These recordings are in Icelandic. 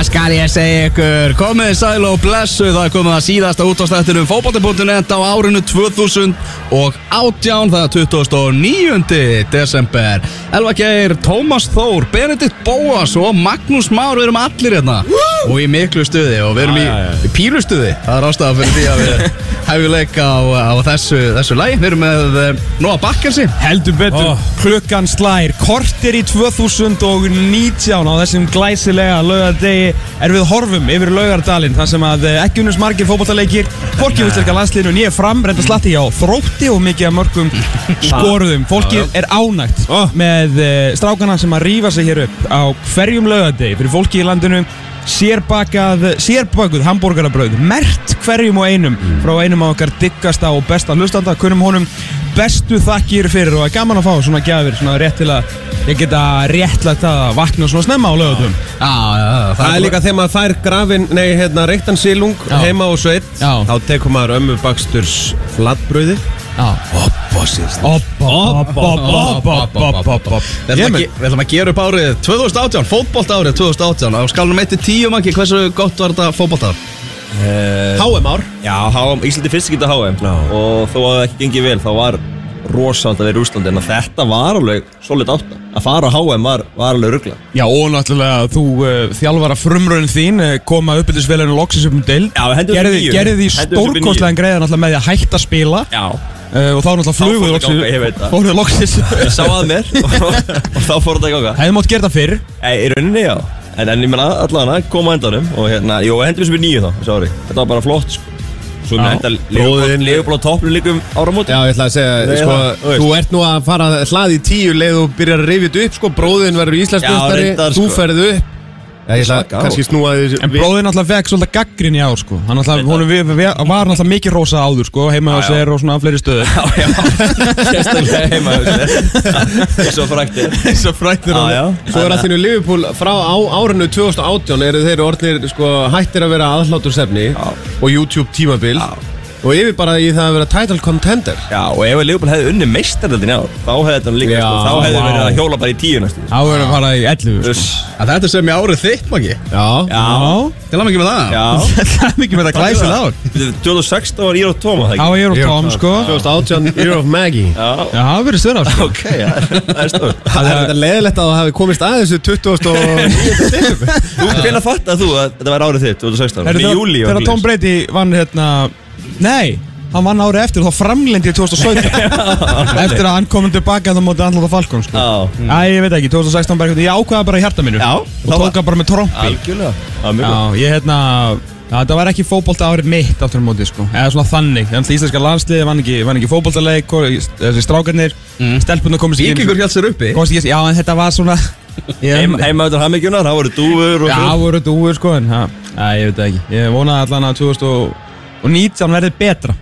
skal ég segja ykkur Komið sæl og blessu Það er komið að síðasta útastættinum Fótbolti.net á árinu 2000 og 18 Það er 29. desember Elva Geir, Tómas Þór, Benedikt Bóas og Magnús Már Við erum allir hérna Og í miklu stuði og við erum í, Já, já, já. í pílu stuði Það er ástæða fyrir því að við hefum leik á, á þessu, þessu læg Við erum með eh, Nóa Bakkelsi Heldur betur, Ó. klukkan slær, kortir í 2019 á þessum glæsilega laugardegi er við horfum yfir laugardalinn þar sem að eh, ekki unnus margir fótballtaleikir, hvorki útlækka landsliðinu nýja fram, reynda slatti hjá þrótti og mikið af mörgum skoruðum. Fólkið er ánægt með eh, strákana sem að rífa sig hér upp á hverjum laugardegi fyrir fólki í landinu sérbakað, sérbökuð hambúrgarabröð mert hverjum og einum frá einum af okkar diggasta og besta hlustanda kunnum honum bestu þakkir fyrir og það er gaman að fá svona gjafir svona rétt til að ég geta réttlætt það að vakna svona snemma á lögatum Já, já, já, Það er líka þegar maður fær grafin, nei, hérna, reyktan silung heima á sveit Já. Þá tekur maður ömmu baksturs flatbröði Opp, opp, opp, opp, opp, opp, opp, opp Við ætlum, að, ge- við ætlum að gera upp árið 2018, fótbolta árið 2018 á skalunum 1-10 mangi, hversu gott var þetta fótbolta? HM ár Já, HM, Íslandi fyrst ekki HM Já. Og þó að það ekki gengið vel þá var rosalega að vera í Úslandi En þetta var alveg solid átta Að fara á HM var, var alveg ruggla Já og náttúrulega þú uh, þjálfara frumröðin þín uh, koma uppbyldisvelinu loksins upp um dild Já, við hendum þessu gerði, níu. gerði því Hendum þessu upp í níu. stórkostlegan greiða náttúrulega með því að hætta að spila Já uh, og þá náttúrulega fluguð fór þetta ganga, ég veit loksins fóruð loksins það. Ég sá að mér og, og þá fór þetta í ganga hefði mátt gera það fyrr Nei, í rauninni já En, en ég menna allan að koma endanum Og hérna, jú, hendur þessu við nýju þá, sorry Þetta var bara flott sko. Svo með henda Bróðirinn. Leifubláð toppnum um líkum áramóti Já, ég ætla að segja, Nei, sko, það- þú veist. þú ert nú að fara að hlaði í tíu leið og byrjar að rifja þetta upp, sko, bróðin verður íslenskunstari, Já, reyndar, þú sko. ferð upp Já, ég ætla að Slaka á. kannski snúa því En bróðin alltaf vekk svolítið gaggrin í ár sko Hann alltaf, Veit honum við, við, var alltaf mikið rosa áður sko Heima á Já, já. sér og svona á fleiri stöðu Já, já, sérstaklega heima Svo fræktir Svo fræktur Já, já Svo er að þínu Liverpool frá á, árinu 2018 eru þeir orðnir sko, hættir að vera aðhlátursefni og YouTube tímabil og yfir bara í það að vera title contender Já, og ef Leopold hefði unni meistardöldin í ár Þá hefði þetta nú líka, Já, sko, þá hefði vá. verið að hjóla bara í tíu næstu Þá erum við bara í 11 sko. Uss, Að þetta sem ég árið þitt mangi, Já, Já, til að mikið með það já Það er mikið með það glæsið ár Bíddu, 2016 var Íra og Tóma, það Þá ekki? er ég og Tom sko 2018 Year of Maggie Já, Já, það verið stöðra sko ok, já, það er stór Það er þetta leðilegt að það hafi komist að þessu 20 og... Þú, hvenær fattaði þú að þetta var árið þitt, 2016? Heyrðu, Í þá- júli Þegar Tom Brady vann hérna Nei, hann vann árið eftir og þá framlendi ég 2017 Eftir að hann komum tilbaka þá móti andláta Falcon sko Já, Æ, ég veit ekki, 2016 bara eitthvað Ég ákvaða bara í hjarta mínu Já, Og þá var- tóka bara með trompi algjörlega Já, mjög gott Já, ég hérna Já, það var ekki fótbolta árið mitt áttur á móti sko Eða svona þannig, þannig að íslenska landsliði vann ekki, vann ekki fótboltaleik hvor- Þessi strákarnir, mm. stelpunna komist ekki Víkingur hjátt sér uppi Komist ekki, já en þetta var svona Heim- Heima þetta hammingjunar, það voru dúfur og Já, voru dúur sko en Já, já, ég veit það ekki Ég vonaði allan að 2019 verði betra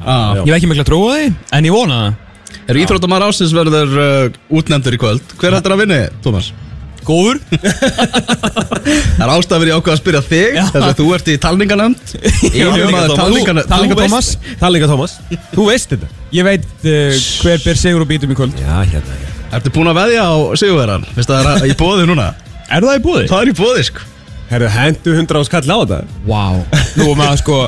Já. Ég veit ekki mikla trú á því, en ég vonaði það Er íþróttamar ásins verður uh, útnefndur í kvöld Hver hættir að vinni, Tómas? Góður? Það er ástæður ég ákvað að spyrja þig Já. Þess að þú ert í talninganefnd Einu maður talninganefnd Talninga Thomas Tallinga Thomas Þú veist þetta Ég veit uh, hver ber sigur og býtum í kvöld Já, hérna já. Ertu búin að veðja á sigurverðan? Fyrst að það er í bóði núna Er það í búði? Það er í bóði sko Herðu, hendu 100 áskall á þetta Vá Nú er maður sko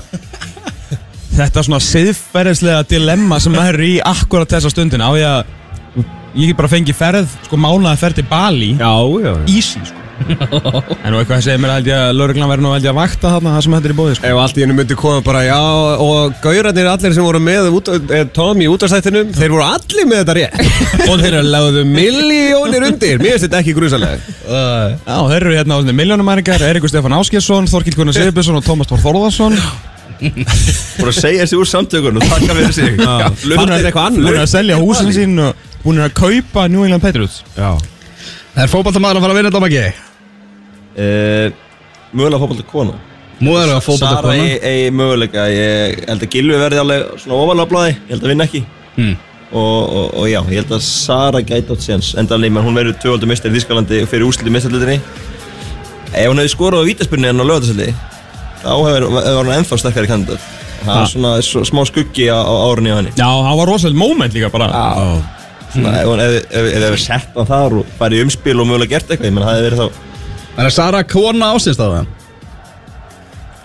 Þetta svona siðferðislega dilemma sem maður er í akkurat þessa stundin á ég að ég get bara fengið ferð sko mánaði ferð til Bali Já, já Easy sko En nú eitthvað sem segir mér held ég að lauruglan verður nú held ég að vakta þarna það sem þetta er í bóði sko Ef allt í hennu myndi koma bara Já, og gaurarnir allir sem voru með út, eh, Tom í útastættinum Þeir voru allir með þetta rétt Og þeir lagðu miljónir undir Mér finnst þetta ekki grúsalega uh, Já, þeir eru hérna á svona miljónumæringar Eiríkur Stefán Áskjesson, Þorkill Gunnar Sigurbjörnsson og Tómas Tór Þorðarsson Bara segja sig úr samtökunum, takka fyrir sig Fann þetta eitthvað annað? Búin að selja húsin sín og búin að kaupa New England Patriots Já Er fótboltamaður að fara að vinna þetta mangi? Eh, Mögulega fótbolta konu Múður að fótbolta Sara eigi eigi möguleika Ég held að Gilvi verði alveg svona ofalega bláði Ég held að vinna ekki Hmm. og, og, og já, ég held að Sara gæti átt séns Enda alveg, menn hún verður tvövaldur mistar í Þískalandi og fyrir úslit í mistarlutinni Ef hún hefði skorað á vítaspyrni en á lögatarsöldi þá hefur hefur hún ennþá sterkari kandidat Það Ha. er svona svo, smá skuggi á, á árunni á henni Já, það var rosalega moment líka bara Já Svona, ef hún hefði sett hann þar og farið í umspil og mögulega gert eitthvað, ég menn það hefði verið þá Er Sara kona ásins það?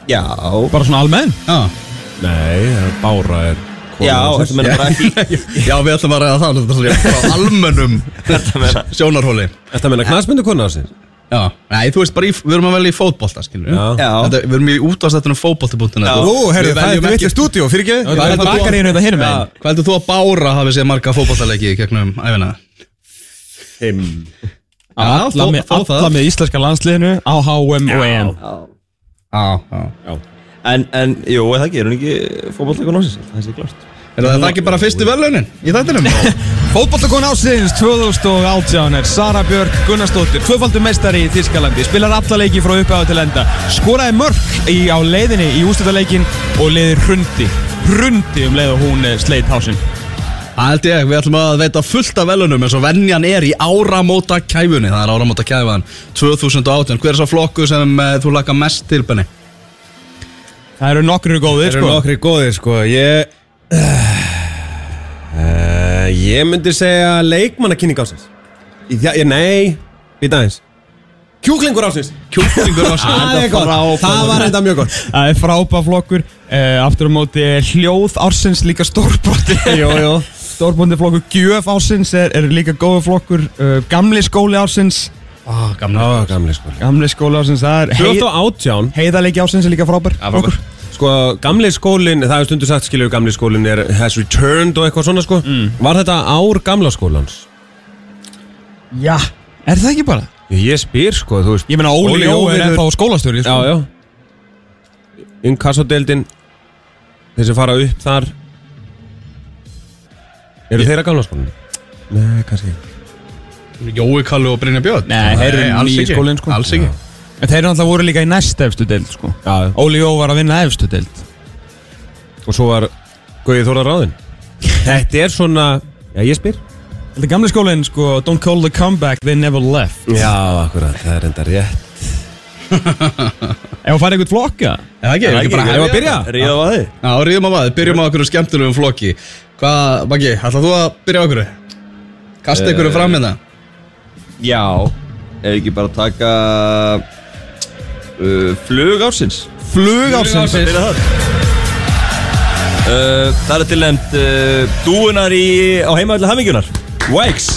Já, Bara svona almenn Já, Nei, Bára er já, þetta meina bara ekki já við ætlum að ræða það Þetta er frá almennum Þetta meina sjónarhóli Þetta meina knasmyndu konu á sig Já, nei, þú veist bara í, við erum að velja í fótbolta, skilur Já. Já. Þetta, Við erum í útvarsættunum fótbolti.net Já. og Nú, herri, við það veljum er ekki- mitt í stúdíu, fyrir ekki Það er bakarinn þetta hinum einn Hvað heldur þú að Bára hafi séð marga fótballtaleiki í gegnum æfina? Já, Alla, þó- með, þó alla það. með íslenska landsliðinu á HM og EM Já, já En, en, jú, er það ekki, er hún ekki fótballleikon ásins, það sé klart Er það ekki bara fyrstu velunin í þættinum? Fótboltakon ásins 2018 er Sara Björk Gunnarsdóttir Tvöfaldur meistari í Þískalandi Spilar alla leiki frá upphafi til enda Skoraði mörk í, á leiðinni í ústöldaleikin Og leiðir hrundi Hrundi um leið og hún eh, sleit hásinn Það held ég, við ætlum að veita fullt af velunum eins og venjan er í áramóta kæfunni Það er áramóta kæfan 2018 Hver er svo flokku sem uh, þú laka mest til, Benni? Það eru nokkru góðir Það eru sko nokkri góðir sko Ég uh, Ég myndi segja leikmannakynning ásins Já, ég, nei Við dagins Kjúklingur ásins Kjúklingur var sem Það er gott Það var enda mjög gott Það er frábæð flokkur uh, Aftur á móti er hljóð ársins líka stórbrotti Jó, jó Stórbrotti flokkur Gjöf ársins er, er líka góðu flokkur uh, Gamli skóli ársins ah, Gamla Ó, gamli sko Gamli skóli ársins Það er hei, 2018 heiðarleiki ársins er líka frábær flokkur. Sko, gamli skólinn, það er stundu sagt skilur gamli skólinn er has returned og eitthvað svona sko Var þetta ár gamla skólans? Já, er það ekki bara? Ég spyr sko, þú veist Ég meina Óli Jó er Jóviður- ennþá skólastjóri sko. Já, já Inkassodeldin Þeir sem fara upp þar Eru þeirra gamla skólinni? Nei, kannski ekki Jói Kallu og Brynja Björn Nei, þeir eru alls nýir ekki. skólinn, sko. Alls ekki En þeir eru alltaf voru líka í næst efstu deild sko. Já, Óli Jó var að vinna efstu deild Og svo var Gauði Þóra ráðinn Þetta er svona Já, ég spyr Þetta gamli skólinn sko Don't call the comeback, they never left Já, akkurat, það er enda rétt Ef þú farið eitthvað flokka Er það ekki, er Það ekki bara hefum að byrja Ríða var þið? Já, ríðum á maður, byrjum á okkur skemmtilegum flokki Hvað, Maggi, ætlað þú að byrja á okkur? Eh, Kasta ykkur fram hérna Já Ef ekki bara taka uh, Flug ársins Flug ársins Byrja það uh, Það er tilnæmt uh, Dúunar í, á heimaðalli hamingjunar Wags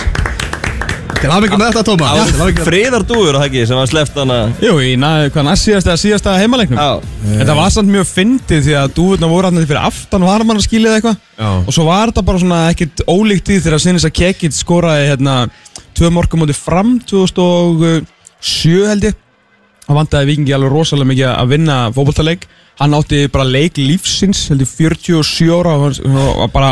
Til hafa með þetta, Tóma Já, til hamingju með- Friðar dúur, það ekki, sem var sleppt hana Jú, í na, hvað næst síðasta, síðasta heimaleiknum Já Þetta var samt mjög fyndið því að dúfurna voru hann fyrir aftan varmann að skilja eitthvað Já. Og svo var þetta bara svona ekkert ólíkt í þegar sinnis að Kekitt skoraði hérna Tvö morgum móti fram 2007 held ég Það vantaði vikingi alveg rosalega mikið að vinna fótboltaleik Hann átti bara leik lífsins, held ég 47 ára og hann- og var bara,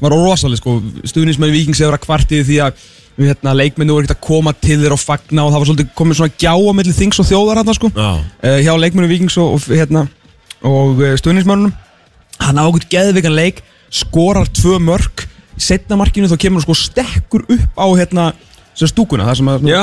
var rosalega sko Stuðnismenn vikings hefur að kvartið því að hérna, leikmennu voru ekkert að koma til þér og fagna og það var svolítið komið svona gjá á milli þings og þjóðar hann sko Já uh, hjá leikmönnum Víkings og, og, hérna, og uh, stuðnismönnum hann á okkur geðvikan leik skorar tvö mörk í setna markinu þá kemur hann sko stekkur upp á hérna sem stúkuna, það sem að Já,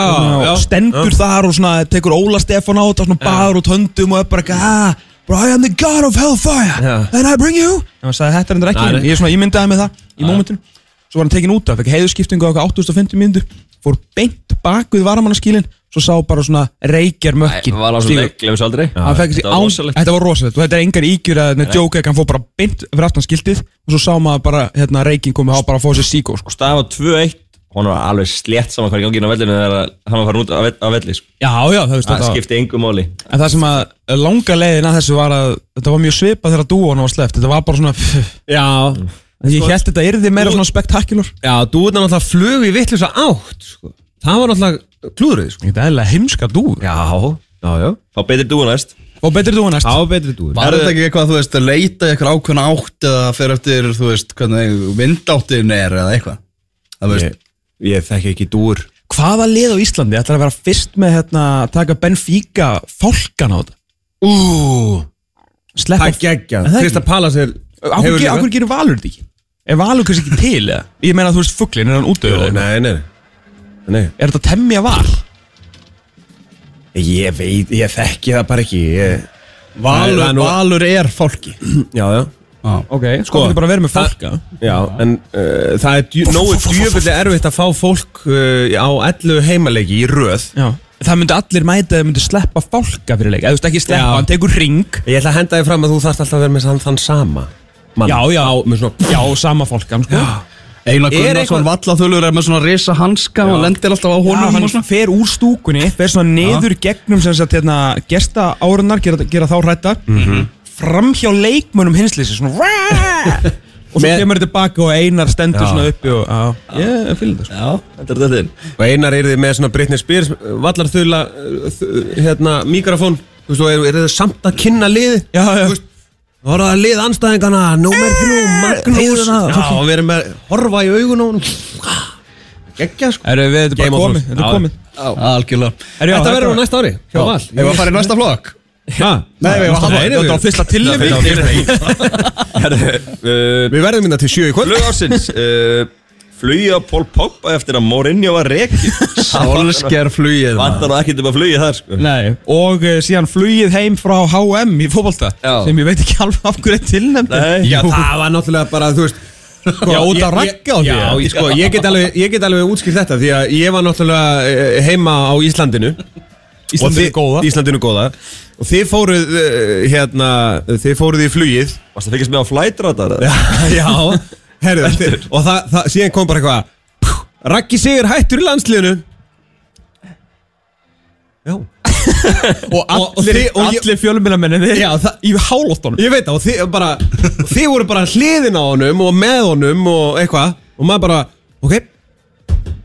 já, og stendur þar og svona tekur Óla Stefán á þetta svona bar út höndum og er bara eitthvað ah, bro, I am the god of hellfire Já. and I bring you en hann sagði þetta er endur ekki, Nei, Nei, nei. ég, svona, ég myndaði með það í mómentinu svo var hann tekin út af, fekk heiðurskiptingu á eitthvað 850 myndu fór beint bak við varamannaskílin svo sá bara svona reykjar mökkin Var á stígur. svona leik, glemis aldrei Hann fekk þessi Þetta var án, rosalegt þetta var rosalegt og þetta er engar ígjur að þetta joke ekki, hann fór bara beint fyrir aftan skiltið og svo sá maður bara, hérna, reyking komið á bara að fá sér síkó, sko. Og staðan var 2-1 Hún var alveg slétt saman hvað er gangið á vellinu þegar hann var farin út á vell- á velli sko. Já, já, það veist Það þetta. skipti engu máli En það sem að langa leiðin að þessu var að þetta var mjög svipað þegar dúan var sleppt, þetta var bara svona, pff, Já, ég held þetta yrði meira svona spektakulur. já þú er náttúrulega flug í vittlusa átt sko. Það var náttúrulega klúðrið sko. Þetta er eða heimska dú. Já, já, já Fá betri dúu næst Og betri dúan næst. Þá betri þú Var þetta ekki eitthvað, þú veist, að leita eitthvað ákveðna átt eða fer eftir, þú veist, hvernig vindáttin er eða eitthvað Það veist, Ég, ég þekki ekki dúr Hvaða lið á Íslandi ætlar að vera fyrst með, hérna, að taka Benfica fólkan á þetta? Úúú Sleppa Það geggja Er það ekki? Krista Palas er Akkur, ge akkur gerir Valur þetta ekki? Er Valur kannski ekki til eða? Ég meina þú veist fugglin, er hann útöður? Jó, Nei, nei, nei Er þetta temja val? Ég veit, ég þekki það bara ekki ég... valur, það er nú- Ah. valur er fólki Já, já Ok, sko Það getur bara verið með fólka Já, en uh, það er djú, nógu djöfulli erfitt að fá fólk uh, á ellu eh, heimaleiki í röð Já það myndi allir mæta það myndi sleppa fálka fyrir leik eða þú veist ekki sleppa, Já. hann tekur ring Ég ætla að henda þig fram að þú þarft alltaf að vera með þann, þann sama mann. Já, já. Á, með svona, já, sama fálkan sko. já, Einar Er Gunnarsson eitthvað- vallathulur er með svona risa hanska og lendir alltaf á honum hann og svona fer úr stúkunni fer svona niður gegnum sem sagt hérna, gesta árunar, gera, gera þá hrættar framhjá leikmönum hinslýsi svona "Rah!" og svo Með- kemur tilbaka og einar stendur Já. svona uppi og já, ég fylgði það sko. Já, þetta er þetta þinn Og einar er þið með svona Britney Spears eh, Vallarþula Hérna, mikrofón Þú veist, og eru er þið samt að kynna liði já, já, Það voru að lið anstæðingana Númer þrjú, Magnús Já, og við erum með horfa í augunum Gekkja sko Erum við, þetta er Game bara of komið, þetta Thrones. er Já. komið Algjörlega Herru, já, Þetta þetta verður á var- næsta ári Hjá Val Ef að fara í næsta flokk Ha? Nei, við erum að hafa Þetta var fyrsta tilnefning Herðu, Við verðum minna til sjö í kvöld Flug ársins uh, Flugja Pól Pogba eftir að Mourinho var reikið Solskjær flugið Vantar nú ekkert upp að flugja þar sko Nei, og uh, síðan flugið heim frá HM í fótbolta Já. sem ég veit ekki alveg af hverju er tilnefnd Nei, Já, það var náttúrulega bara, þú veist sko, Já, út af ég- ragga á því, ég- Já, eða? ég, sko, ég get alveg, ég get alveg útskýrt þetta Því að ég var náttúrulega eh, heima á Íslandinu Íslandinu Og þið- góða. Íslandinu góða Og þið fóruð, eh, hérna, þið fóruð í flugið varst að fylgjast með á flætratar Já, já herru, þið, Og það, það, síðan kom bara eitthvað pú, Raggi Sigur hættur í landsliðinu Já og Og- og allir, þið- og ég- allir fjölmjölamenninni Já, það, í hálóttunum Ég veit það og þið, bara, og þið voru bara hliðin á honum og með honum og eitthvað og maður bara, ok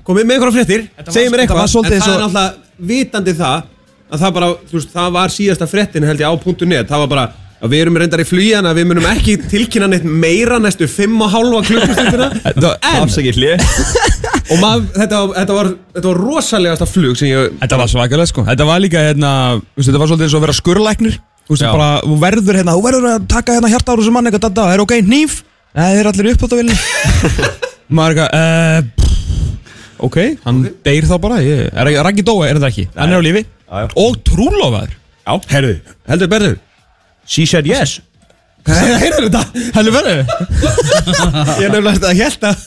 komið með einhverja fréttir, var- segið mér þetta var eitthvað en svolítið það er eins og- náttúrulega vitandi það að það bara, þú veist, það var síðasta fréttin held ég á .net, það var bara að við erum reyndar í flýjana, við munum ekki tilkynna neitt meira næstu 5 og halva klukkustundina en, Afsakið hlið og maður, þetta, var- þetta var þetta var rosalegasta flug sem ég Þetta var svakalega sko Þetta var líka hérna þú veist, Þetta var svolítið eins og að vera skurrlæknir Þú veist Já. bara Þú verður hérna Þú verður að taka hérna hjarta ára sem mann eitthvað Þetta er ok Nýf Nei þeir eru allir upp á þetta vilja Maður er eitthvað uh, Ok Hann deyr þá bara ég, er, ekki- Raggi Dóa er þetta ekki Hann er á lífi já. Og trúlofaður Já, herru, heldur berður She said yes Heyrðu þetta, heldur berður Ég nefnilega þetta að ég held að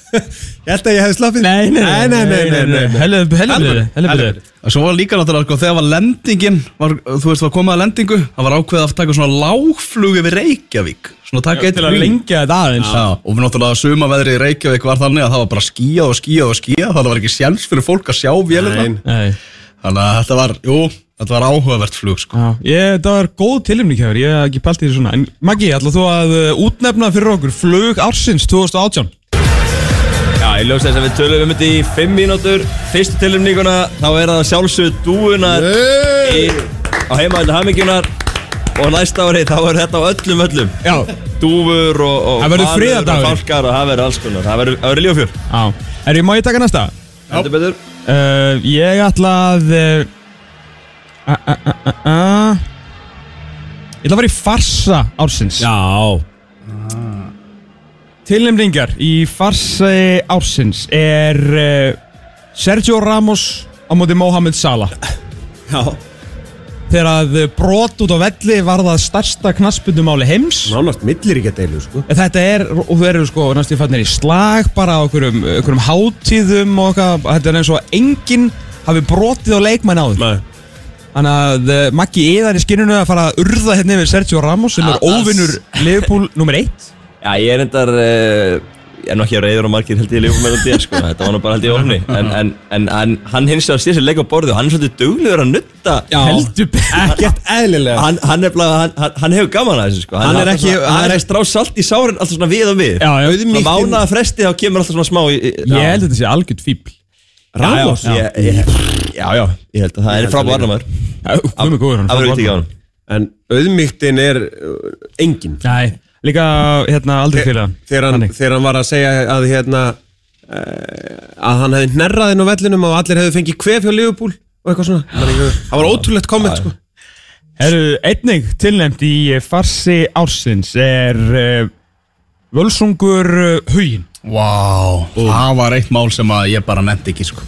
Ég held að ég hefði slappið nei, nei, nei, nei, nei, nei. Hellu Hellu- Hellu hellu- Og Svo var líka náttúrulega sko, þegar var lendingin var, Þú veist, var komið að lendingu Það var ákveðið að taka svona lágflug yfir Reykjavík Svona taka eitt Til að flug. lengja þetta aðeins Já, og náttúrulega sumaveðrið í Reykjavík var þannig að það var bara skíjað og skíjað og skíjað Það var ekki sjans fyrir fólk að sjá vélina Nei. Nei Þannig að þetta var, jú, þetta var áhugavert flug sko. Já, ég, það var góð tilumning hefur, ég hef ekki pælt í þessu svona En Maggi, ætla þú að uh, útnefna fyrir okkur flug ársins 2018 Já, ég ljósa þess að við tölum um þetta í 5 mínútur Fyrstu tilumninguna, þá er það sjálfsögð dúunar í, á heimaðinu hamingjunar og næsta ári þá er þetta á öllum öllum Já, dúfur og, og Það verður falur friðardagur. og fálkar og það verður alls konar það verður, það verður ljófjör já Er ég, má ég taka næsta? heldur betur Uh, ég ætla að uh, a, a, a, a, a. uh, Ég ætla að fara í farsa ársins Ah. Já Tilnefningar í farsi ársins er uh, Sergio Ramos á móti Mohamed Salah Já, Þegar að uh, brot út á velli var það starsta knaspundumáli heims nánast millir ekki að deilu, sko En Þetta er, og þú eru sko næstu fannir í slag bara á einhverjum, einhverjum hátíðum og eitthvað, þetta er eins og að enginn hafi brotið á leikmenn áður Nei. Þannig að eh, Maggi Eðar í skinnunu að fara að urða hérna yfir Sergio Ramos sem er Ah, óvinnur Liverpool nummer 1 já, ég er endar eh, ég er nú ekki að reyður á margir held ég ljófum með þetta sko. þetta var nú bara held ég ofni en, en, en, en hann hins vegar sér sér leik á borðu hann er svolítið duglegur að nutta Heldur betur Ekkert eðlilega hann, hann, er blá, hann, hann- hann hefur gaman að þessu sko. Hann er alltaf ekki- svona, hann hann er- er strá salt í sárin alltaf svona við og við Já, já, svona mánaða fresti þá kemur alltaf svona smá í, í, Ég held að þetta sé algjörð fíbl Ramos? já, já, ég, ég, já, já, ég held að það er frábæð varnamæður Komið góður hann það verður frábær. ekki á hann En auðmygtin er uh, engin Nei, líka hérna aldrei fyrir hann Eh, þegar hann, þegar hann var að segja að hérna eh, að hann hefði hnerraðin á vellinum og allir hefði fengið kvef hjá Liverpool og eitthvað svona Ég man ekki hvað- Það var ótrúlegt komment, sko Herru, einnig tilnæmt í eh, farsi ársins er uh, Völsungur uh, Hugin Vá, það var eitt mál sem að ég bara nefndi ekki sko.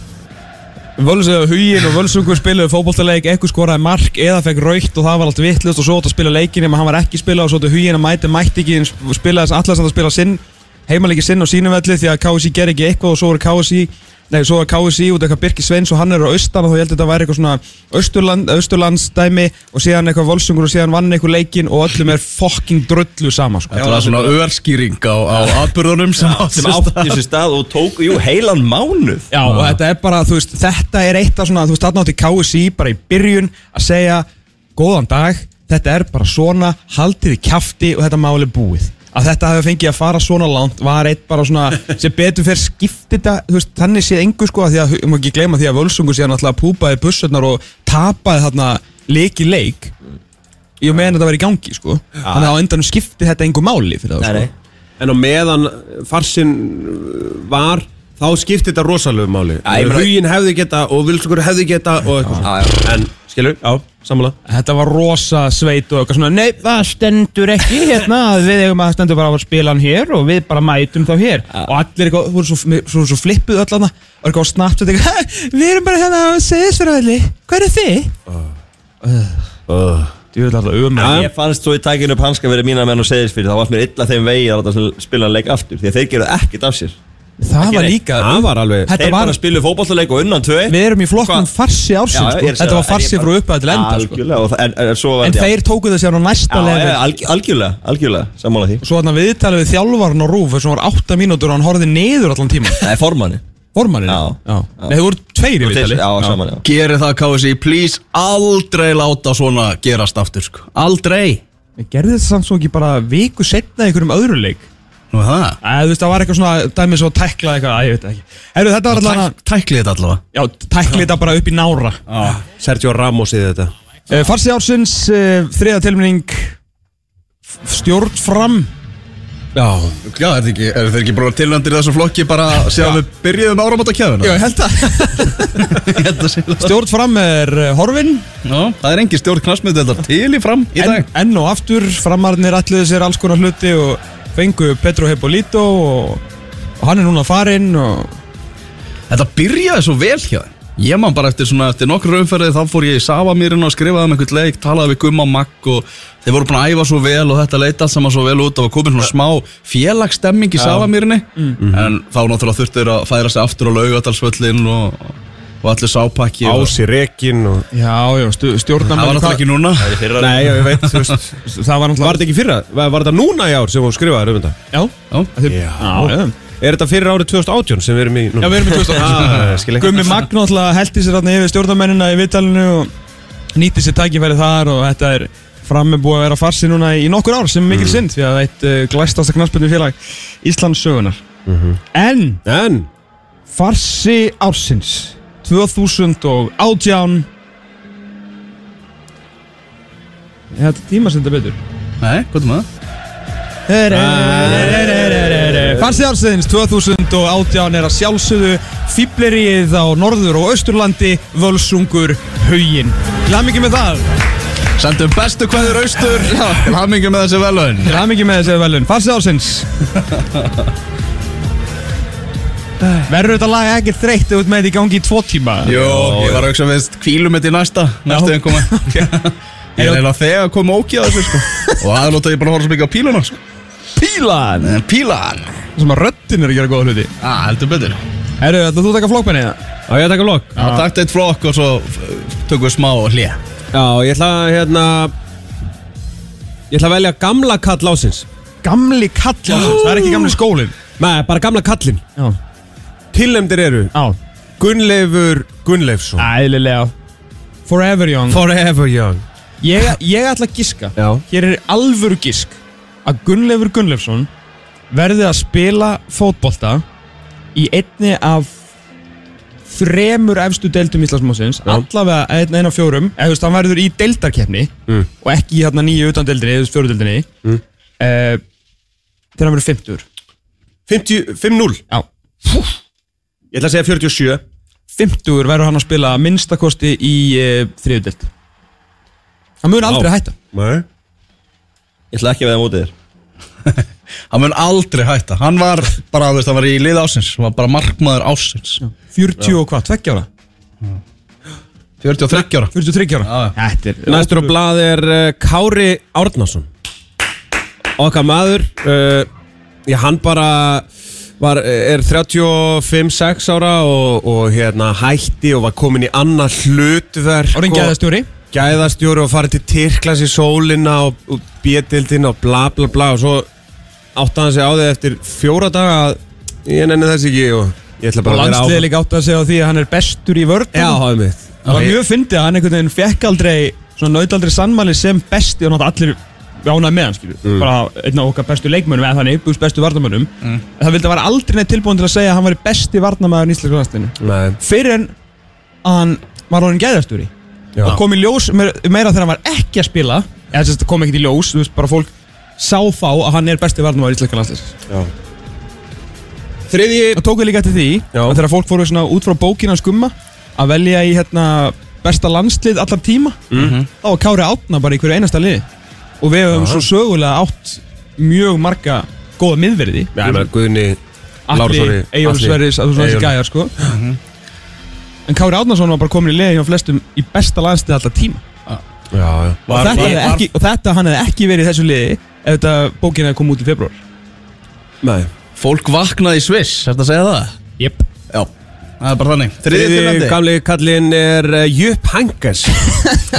Völsungur Hugin og Völsungur spilaði fótboltaleik eitthvað skoraði mark eða fekk raukt og það var allt vittlust og svo átt að spila leikin nema hann var ekki spilað og svo átt að Hugin að mæti mætti ekki en spilaði allar sem það spila sinn heimaleiki sinn á sínum velli því að KSI ger ekki eitthvað og svo voru KSI Nei, svo er KSI út eitthvað Birki Sveins og hann er á austan og þá ég held að þetta væri eitthvað svona Östurland, Östurlandsdæmi og síðan eitthvað volsungur og síðan vann eitthvað leikin og öllum er fucking drullu sama sko. Þetta var svona örskýring á, á atbyrðunum sem átt sem átti þessu stað og tók, jú, heilan mánuð Já, og þetta er bara, þú veist, þetta er eitt af svona, þú veist, þarna átti KSI bara í byrjun að segja, góðan dag, þetta er bara svona, haldið í kjafti og þetta máli búið. Að þetta hafi fengið að fara svona langt var eitt bara svona, sem betur fyrir skipti þetta, þú veist, þannig séð engu sko, að því að, um ekki gleyma því að Völsungur síðan alltaf púpaði bussarnar og tapaði þarna leik í leik, ég meðan þetta var í gangi, sko. Þannig að á endanum skipti þetta engu máli fyrir það, Nei, sko. nei En á meðan farsin var þá skipti þetta rosalegu máli ég meina- Hugin hefði geta og vilsugur hefði geta og eitthvað svona. En skilur, já, sammála Þetta var rosa sveit og eitthvað svona Nei, það stendur ekki hérna að Við eigum að það stendur bara að spila hann hér Og við bara mætum þá hér Og allir eitthvað, þú svo, svo, svo flippuð öll hana Og eitthvað snabbt eitthvað, Við erum bara hérna að segja þess fyrir allir Hvað eru þið? Þú vil alltaf um En Ég fannst svo í takinu upp hanska verið mína menn og segðis fyrir þá varst mér illa þeim vegi að láta svona spila leik aftur því að þeir gerðu ekkert af sér Það var neitt. líka Það var alveg Þetta Þeir var, bara spilu fótballaleik og unnan tvö við erum í flokknum farsi ársins sko. Þetta var farsi frá upphæð til enda sko. sko En þeir tóku þessi á næsta level Algjörlega, algjörlega, sammála því Og svo þarna viðtalið við þjálfarn og rúf Þessum var 8 mínútur og hann horfði niður allan tíma Það er formanni Formannin? Já. Nei, þau voru tveir í viðtali Já, saman, já Gerið það KSI, please Aldrei láta svona gerast aftur sko. Aldrei En Gerði þetta samt svo ekki bara viku setna í einhverjum öðru leik? Nú er það Æ, þú veist, það var eitthvað svona dæmi svo tækla eitthvað, að ég veit það ekki. Herru, þetta var alltaf Tæk, Tæklið þetta allavega Já, tækla þetta bara upp í nára. Sergio Ramos í þetta Uh, Farsi ársins, uh, þriða tilmynding, stjórn fram. Já, já er, ekki, er þeir ekki bara tilnöndir í þessum flokki bara síðan við byrjuðum áramóta kjæðuna? ég held það. stjórn fram er uh, horfin, Það er engin stjórn knastmyndildar til í fram í en, dag enn og aftur, framarnir alluðu sér alls konar hluti og fengu Petro Hepolito og, og hann er núna farinn og... Þetta byrjaði svo vel hjá þeim Ég man bara eftir, svona, eftir nokkur umferði þá fór ég í Savamýrin og skrifaði um einhvern leik talaði við Gumma og Magg og þeir voru búin að æfa svo vel og þetta leita allt saman svo vel út og var komin svona smá félagsstemming í Savamýrinni en þá náttúrulega þurftu þeir að færa sig aftur á laugatalsvöllin og, og allir sápakki og, Ási Rekin og Já, já, stu- Það var stjórnarmenn... náttúrulega ekki núna Nei, já, ég veit, þú veist Það var Var þetta náttúrulega... ekki fyrra? Var var þetta núna í ár sem hún skrifaði um þetta? Já, Já. Þið- Já. já. Er þetta fyrir árið 2018 sem við erum í núna? Já, við erum í 2018 Ah, skil ekki. Gummi Magn alltaf heldi sér þarna yfir stjórnarmennina í vittalinu og nýtti sér tækifæri þar og þetta er frammi búið að vera farsi núna í nokkur ár sem er mikil synd því að það er eitt uh, glæstasta knarspilnu félag Íslands sögunar En En, farsi ársins 2018 Ég hætti tíma sem þetta betur Nei, hvað er maður? Farsi ársins 2018 er að sjálfsögðu fýbleríið á norður og austurlandi völsungur haugin Glam ekki með það, Sendum bestu hverður austur Til hamingi með þessi velun glam ekki með þessi velun Farsi ársins Verður þetta lag ekki þreytt ef þú ert með þetta í gangi í tvo tíma? Jó, ég var að hugsa veist kvílum þetta í næsta Næstu en koma Ég er eiginlega þegar að koma óki á þessu sko Og aðlóta ég bara að horfa svo mikið á píluna sko Pílan! En Pílan Sem að röddin er að gera góða hluti Á, heldur betur Herru, ætlaðu þú að taka flokkmenni það? á ég að taka lok Já, takt eitt flokk og svo f- tökum við smá hlé Já, ég ætla að, hérna Ég ætla að velja gamla kall ásins Gamli kall ársins, það er ekki gamli skólin Nei, bara gamla kallin Já, Tilnæmdir eru á, Gunnleifur Gunnleifsson æðilega Forever young Forever young Ég, ég ætla að giska Já. Hér er alvöru gisk Að Gunnleifur Gunnleifsson Verði að spila fótbolta Í einni af Þremur efstu deildum Íslandsmósins Allavega einn, einn af fjórum Eða þú veist, hann verður í deildarkeppni Og ekki í hérna nýju utan deildinni Eða fjóru deildinni mm. Þegar hann verður 50 50 5-0 Já Ég ætla að segja 47 50 verður hann að spila að minnstakosti í uh, þriðu deild Hann mun aldrei hætta Nei Ég ætla ekki að veða mótið þér Hann mun aldrei hætta Hann var bara, þú veist, hann var í lið ásins Hann var bara markmaður ásins 40 og hvað, 20 ára? 43 ára 43 ára Þetta er Næstur á blað er uh, Kári Árnason Okkar maður uh, Ég hann eh, bara var, er 35-6 ára og, og hérna hætti og var komin í annað hlutverk Orðin og- gæðastjóri gæðastjóri og farið til Tyrklas í sólina og, og bjetildin og bla bla bla og svo átti hann sig á því eftir fjóra daga að ég nenni þess ekki og ég ætla Og bara að vera landsliði áfram líka átt að segja á því að hann er bestur í vörðum Já, það er mitt Það var mjög fyndið að hann einhvern veginn fekk aldrei Svona nautaldri sannmæli sem besti Og náttúrulega allir ánæði með hann skilju Mm. Bara einn af okkar bestu leikmönum Eða þannig, búst bestu varnamönum Það vildi að vera aldrei neitt tilbúin til að segja að hann var besti varnamæður Íslenska landslinu Nei, Fyrir en að hann var orðin gæðastjóri já, Og kom í ljós meir- meira þegar hann var ekki að spila Eða þess að kom ekkert í ljós Þú veist bara fólk sá þá að hann er besti varnamæður Íslenska landslinu já. Þriðji Það tók við líka eftir því Já. að þegar fólk fóru svona út frá bókinu hans gumma að velja í hérna, besta landslið allan tíma þá var Kári Átna bara í hverju einasta liði og við höfum svo sögulega átt mjög marga góða miðverði Já, ég meina Guðni Alli, Lárusson, Atli. Eyjólfsverðis, að þú svona þessi Eyjólf. gæjar sko En Kári Átnason var bara komin í liði hjá flestum í besta landslið allan tíma Já, já og, Var- þetta var- hefði var- ekki, og þetta hann hefði ekki verið í þessu liði ef þetta bókin hefði komið út í februar Nei Fólk vaknaði í Sviss, er þetta að segja það? Jep Já Það er bara þannig Þriðið Þriðji tilnæmdi gamli kallinn er uh, Jupp Hankers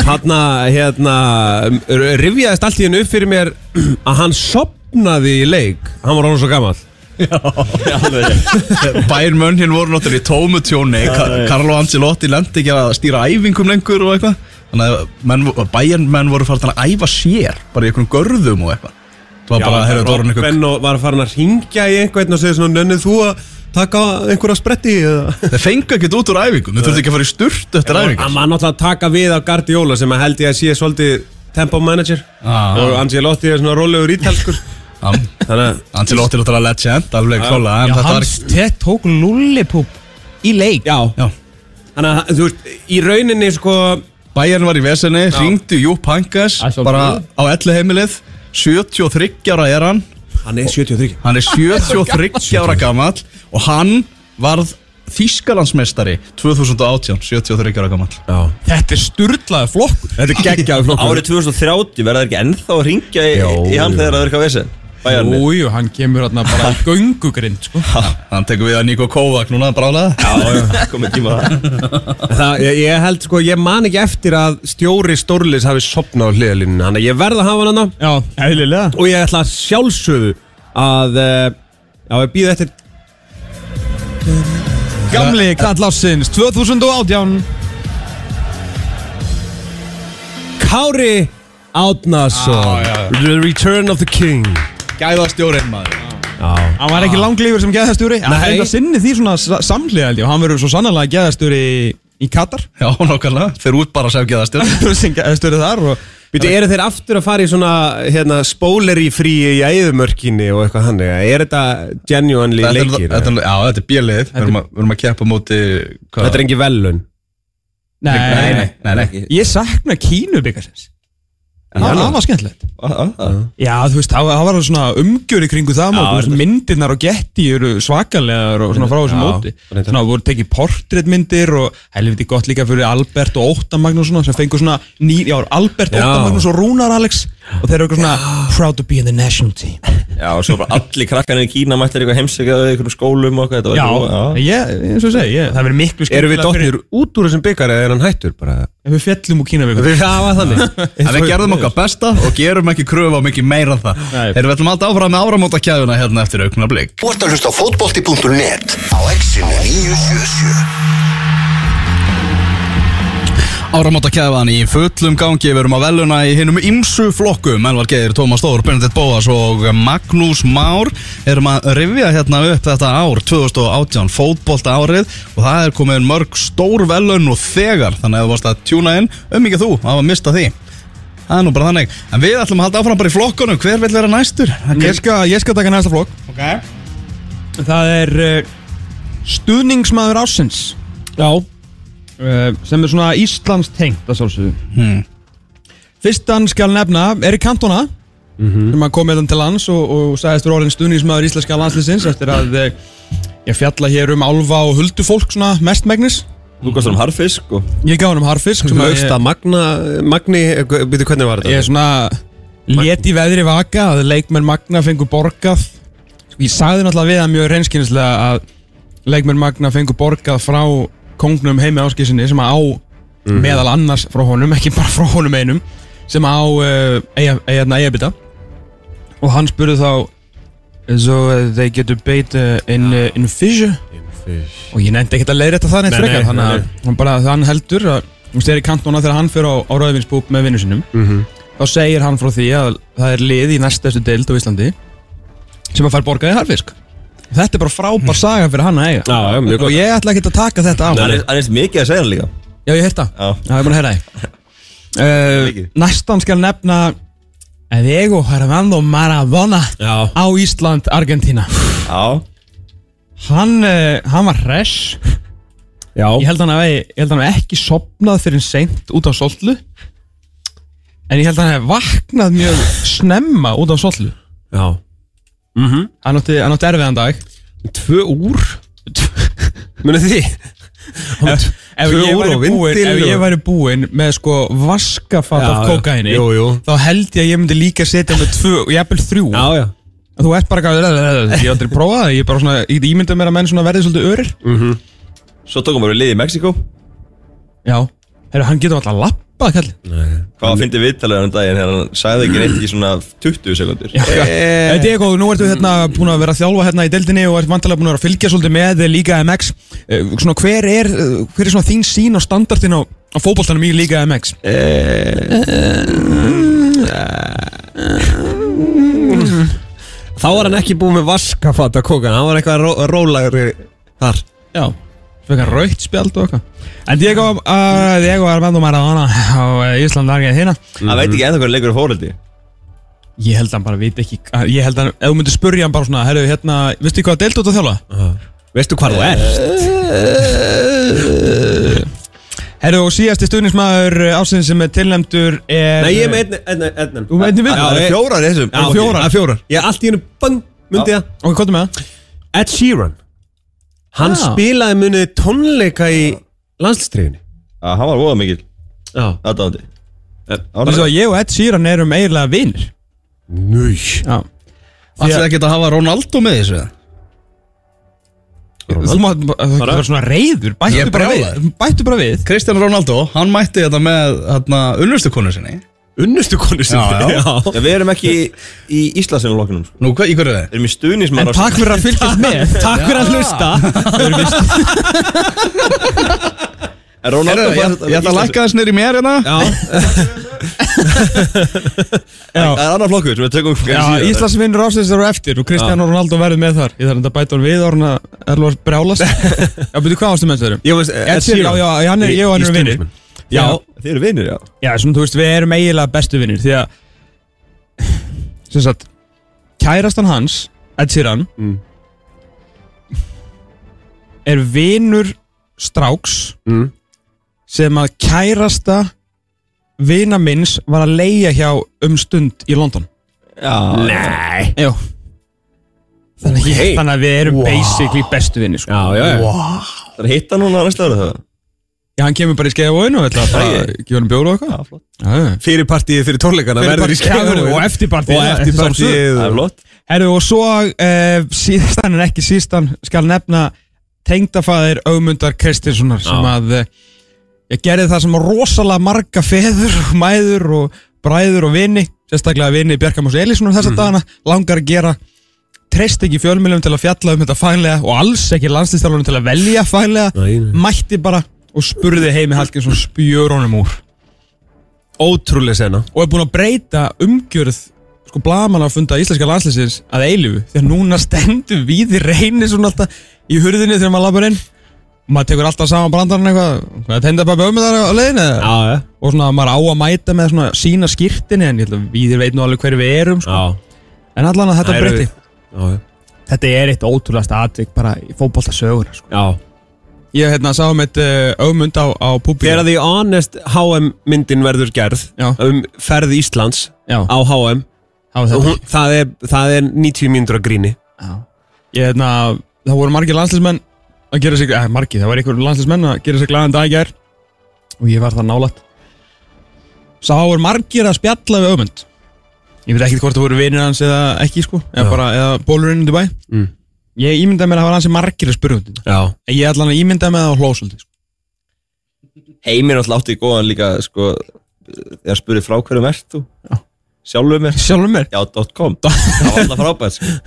Hanna, hérna, r- rifjaðist allt í hennu upp fyrir mér að hann sopnaði í leik Hann var orðin svo gammal Bær mönnin voru náttúrulega í tómu tjóni Ka- Carlo Ancelotti lendi ekki að stýra æfingum lengur og eitthvað Þannig að menn, bæjarn menn voru farin að æfa sér Bara í einhverjum görðum og eitthvað Það var bara, heyrðu, það voru einhver Benno var farin að ringja í einhvern og segja svona Nönnið þú að taka einhverja spretti eða Þeir fengu ekkert út úr æfingum, þeir þurftu ekki að fara í sturt eftir æfingar Hann var náttúrulega að taka við af Guardiola sem að held ég að sé svolítið tempo manager Ah. og Angelotti er svona rólegur ítalskur Hann- Þannig að Ancelotti er náttúrulega legend, alveg klála En Já, þetta var hans tett tók lullipup í leik Já, Já. Þannig að þú veist, í rauninni sko Bæjarn var í vesenni, ringdu Júp Hankas Að sjálfsögðu. Bara á ellu heimilið 73 ára er hann Hann er 73 Hann er 73 ára gammal og hann varð Þýskalandsmeistari 2018, 73 ára gammal Já. þetta er sturlaði flokkur Þetta er geggjaður flokkur Árið 2030 verða þeir ekki ennþá að ringja í, Jó, í hann jú. þegar það er eitthvað vesen Bæjarni Jújú, hann kemur hérna bara í göngugrind sko. Hann tekur við að Niko Kovac núna brálega Já, komið tíma á það. Það, ég, ég held sko, ég man ekki eftir að stjóri Stórlis hafi sopnað á hliðalínu Þannig að ég verð að hafa hann hann Já, eðlilega Og ég ætla að sjálfsögðu að eh, Já, ég býð eftir Gamli kall ásins 2018 Kári Átnason The Return of the King Gæðastjórinn maður Já Hann var ekki langlífur sem geðastjóri Hann Nei. hefði að sinni því svona sa- samhliða held ég og Hann verður svo sannlega geðastjóri í- í Katar Já, nokkarlega, fyrir út bara sem gæðastjórn sem geðastjóri þar og Býtu, eru þeir aftur að fara í svona hérna, spóleri fríi í æðumörkinni og eitthvað hann, er þetta genuinely Þetta er, leikir? þetta er, já, þetta er bjölið Við erum að- við erum að keppa á móti hvað? þetta er engi velun Nei, nei, nei, nei, nei. Ég sakna Kínu byggarsins Það var skemmtilegt Mm. Já, þú veist, það það var svona umgjör í kringu það mót, þú veist, myndirnar og getti eru svakalegar og svona frá þessu Já, móti reyndar. Svona, voru tekið portréttmyndir og helviti gott líka fyrir Albert og Óttan Magnússon sem fengur svona ný, já, Albert, Já. Óttan Magnús og Rúnar Alex og þeir eru eitthvað svona proud to be in the national team Já, og svo bara allir krakkanir í Kína mættir eitthvað heimsækjaðu í einhverjum skólum og eitthvað Já, ég, eins og ég segi, ég, það verður miklu Eru við skemmtilega fyrir- dottir út úr þessum byggar eða er hann hættur bara? Ef við fjallum úr Kína við Það var þannig En við gerðum okkar besta og gerum ekki kröfu á mikið meira en það Nei. Erum við ætlum alltaf áfram með áramóta kæðuna hérna eftir aukna blik Þú ert að hlusta á fótbolti.net á exinu 977. Áramóta kæðan í fullum gangi Við erum að veluna í hinnum ymsu flokkum Elvar Geir, Tómas Þór, Benedikt Bóas og Magnús Már Erum að rifja hérna upp þetta ár 2018 fótbolta árið Og það er komin mörg stór velun og þegar Þannig að þú varst að tjúna inn Um mikið þú, hafa mistað því Það er nú bara þannig En við ætlum að halda áfram bara í flokkunum Hver vill vera næstur? Það Ég gerist- skal, ég skal taka næsta flokk okay. Það er uh, stuðningsmaður ásins Já Sem er svona Íslands tengt að sjálfsögðu hmm. Fyrstan skal nefna Erik Cantona sem að komið til lands og, og sagðist fyrir orðin stuðningsmaður íslenska landslisins eftir að eh, ég fjalla hér um álfa og huldufólk svona mestmægnis Þú kostar um harfisk og Ég gaf hann um harfisk sem að ég- Laugst að Magna, Magni, býtu hvernig var Ég er þetta? svona Lét í veðri vaka að leikmenn Magna fengu borgað Ég sagði náttúrulega við það mjög reynskynnslega að leikmenn Magna fengur borgað frá kongnum heimi áskísinni sem að á meðal annars frá honum, ekki bara frá honum einum sem á uh, eigabita og hann spurði þá so uh, they get to bait uh, in, uh, in fish og ég nefndi ekkert að leiðrétta það neitt Nei, nei, frekar þannig nei, að hann bara hann heldur að hún styrir kant núna þegar hann fyrir á, á rauðvinsbúb með vinnu sinum Mhm. þá segir hann frá því að það er lið í næstastu deild á Íslandi sem að fær borgaði harfisk þetta er bara frábær saga fyrir hann að eiga Hmm. Já, já, og mjög gott ég ætla ekkert að taka þetta á Það er eins mikið að segja það líka já ég heyrta, Já. já ég er búin að heyra því uh, Mikið. næstan skal nefna Diego Hermando Maradona Já, á Ísland, Argentína Já, hann, uh, hann var hress já Ég held hann að ég held hann að ekki sopnað fyrir seint út á sollu En ég held hann að vaknað mjög snemma út á sollu Já Hann átti, hann átti erfiðan dag Tvö úr Munið þið því? Ef, ef, tvö ég úr væri og búinn, vindil ef og- ég væri búinn með sko vaskafat Já, af já. kokaini Jú, jú. Þá held ég að ég myndi líka setja með tvö og jafnvel þrjú Já, já En Þú ert bara gæður Ég hef aldrei prófað það Ég er bara svona Ég get ímyndað mér að menn svona verði svolítið örir svo tókum við lið í Mexiko Já Herru, hann getur alltaf lappað kall Hvað Mm. að fyndi viðtalið hann daginn þegar hann sagði ekki neitt í svona 20 sekundur Eh, Diego, nú ertu hérna búin að vera að þjálfa hérna í deildinni og ert vantilega búin að vera að fylgja svolítið með Líga MX Eh, svona, hver, er, eh, hver er svona þín sín á standartin á, á fótboltanum í Líga MX? Eh, Þá var hann ekki búið með vaskafata kókan Hann var eitthvað ró rólagri þar Já Svekar raukt spjald og eitthvað En Diego, uh, Diego er vendum að ráðana á eh, Íslandi argeð hérna Hann veit ekki ennþá hvernig leikur er fórhaldi Ég held að hann bara veit ekki Ég held að, ef þú myndir spurja hann bara svona Herru, hérna, veistu hvað deild út að þjálfa? Veistu hvar þú ert? Herru, og síðasti stuðningsmaður ásinn sem er tilnæmdur er Nei, ég er með einn enn Þú með einni við? Já, ég- Fjórar í þessum Já, fjórar fjórar Ég allt í hennu bönn, myndi það Ok, hvað er með það? Ed Sheeran Hann Já. spilaði munið tónleika í landslistríðinni Já, hann var voða mikil Já aðdáandi Þess Ánægður. að ég og Ed Sheeran erum eiginlega vinnir Núi Já Ætlaði ekki að hafa Ronaldo með þessu eða? Þú mátt það var svona reyður Ég Bættu er bara brjálaður. við Bættu bara við Kristján Ronaldo, hann mætti þetta með hérna, unnustukonu sinni Unnustu konu sinni Já, já. En Við erum ekki í- í Íslandsjónulokkunum Við Nú, hvað, í hverju er það? erum í stuðnismann En takk fyrir að fylgjast með Takk fyrir að hlusta En Ronaldo Heyrðu, Ég, ég ætla að lækka þess nýri mér hérna Það er annar flokkur sem við tökum Já, Íslandsvinnur ásins eru eftir og Kristján Ronaldo verður með þar Ég þarf enda að bæta hann við og hann er lóðast brjálast Já, byrju, hvað ástu með þessu? Ég var Ed Sheeran, já, já, hann er, ég og hann eru vinnir Já, þið eru vinir, já Já, svona, þú veist, við erum eiginlega bestu vinnir Því að Sem sagt Kærastan hans, Ed Sheeran Er vinnur stráks Mm. sem að kærasta vina minns var að leia hjá um stund í London Nei Jó Þannig, að Ok. ég, þannig að við erum basically bestu vinni sko. Já, já, já Það er hitta núna næsta ára það Já, hann kemur bara í skeiðavóinu og ætla að bara gefa hann bjóru og eitthvað Já, flott Já, já. Fyrir partíið fyrir tónleikana Fyrir verður í partí- já, skjáður Og eftirpartíð Og eftirpartíð Það er flott Herru, og svo uh, síðstan en ekki síðstan skal nefna tengdafæðir augmundar Kristinssonar sem að uh, ég gerði það sem rosalega marga feður og mæður og bræður og vini sérstaklega vini Bjarkamás Elíssonar Mhm. þessa dagana langar að gera treyst ekki fjölmjölum til að fjalla um þetta faglega og alls ekki landslýstjálunum til að velja faglega Nei, nei. mætti bara og spurði heimi Hallgrímsson spjörunum úr Ótrúlega sena og er búin að breyta umgjörð sko blaman að funda íslenska landslýsins að eilifu því að núna stendur við reynir svona alltaf í hurðinni þegar maður lapar inn og maður tekur alltaf saman brandarinn eitthvað hvað tenda bara bjóðum þar á leiðinni eða? Já, já og svona maður á að mæta með svona sína skýrtinni en ég held að við veit nú alveg hverju við erum sko. Já en allan að þetta Það eru- breyti Já, já þetta er eitt ótrúlegast atvik bara í fótbolta söguna sko. Já ég hérna sá um eitt uh, augmund á, á púbíu Þegar því Honest HM myndin verður gerð Já. um ferð Íslands Já. á HM það og var hún, það, er, það er 90 mínútur að gríni ég hefna, það voru margir landslismenn að gera sig, eða margir, það voru einhverjum landslismenn að gera sig glæðan dag í gær og ég var það nálægt Sá voru margir að spjalla við öfund Ég veit ekki hvort það voru vinir hans eða ekki sko Eða bara, eða bólurinn í Dubai mm. Ég ímyndaði mér að það var hans margir að spyrja út í þetta. Já En Ég ætla hann að ímyndaði mér að það hló svolítið sko. Heimir alltaf átti í góðan líka sko, þegar spurði frá hverjum ert þú sjálfur mér Sjálfum mér já, .com, það var alltaf frábært sko.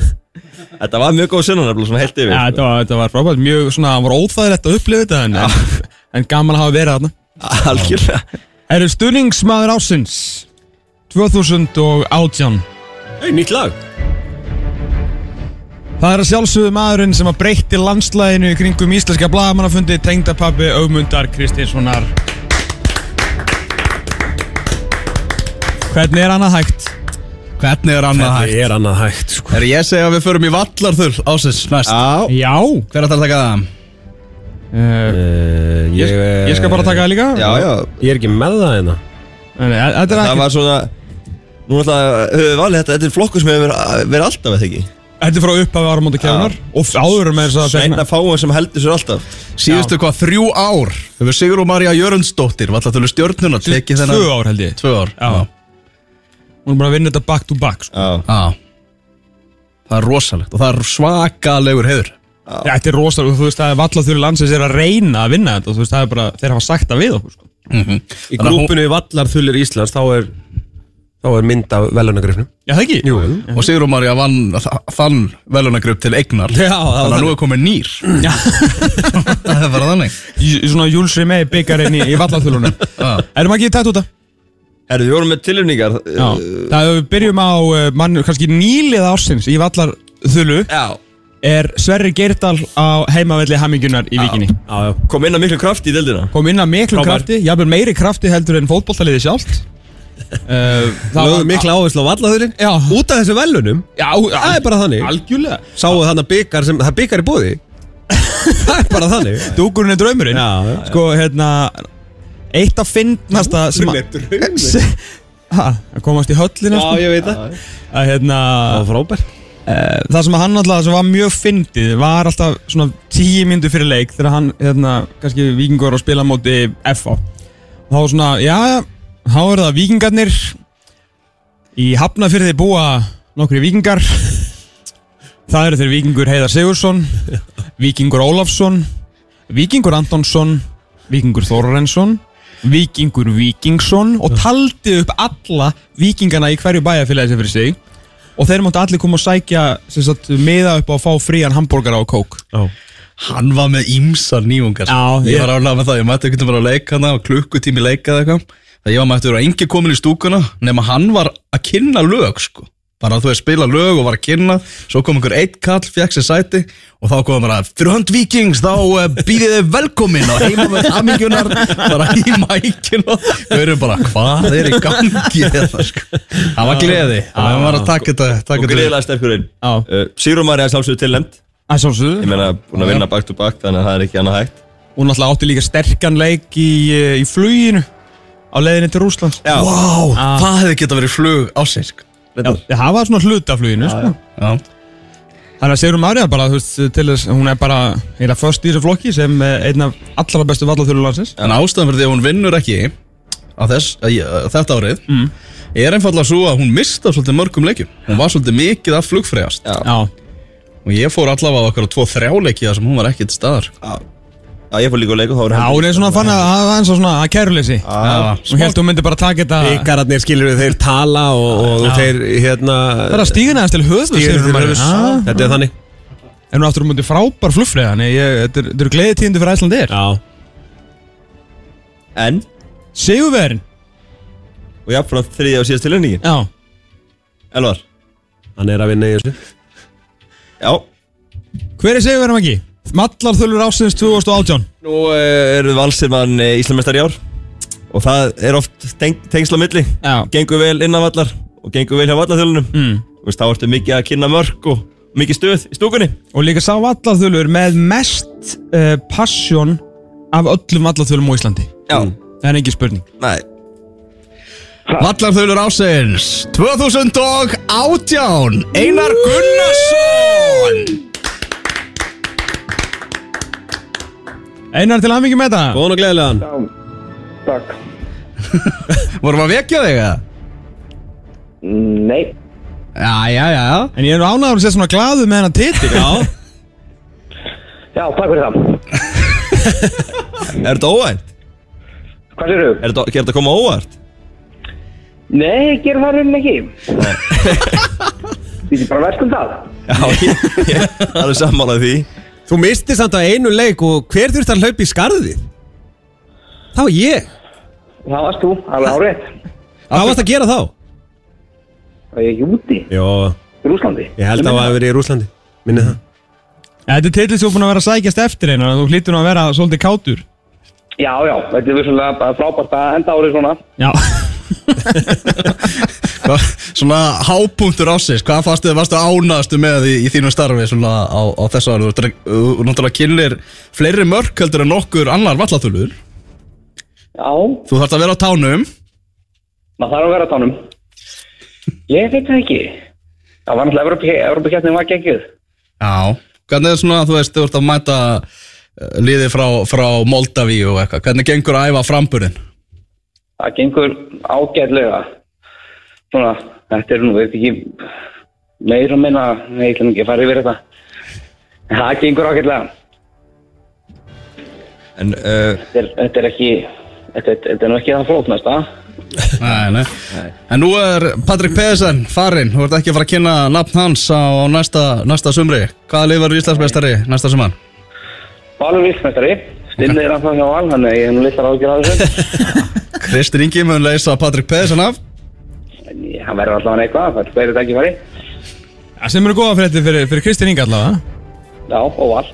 þetta var mjög góð sunnan nefnilega, svona heilt yfir sko. Já, þetta var, þetta var frábært, mjög svona, hann var óþæðilegt að upplifa þetta en, en, en gaman að hafa verið þarna var algjörlega Eru stuðningsmaður ásins 2018 Hey, nýtt lag Það er að sjálfsögðu maðurinn sem að breytti landslæðinu í kringum íslenska blagamannafundi tengdapabbi Ögmundar Kristinssonar. Hvernig er annað hægt? Hvernig er annað hægt? er annað hægt sko Er ég segja að við förum í vallarþurr ásins næst? Já Já. Hver ætlar að taka það? Uh, Ég, eh, ég, ég skal bara taka það líka. já, já, Ég er ekki með það hérna Nei, nei, Þetta er það ekki. var svona nú alltaf höfum við valið þetta þetta er flokkur sem hefur verið- verið alltaf eða ekki Þetta er frá upphafi áramóndu kefnar og áður með þess að sveina fáum sem heldur sér alltaf Síðustu hvað þrjú ár Hefur Sigrún Marja Jörundsdóttir Vallarþurru stjórnuna Tekið Tvö þennan ár held ég. Tvö ár Já. Hún er bara að vinna þetta back to back. Sko. já, Já Það er rosalegt og það er svakalegur heiður Já, Þetta er rosalega, þú veist, það er vallað þurri landsins er að reyna að vinna þetta og þú veist, það er bara, þeir hafa sagt það við okkur. Sko. Í grúpinu Vallar Þullir Íslands þá er þá er mynd af velunagreifnum Já, það ekki? Jú Og Sigrún Marja vann þa- þann velunagrupp til eignar Já, það var Þannig að nú er komið nýr Já. Það er bara þannig í, í svona Júlsri með byggarinn í, í vallathulunum Já. Erum ekki tætt út af? herru, við vorum með tilöfningar Já Það við byrjum á uh, mann, kannski nýlið ársins í vallarthulu já, er Sverri Geirdal á heimavelli hamingunar í vikinni Já, já kom inn að miklu kraft í deildina Kom inn að miklu Frábær. krafti, jafnvel meiri krafti heldur en fótboltaliði sjálft uh, það Lögðu mikla áherslu á Vallar Þullir Já. Út af þessu velunum Já, Það er bara þannig Algjörlega Sáu þannig að byggar sem Það er byggar í búði Það er bara þannig Dúkurinn er draumurinn Já, já, já. Sko, hérna Eitt af fyndnasta sem að draumur Se- Ha, að komast í höllina sko. Já, ég veit það að hérna Það var frábært það sem hann alltaf sem var mjög fyndið var alltaf svona tíu myndu fyrir leik þegar hann, hérna, kannski vikingur og spila á móti FA þá var svona, já, já, þá eru það vikingarnir í Hafnafyrði búa nokkri vikingar það eru þeir vikingur Heiðar Sigursson vikingur Ólafsson vikingur Antonsson vikingur Þórarensson vikingur Vikingsson og taldi upp alla vikingana í hverju bæjarfélagi sem fyrir sig og þeir máttu allir koma og sækja sem sagt, miða upp á að fá frían hambúrgara og kók Hann var með ímsar nýjungar Já, Ég ég- var ánlega með það, ég mætti ekkert að vera að leika hana og klukkutími leika eða eitthvað Það ég var mættur að engi komin í stúkuna nema hann var að kynna lög sko bara þú veist spila lög og var að kynna svo kom einhver eitt kall, fekk sér sæti og þá kom hann að fyrir hönd vikings þá eh, býðið þið velkomin og heima með amingjunar bara í mækin og við erum bara hvað er í gangi þetta sko það var gleði, hann var að taka þetta og taka þetta- greiðlega sterkur inn Já. uh, Sigur Marja sjálfsögur tilnæmt að ég sjálfsögðu meina búin að vinna back to back þannig að það er ekki annað hægt og náttúrulega átti líka sterkan leik í, eh, í fluginu á leiðinni til Rúslands já, Vá, það hefði geta verið flug á sig sko það var svona hluta af fluginu sko. Já. þannig að Sigurum Ariða bara þú veist, til þess, hún er bara heila först í þessu flokki sem eh, einn af allra bestu vallathulur landsins En ástæðan fyrir því að hún vinnur ekki á þess, að, ég- að þetta árið er einfallega svo að hún mista svolítið mörgum leikjum. Hún var svolítið mikið að flugfræðast Já. Já. og ég fór allavega á okkur á tvo þrjáleiki þar sem hún var ekki til staðar. já, já ég fór líka að leika og þá var Já, hún er svona fann að það var eins og svona að kæruleysi Ah, hún held hún myndi bara taka þetta Byggararnir skilur við þeir tala og, og þeir hérna það er að stígina hans til höfðu Stígur Sigrúnar þeir María. höfus Ah. Þetta er þannig En hún er aftur á móti frábær flugfræði Þannig ég- þetta eru- þetta eru gleðið tíðindi fyrir Æslandir Já en Sigurverin og jafnframt þriðja og síðast tilnæmningin Já Elvar Hann er að vinna í þessu já Hver er Sigurverin ekki? Mallar þölur ásins 2018 Nú eh, eru valsirmann Íslamestar í ár og það er oft teng tengsla á milli Já gengur vel innan vallar og gengur vel hjá vallarþjólunum mm. Þú veist, þá ertu mikið að kynna mörg og mikið stuð í stúkunni Og líka sá vallarþölur með mest uh, passion af öllum vallarþölum á Íslandi Mm. Já, Það er engin spurning nei Vallarþölur ásins 2018 Einar Gunnarsson! Einar til hamingi með það Góðan og gleðilegan Takk. Vorum að vekja þig að? Nei, Já, já, já, já En ég er ánægur að sé svona glaðu með hennar titil Já já, takk fyrir það Er þetta óvænt? Hvað sér þau? Er þetta, er þetta að koma óvært? Nei, gerum það raunin ekki Við erum bara verst um það Já, ég, ég það er sammálað því Þú misti samt á einu leik og hver þurft að hlaupa í skarðið? Það var ég Það varst þú, alveg árétt Hvað varst að gera þá? Það er júti Jó, í Rúslandi ég held að það var verið í Rúslandi Minni það Þetta er titil sem þú er búin að vera að sækjast eftir einu Þú hlýtur nú að vera svolítið kátur Já, já, þetta er vissulega bara frábært að enda árið svona Já Hva, Svona hápunktur ásins Hvað fannst þið, varstu ánaðastu með í, í þínu starfi Svona á, á þessu ári Þú ert að- þú náttúrulega kynlir fleiri mörk heldur en nokkur annar vallatölur Já, Þú þarft að vera á tánum maður þarf að vera á tánum Ég veit það ekki Það var náttúrulega Evropakeppnin var geggjuð Já Hvernig er svona, þú veist, þú ert að mæta eh, liði frá, frá Moldaví og eitthvað Hvernig gengur að æfa framburinn? Það gengur ágætlega Svona, þetta er nú, veit ekki meira og minna, nei, ég ætlum ekki að fara yfir þetta En Það gengur ágætlega En uh, Þetta er, þetta er ekki, þetta, þetta er nú ekki það flóknasta Nei, nei. En nú er Patrik Pedersen farinn, þú ert ekki að fara að kynna nafn hans á næsta, næsta sumri. Hvaða lið verður Íslandsmeistari næsta suman? Valur Vilsmestari, stinnið er alltaf hjá Val, þannig að ég hef nú litlar ágjur að þessu Kristinn Ingi mun leysa Patrik Pedersen af. En ég- hann verður allavega eitthvað, það er hverju dagi fari Já, Sem eru góða fréttir fyrir, fyrir Kristinn Inga allavega Já, og Val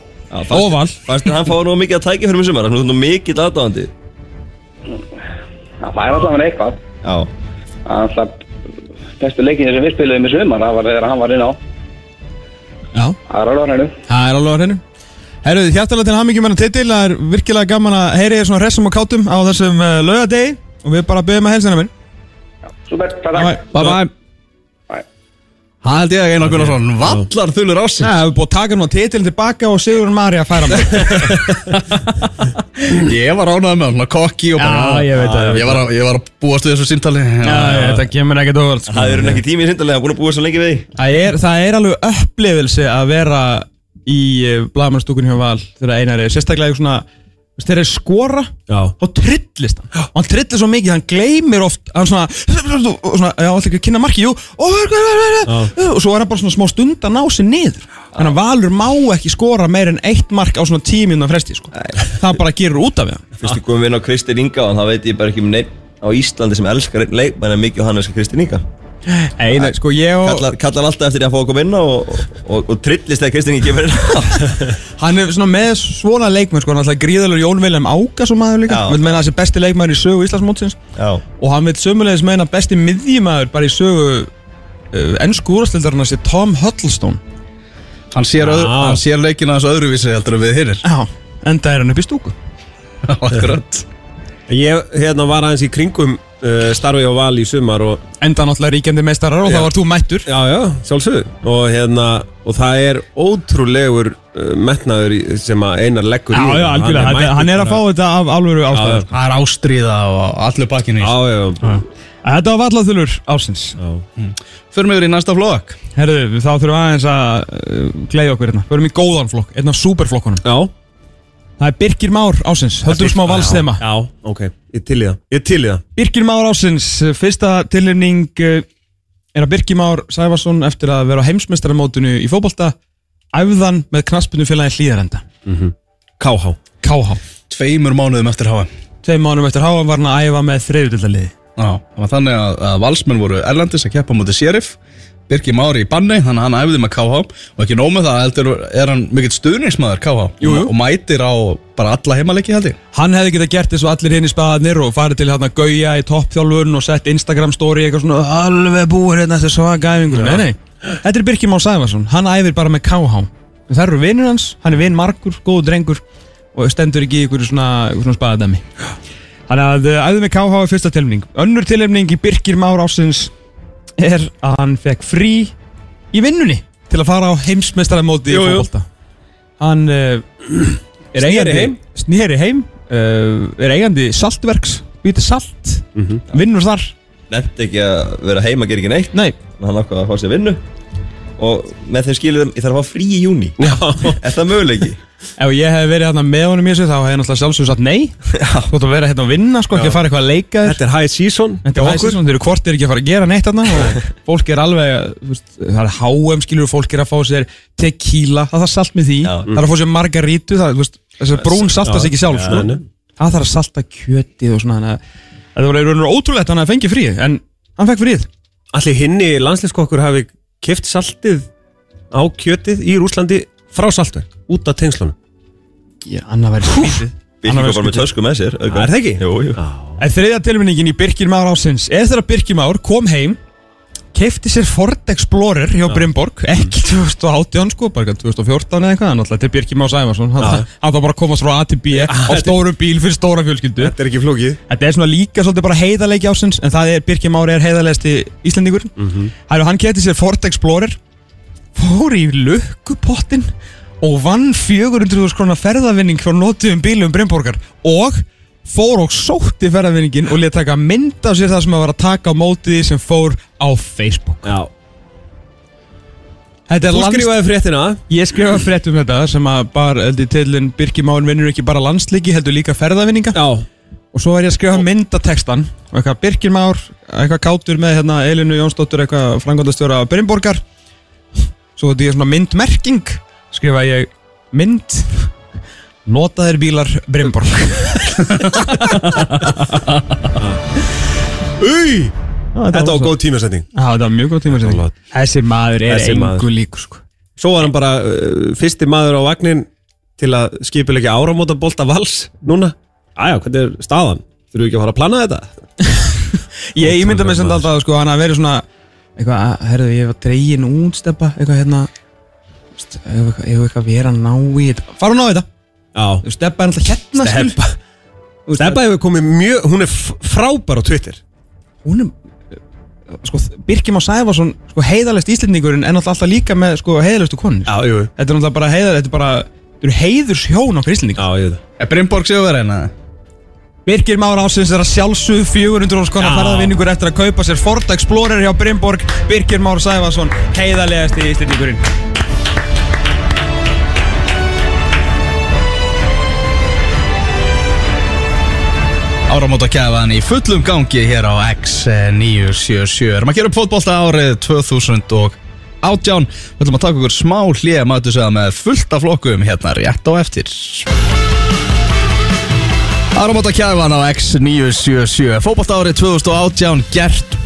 Óval fannst þér hann fáið nú mikið að tækja fyrir mig sumar Þannig að þú er mikið aðdáðandi Það fær allavega eitthvað Já Það er alltaf bestu leikinni sem við spiluðum í sumar, það var þegar hann var inn á Já Það er alveg á hreinu Það er alveg að hreinu Herruð, hjartalega til hamingjum hennar titil Það er virkilega gaman að heyri þér svona hressum og kátum á þessum uh, laugadegi og við bara byggum að helsina minn Super, takk takk. Bye bye. Bye. Það held ég að Einar Gunnarsson vallar þulur Nei, ásins. það hefur búið að taka nú titilin tilbaka og Sigurinn Mari að færa mig Ég var ánægð með hann, svona kokki og bara... Já, ég veit það, ég veit Ég var að, ég var að búast við þessu síntali. Þetta kemur ekkert óvart sko. Það er ekki tími í sindarlega, búin að búa svo lengi við því Það er, það er alveg upplifilsi að vera í blagamannstúkunni hjá Val þegar Einar er sérstaklega í svona þú veist, þegar er skora Já. og trillist hann og hann trillir svo mikið, hann gleymir oft hann svona, og svona já, alltaf ekki að kynna marki, jú og, og svo er hann bara svona smá stund að ná sér niður þannig að Valur má ekki skora meir en eitt mark á svona tímjöndan fresti sko. það bara gerur út af það Fyrstu komum við inn á Kristinn Inga og það veit ég bara ekki um neitt á Íslandi sem elskar einn leikmann en mikið og hann elskar Kristinn Inga Einar, sko ég og kallar, kallar alltaf eftir því að fá að koma inn á og, og, og, og trillist þegar Kristinn Ingi kemur inn á Hann er svona með svona leikmenn sko, hann er alltaf gríðalur Jón Vilhelm Áka svo maður líka, Já. hann vil meina að þessi besti leikmæður í sögu Íslandsmótsins Já, og hann vil sömulegis meina að besti miðjumæður bara í sögu uh, ennsku úrastildarinn sé Tom Huddlestone Hann sér, öðru, hann sér leikina þessu öðruvísi heldur en við hinnir. Já, enda er hann upp í stúku Akkurat. Ég hérna var aðeins í kringum uh, starfi á val í sumar og Enda náttúrulega ríkjandi meistarar og þá var þú mættur Já, já, sjálfsögðu og, hérna, og það er ótrúlegur uh, metnaður í- sem að einar leggur í þetta. Hann er, mættur hann er að fá bara- þetta af alvöru ástæður Það er ástríða og allur bakkinn í. Já, já, já, Þetta var vallathulur ásins Förum yfir í næsta flokk. Herðu, þá þurfum við aðeins að uh, gleyja okkur hérna Förum í góðan flokk, einn af superflokkunum já. Það er Birgir Már ásins, höldum smá valstema Já, ok, ég til í það Ég til í það Birgir Már ásins, eh, fyrsta tilnefning eh, er að Birgir Már Sæfarsson eftir að vera á heimsmeistaramótinu í fótbolta æfðan með knaspinu félagi hlýðarenda KH KH Tveimur mánuðum eftir háa. Tveim mánum eftir háan var hann að æfa með þriðutildaliði Já, það var þannig að, að valsmenn voru erlendis að keppa mútið Sheriff Birgir Mári í banni, þannig að hann æfði með KH og ekki nóg með það, heldur er hann mikill stuðningsmaður KH Jú, jú. og mætir á bara alla heimaleiki held ég Hann hefði getað gert eins og allir hinn í spaðarnir og farið til hérna gauja í toppþjálfun og sett Instagram story eitthvað svona alveg búið hérna þessi svaga æfingu Nei, nei, þetta er Birkir Már Sæfarsson hann æfir bara með KH En það eru vinnur hans, hann er vinn margur, góður drengur og stendur ekki í ykkur svona, einhverju svona spaðadæmi Þannig að uh, æfði með KH er fyrsta tilnefning Önnur tilnefning í Birkir Már ásins er að hann fekk frí í vinnunni til að fara á heimsmeistaramóti í Jú, jú. fótbolta Hann uh, er Sneri eigandi heim. snýri heim uh, er eigandi saltverks býtir salt vinnur þar nefndi ekki að vera heima að gera ekki neitt Nei, Þannig að hann ákvað að fá sér vinnu og með þeim skilur ég þarf að fá frí í júni er það möguleiki? ef ég hef verið hérna með honum í þessu þá hef ég náttúrulega sjálfsögur sagt nei Þú ætti að vera hérna að vinna sko, ekki að fara eitthvað að leika þér Þetta er high season Þetta er okkur, þeir eru hvort er ekki að fara að gera neitt þarna og fólk er alveg, þú veist, það er HM skilur fólk er að fá sér tequila, það þarf salt með því, Já. það þarf að fá sér margarítu, það, þú veist, þessi brún saltast ekki sjálf, sko. nei. það þarf að salta kjötið og svona, þannig að það var einhvern veginn ótrúlegt að hann að fengi fríð, en hann fekk fríð. Allir hinni landsliðskokkur hafi kift saltið á kjötið í Rúslandi frá saltverk út af tengslunum Já, annað væri skrítið. Birkir var bara með tösku með sér auka. Það er það ekki? Jú, jú. En þriðja tilminningin í Birkir Már ásins, eftir að Birkir Már kom heim, kefti sér Ford Explorer hjá Brimborg, ekki 2018 sko, bara eitthvað 2014 eða eitthvað, en alltaf til Birkir Már Sæmarsson, hann hann þarf bara að komast frá A til B á stórum bíl fyrir stóra fjölskyldu. Þetta er ekki flókið Þetta er svona líka svolítið bara heiðarleiki ásins, en það er Birkir Már er heiðarlegasti Íslendingur. Mm Hann kefti sér Ford Explorer, fór í lukkupottin og vann 400.000 krona ferðavinning frá notuðum bílum Brynborgar og fór og sótti ferðavinningin og let taka mynd af sér það sem að var að taka á mótið því sem fór á Facebook Já Þetta er Þú lands... skrifaði fréttina Ég skrifa frétt um þetta sem að bara, heldur, tilin Birkimáin vinnur ekki bara landsliki, heldur líka ferðavinninga Já og svo var ég að skrifa myndatextan og eitthvað Birgir Már, eitthvað kátur með hérna Elinu Jónsdóttur, eitthvað frangandastjóra Brynborgar svo þetta ég svona myndmerking skrifa ég mynd notaðir bílar Brynborg Új Þetta var svo- góð tímasending Já, þetta var mjög góð tíma sem Alveg. þessi maður er Þessi maður. engu líku sko. Svo var hann bara uh, fyrsti maður á vagnin til að skipilegja áramóta bolta vals núna. Æja, hvernig er staðan? Þurfum við ekki að fara að plana þetta? ég ímynda mig sem alltaf sko, hann að vera svona eitthvað, "Ah, herðu, ég var dregin útsteppa eitthvað hérna veist, ef eitthvað- ef eitthvað að vera að ná í þetta fara að ná í þetta, Já. steppa er alltaf hérna skilur. Steppa. Steppa hefur komið mjög, hún er f- frábær á Twitter. hún er sko, Birgir Már Sæfarsson sko, heiðalest íslendingurinn en náttúrulega alltaf líka með sko, heiðalestu konur Já, jú. þetta er náttúrulega bara heiðar þetta er bara þetta eru heiðurs hjón okkar íslendingar Já, jú. Er Brynborg sigurverðin að Birgir Már Ásins er að sjálfsögðu 400 órs konar Já. ferðarvinningur eftir að kaupa sér Ford Explorer hjá Brynborg Birgir Már Sæfarsson heiðalegast íslendingurinn Áramóta kefan í fullum gangi hér á X977 Erum að gera upp fótbolta árið 2018 Við ætlum að taka okkur smá hlið Mætu segja með fullt af flokkum hérna rétt á eftir Áramóta kefan á X977 Fótbolta árið 2018 gert upp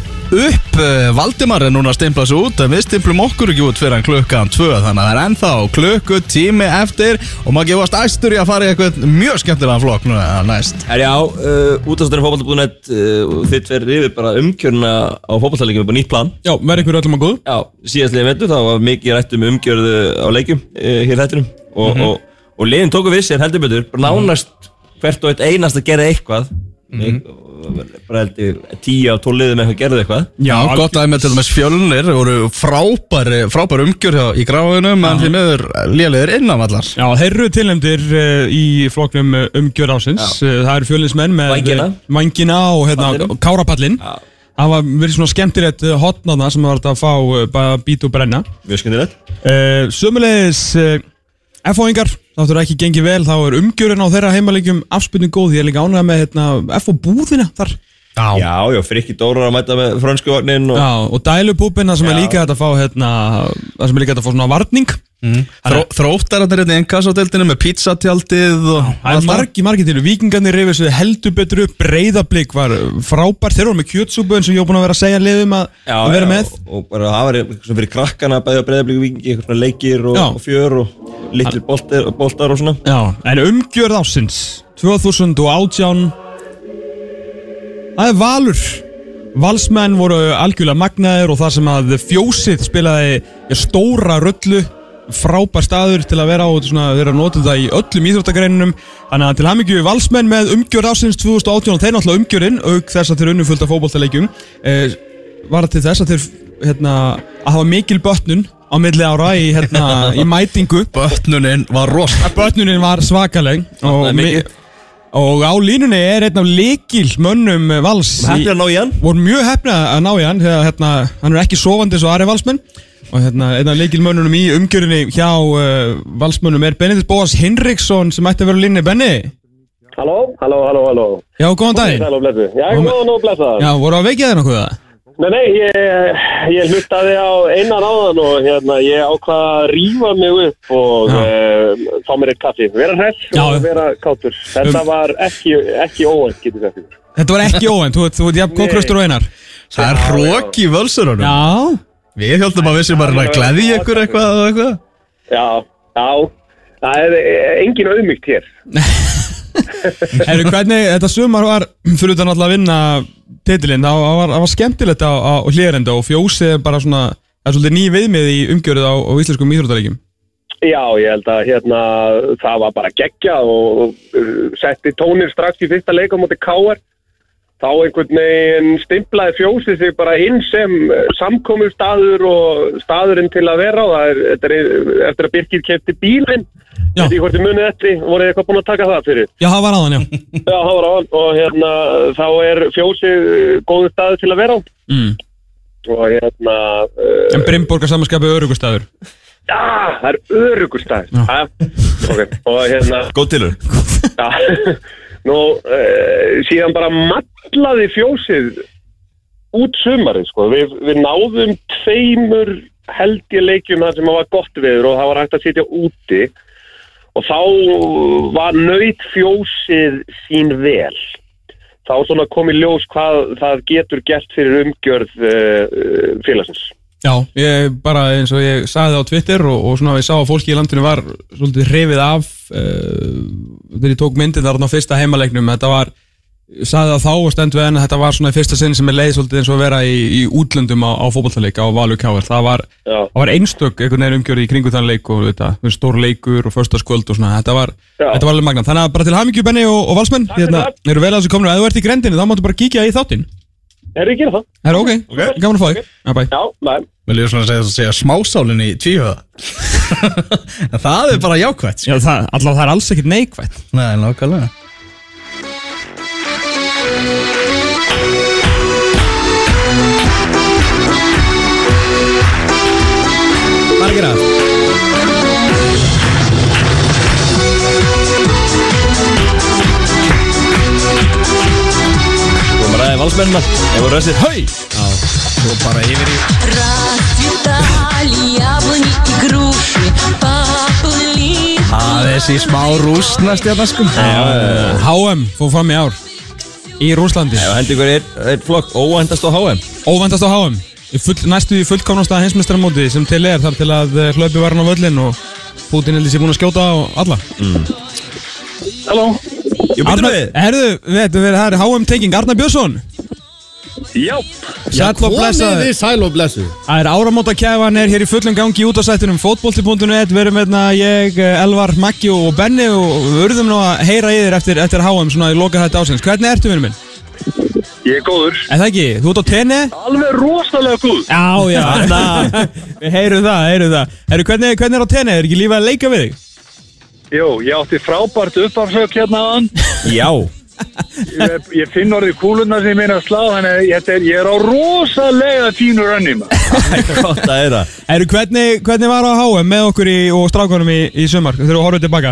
Eh, Valdimar er núna að stimpla sig út en við stimplum okkur ekki út fyrir hann klukkan 2 þannig að það er ennþá klukku tími eftir og maður gefast æstur í að fara í eitthvað mjög skemmtilegan flokk núna næst Herjá, uh, útastæðin fókbaltabúðunett uh, þitt verður yfir bara umkjörna á fókbaltaleikum upp á nýtt plan Já, verð ykkur öllum að góð Já, síðastlega veitu þá var mikið rætt um umgjörðu á leikjum uh, hér í þættinum og, og, og liðin tóku við sér heldur betur bara nánast hvert og eitt einast að gera eitthvað Mhm. bara heldur tíu á tóliðum eitthvað gerðu eitthvað Já, gott aðeins með til dæmis fjölnir voru frábæri, frábæri umgjör hjá, í gráðunum en því meður lélegir innan allar Já, þeir eru tilnæmdir uh, í floknum uh, umgjör ásins uh, Það eru fjölinsmenn með eh, Vængina. Vængina og hérna, Pallinum. kárapallin Já. Það var verið svona skemmtilegt hotnaðna sem var þetta að fá uh, bara bít og brenna Mjög skemmtilegt uh, Sömulegis uh, F-óingar, þáttur ekki gengið vel þá er umgjörun á þeirra heimalegjum afspilning góð, ég er líka ánægða með hérna, F-ó búðina þar Já, Já, já, frikki Dórar að mæta með frönsku vagnin og Já, og dælupúbina sem er Já. líka hægt að fá hérna, það sem er líka hægt að fá svona varning Þró, Þróttar að þeir eru innkassateltinu hérna með pizzatjaldið og Það er margi, margi til Víkingarnir reyfið sig heldur betur upp Breiðablík var frábær Þeir voru með kjötsúpu eins og ég var búin að vera að segja liðum að, Já, að vera já, með og, og bara það var eitthvað svona fyrir krakkana bæði að breyða blíku vikingi, eitthvað svona leikir og, Já. og fjör og litlir boltar, boltar og svona já. En umgjörð ásins 2018 Það er Valur Valsmenn voru algjörlega magnaðir og það sem að fjósið spilaði ja, stóra rullu frábær staður til að vera á þetta svona, þeir eru að nota þetta í öllum íþróttagreinunum þannig að til hamingju valsmenn með umgjörð ásins 2018 og þeir náttúrulega umgjörinn auk þess að þeir unnu fullt af fótboltaleikjum eh, var það til þess að þeir hérna, að hafa mikil bötnun á milli ára í, hérna, í mætingu Bötnunin var rost Bötnunin var svakaleg og Þarna er mi- mikið. Og á línunni er einn af líkil mönnum vals Hættir að ná í hann Vorum mjög hefna að ná í hann Þegar hérna, hann er ekki sofandi eins og aðri valsmenn Og hérna, einn af líkil mönnunum í umgjörinni Hjá uh, valsmönnum er Benedikt Bóas Hinriksson Sem ætti að vera á línunni Benni Halló, halló, halló, halló. Já, góðan daginn Sæl og blessu. Já, Nú- góðan og blessaðan. Já, voru að veikja þér nokkuð það? Nei, nei, ég, ég hlustaði á einan áðan og hérna, ég ákvaða að rífa mig upp og Já. uh, fá mér eitt kaffi. Vera hress Já. og vera kátur. Þetta Um. var ekki, ekki óvænt, getur þetta. Þetta var ekki óvænt, þú, þú, þú, þú, Nei. þú, þú, þú, Það er rók í völsurunum Já, Við heldum að við sem bara að gleði ykkur eitthvað og eitthvað Já, já. Það er eh, engin auðmygt hér. Herru, hvernig, þetta sumar var fyrir utan alltaf að vinna titilinn, það var, það var skemmtilegt á, á hlýðarenda og fjósið er bara svona, það er svolítið ný viðmið í umgjörið á, á íslenskum íþróttaríkjum. Já, ég held að hérna, það var bara geggja og, og uh, setti tónir strax í fyrsta leik á móti K.R. Þá einhvern veginn stimplaði fjósið sig bara inn sem samkomur staður og staðurinn til að vera á. Það er, þetta er eftir að Birgir kefti bílinn, Já. því hvort þið munið eftir, voruð þið eitthvað búin að taka það fyrir. Já, það var aðan, já. Já, það var á hann og hérna, þá er fjósið uh, góður staður til að vera á. Mm. Og hérna, uh, En Brimborgar samanskapið örugustafur. já, það er örugur staður. Já. Okay. Og hérna, Góð tilur Já, nú uh, síðan bara matlaði fjósið út sumarið sko. Við, við náðum tveimur held ég leikjum þar sem það var gott veður og það var hægt að sitja úti og þá var nöyt fjósið sín vel. Þá svona kom í ljós hvað það getur gert fyrir umgjörð uh, félagsins. Já, ég bara eins og ég sagði það á Twitter og, og svona ég sá að fólki í landinu var svolítið hrifið af uh, þegar ég tók myndið þarna á fyrsta heimaleiknum, þetta var ég sagði það þá og stend við henni að þetta var svona í fyrsta sinn sem er leið svolítið eins og að vera í, í útlöndum á, á fótballtaleika á Valur Kjáver það var, Já. það var einstök einhvern veginn umgjörði í kringu þann leik og þetta, stór leikur og förstaskvöld og svona, þetta var, Já. þetta var alveg magna þannig að bara til hamingju Benni og, og Valsmenn Takk fyrir hérna, eru vel að þessu kominu, ef þú ert í grendinu þá máttu bara kíkja í þáttinn Er ég að gera það? Herra, ok, gaman að fá þig Já, bæ. Já, næm. Vel ég svona að segja, segja smásálinn í tvíhöða En það er bara jákvætt sko. Já, það, allavega það er alls ekkert neikvætt Nei, nákvæmlega Margir að Þú erum að ræða valsmennina Ég voru ræðsir Hau Расцветали яблони и груши, поплыли Aðeins í smá rústnast hérna sko HM fór fram í ár Í Rúslandi Ef hendi ykkur eitt, eitt flokk Óvæntast á HM Óvendast á HM Í full, Næstu í fullkomnasta heimsmestramóti sem til er þar til að eh, hlaupi var hann á völlin og Putin heldur sér búin að skjóta á alla Halló. Jú, býtum við Herðu, veitu, við- það er HM tenging Arnar Björnsson Já. Sæll og blessaður sæl og blessu Það er áramóta kæfan er hér í fullum gangi út á sættinum fótbolti.net Við erum hérna ég, eh, Elvar, Maggi og Benni og við urðum nú að heyra í þér eftir, eftir HM svona í loka þetta ásins Hvernig ertu, vinnum minn? Ég er góður. Er það ekki? Þú ert á tenni? Alveg rosalega góð. Já, já, þarna Hérna. Við heyrum það, heyrum það Herru, hvernig, hvernig er á tenni? Er ekki lífið að leika við þig? Jó, ég átti frábært uppafsök hérna á hann. Já Ég, ég finn orðið kúluna sem ég meina að slá, þannig að þetta er, ég er á rosalega fínu rönni, maður. Gott að heyra Herru, hvernig, hvernig var á HM með okkur í, og strákunum í, í sumar? Þegar þú horfum tilbaka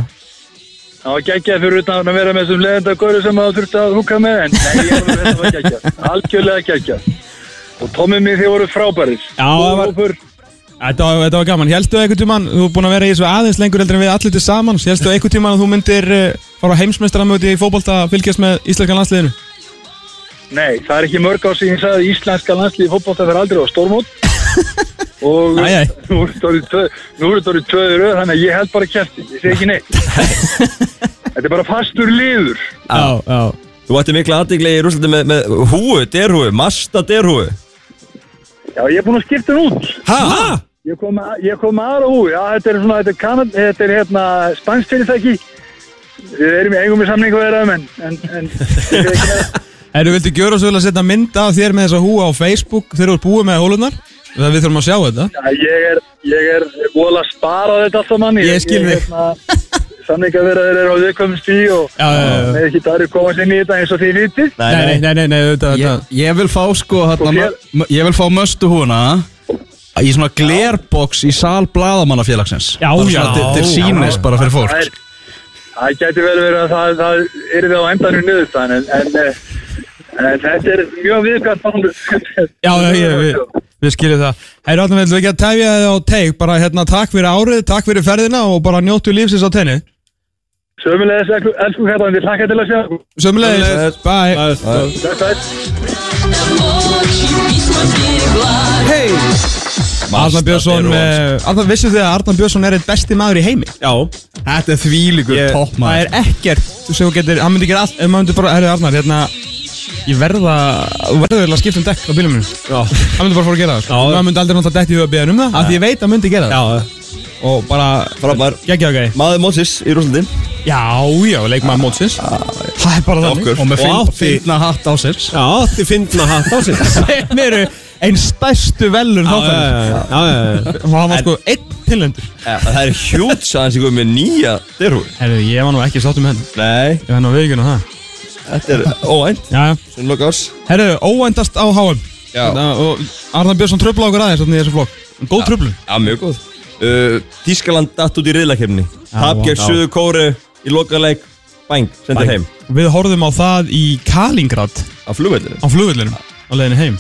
Það var geggjað fyrir utan að vera með þessum leiðenda góru sem maður þurfti að húka með, en nei, ég var með þetta var geggjað. Algjörlega geggjað. Og Tommi minn þið voru frábærir. Já, það var- Hópur. Þetta var, þetta var gaman, helstu einhvern tímann Þú er búin að vera í þessu aðeins lengur heldur en við allir til saman Helstu einhvern tímann að þú myndir uh, fara á heimsmeistaramöti í fótbolta að fylgjast með íslenskan landsliðinu? Nei, það er ekki mörg á sig, ég sagði að íslenska landslíði fótbolta fyrir aldrei á stórmót. Og Æ, æ. nú er þetta orðið tvö- nú er þetta orðið tvöður öð, þannig að ég held bara kæfti, ég segi ekki neitt. Þetta er bara fastur liður. Já, já Þú ætti mikla aðdegli í rúslandi með, með húu, derhúu, masta derhúu Já, ég er búinn að skipta hún út. Ha? ha? Ég kom, með- ég kom með aðra húi. Já, þetta er svona, þetta er kanad, þetta er hérna spænst fyrirtæki. Við erum í eigum í samningu að vera um, en, en, en ég er ekki með- Herru, viltu gjöra svo vel að setja mynd af þér með þessa húa á Facebook þegar þú er búið með hólunar? Það við þurfum að sjá þetta Já, ég er, ég er vola að spara þetta alltaf manni. Ég skil þig. hérna, þannig að vera þeir eru á viðkvæmum stí og Já, já, já. með ekki dæri komast inn í þetta eins og því vitið Nei, Nei, nei, nei, nei, nei, þetta, Ég, þetta ég vil fá sko hérna, Og mö- fél- mö- Ég vil fá möstu húna Í svona glerboks í sal Blaðamannafélagsins Já, Bara já. svona til, til sínis bara fyrir fólk Það er- Það gæti vel verið að það, það er það á endanum niðurstaðan en, en, eh, en þetta er mjög viðkvæmt mál. Já, já, ég, við, við skiljum það Herra, áttum við ekki að tefja þið á teik Bara hérna, takk fyrir árið, takk fyrir ferðina Og bara njóttu lífsins á tenni Sömulegis, elsku hérna, við hlakka til að sjá. Sömulegis, bye Þetta er... Очень письма сберегла Arnar Björnsson, eh, Arnar, vissum þið að Arnar Björnsson er eitt besti maður í heimi? Já, Þetta er þvílíkur Ég- Það toppmaður er ekkert sem þú getur, hann myndi gera allt ef maður myndi bara, herru Arnar, hérna ég verða, þú verður eiginlega að skipta um dekk á bílum minn já, hann myndi bara fór að gera það, sko Já. maður myndi aldrei náttúrulega detti í huga bíðan um það, af því ég veit að hann myndi gera það já og bara, Frábær geggja okkar Maður Mósis í Rúslandi já, já, leikmaður mótsins það er bara þannig Og með Og finn- átti- finna hatt á sér Já, þið finna hatt á sig sem eru einn stærstu velur Já, já, þáttanins já, já, já, já. og hann var sko einn tilendur Það er hjút saðan sem komið með nýja derhúr herru, ég var nú ekki sáttum henn Nei, ég var nú viðgjörn á það þetta er óænt já, já. Svona loka árs herru, óendast á HM Já. Þarna, og Arnar Björnsson tröfla okkur aðeins þarna í þessu flokk góð tröflun Já, mjög góð uh, Þískaland datt út í riðlakefni Tap vá. gegn Suðu Kóru í lokaleg Bæng, sendir heim Við horfðum á það í Kalingrad á Á flugvellinu flugvöllunum á leiðinu heim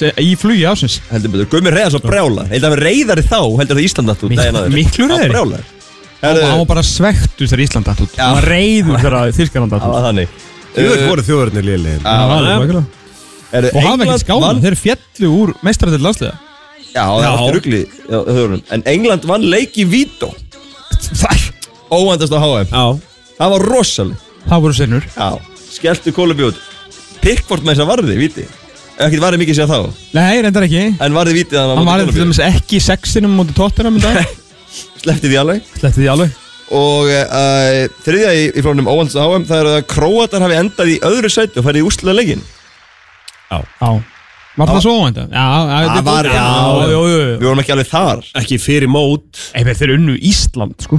Se, í flugi ásins Heldur betur, Guðmur Reyðars og Brjálar Heldur að við reyðari þá, heldur að Ísland datt út Mik- daginn áður. miklu Á reiðari? og Brjálar hann Herðu, var bara svektur þegar Ísland dætt út hann var reyður þegar Þýrskaland dætt það út var þannig Þjóður voru þjóðurnir liðlegin Það var alveg það. svakalega. Herðu, og hafa ekki England skána vann- þeir fjallu úr meistaratil landsliða Já, það er Já. allt rugli já, höfðurinn. En England vann leik í Vító Óvæntast á HM Já. Það var rosaleg það voru senur Já, skelltu kólubjóð Pickford með þess að varði, viti Ekkert varði mikið sér þá nei, reyndar ekki En varði viti að hann var móti til Kólumbíu. dæmis ekki í sexinum móti tóttinum Sleppti því alveg sleppti því alveg Og uh, þriðja í, í flónum óvæntast á HM Það er að Króatar hafi endað í öðru sæti Og færði í úrslega leikin já var það svo ávænda? já, já, þetta er var- góð- já. já, já, já, já. Við vorum ekki alveg þar Ekki fyrir mót Ey, þeir- þeir unnu Ísland sko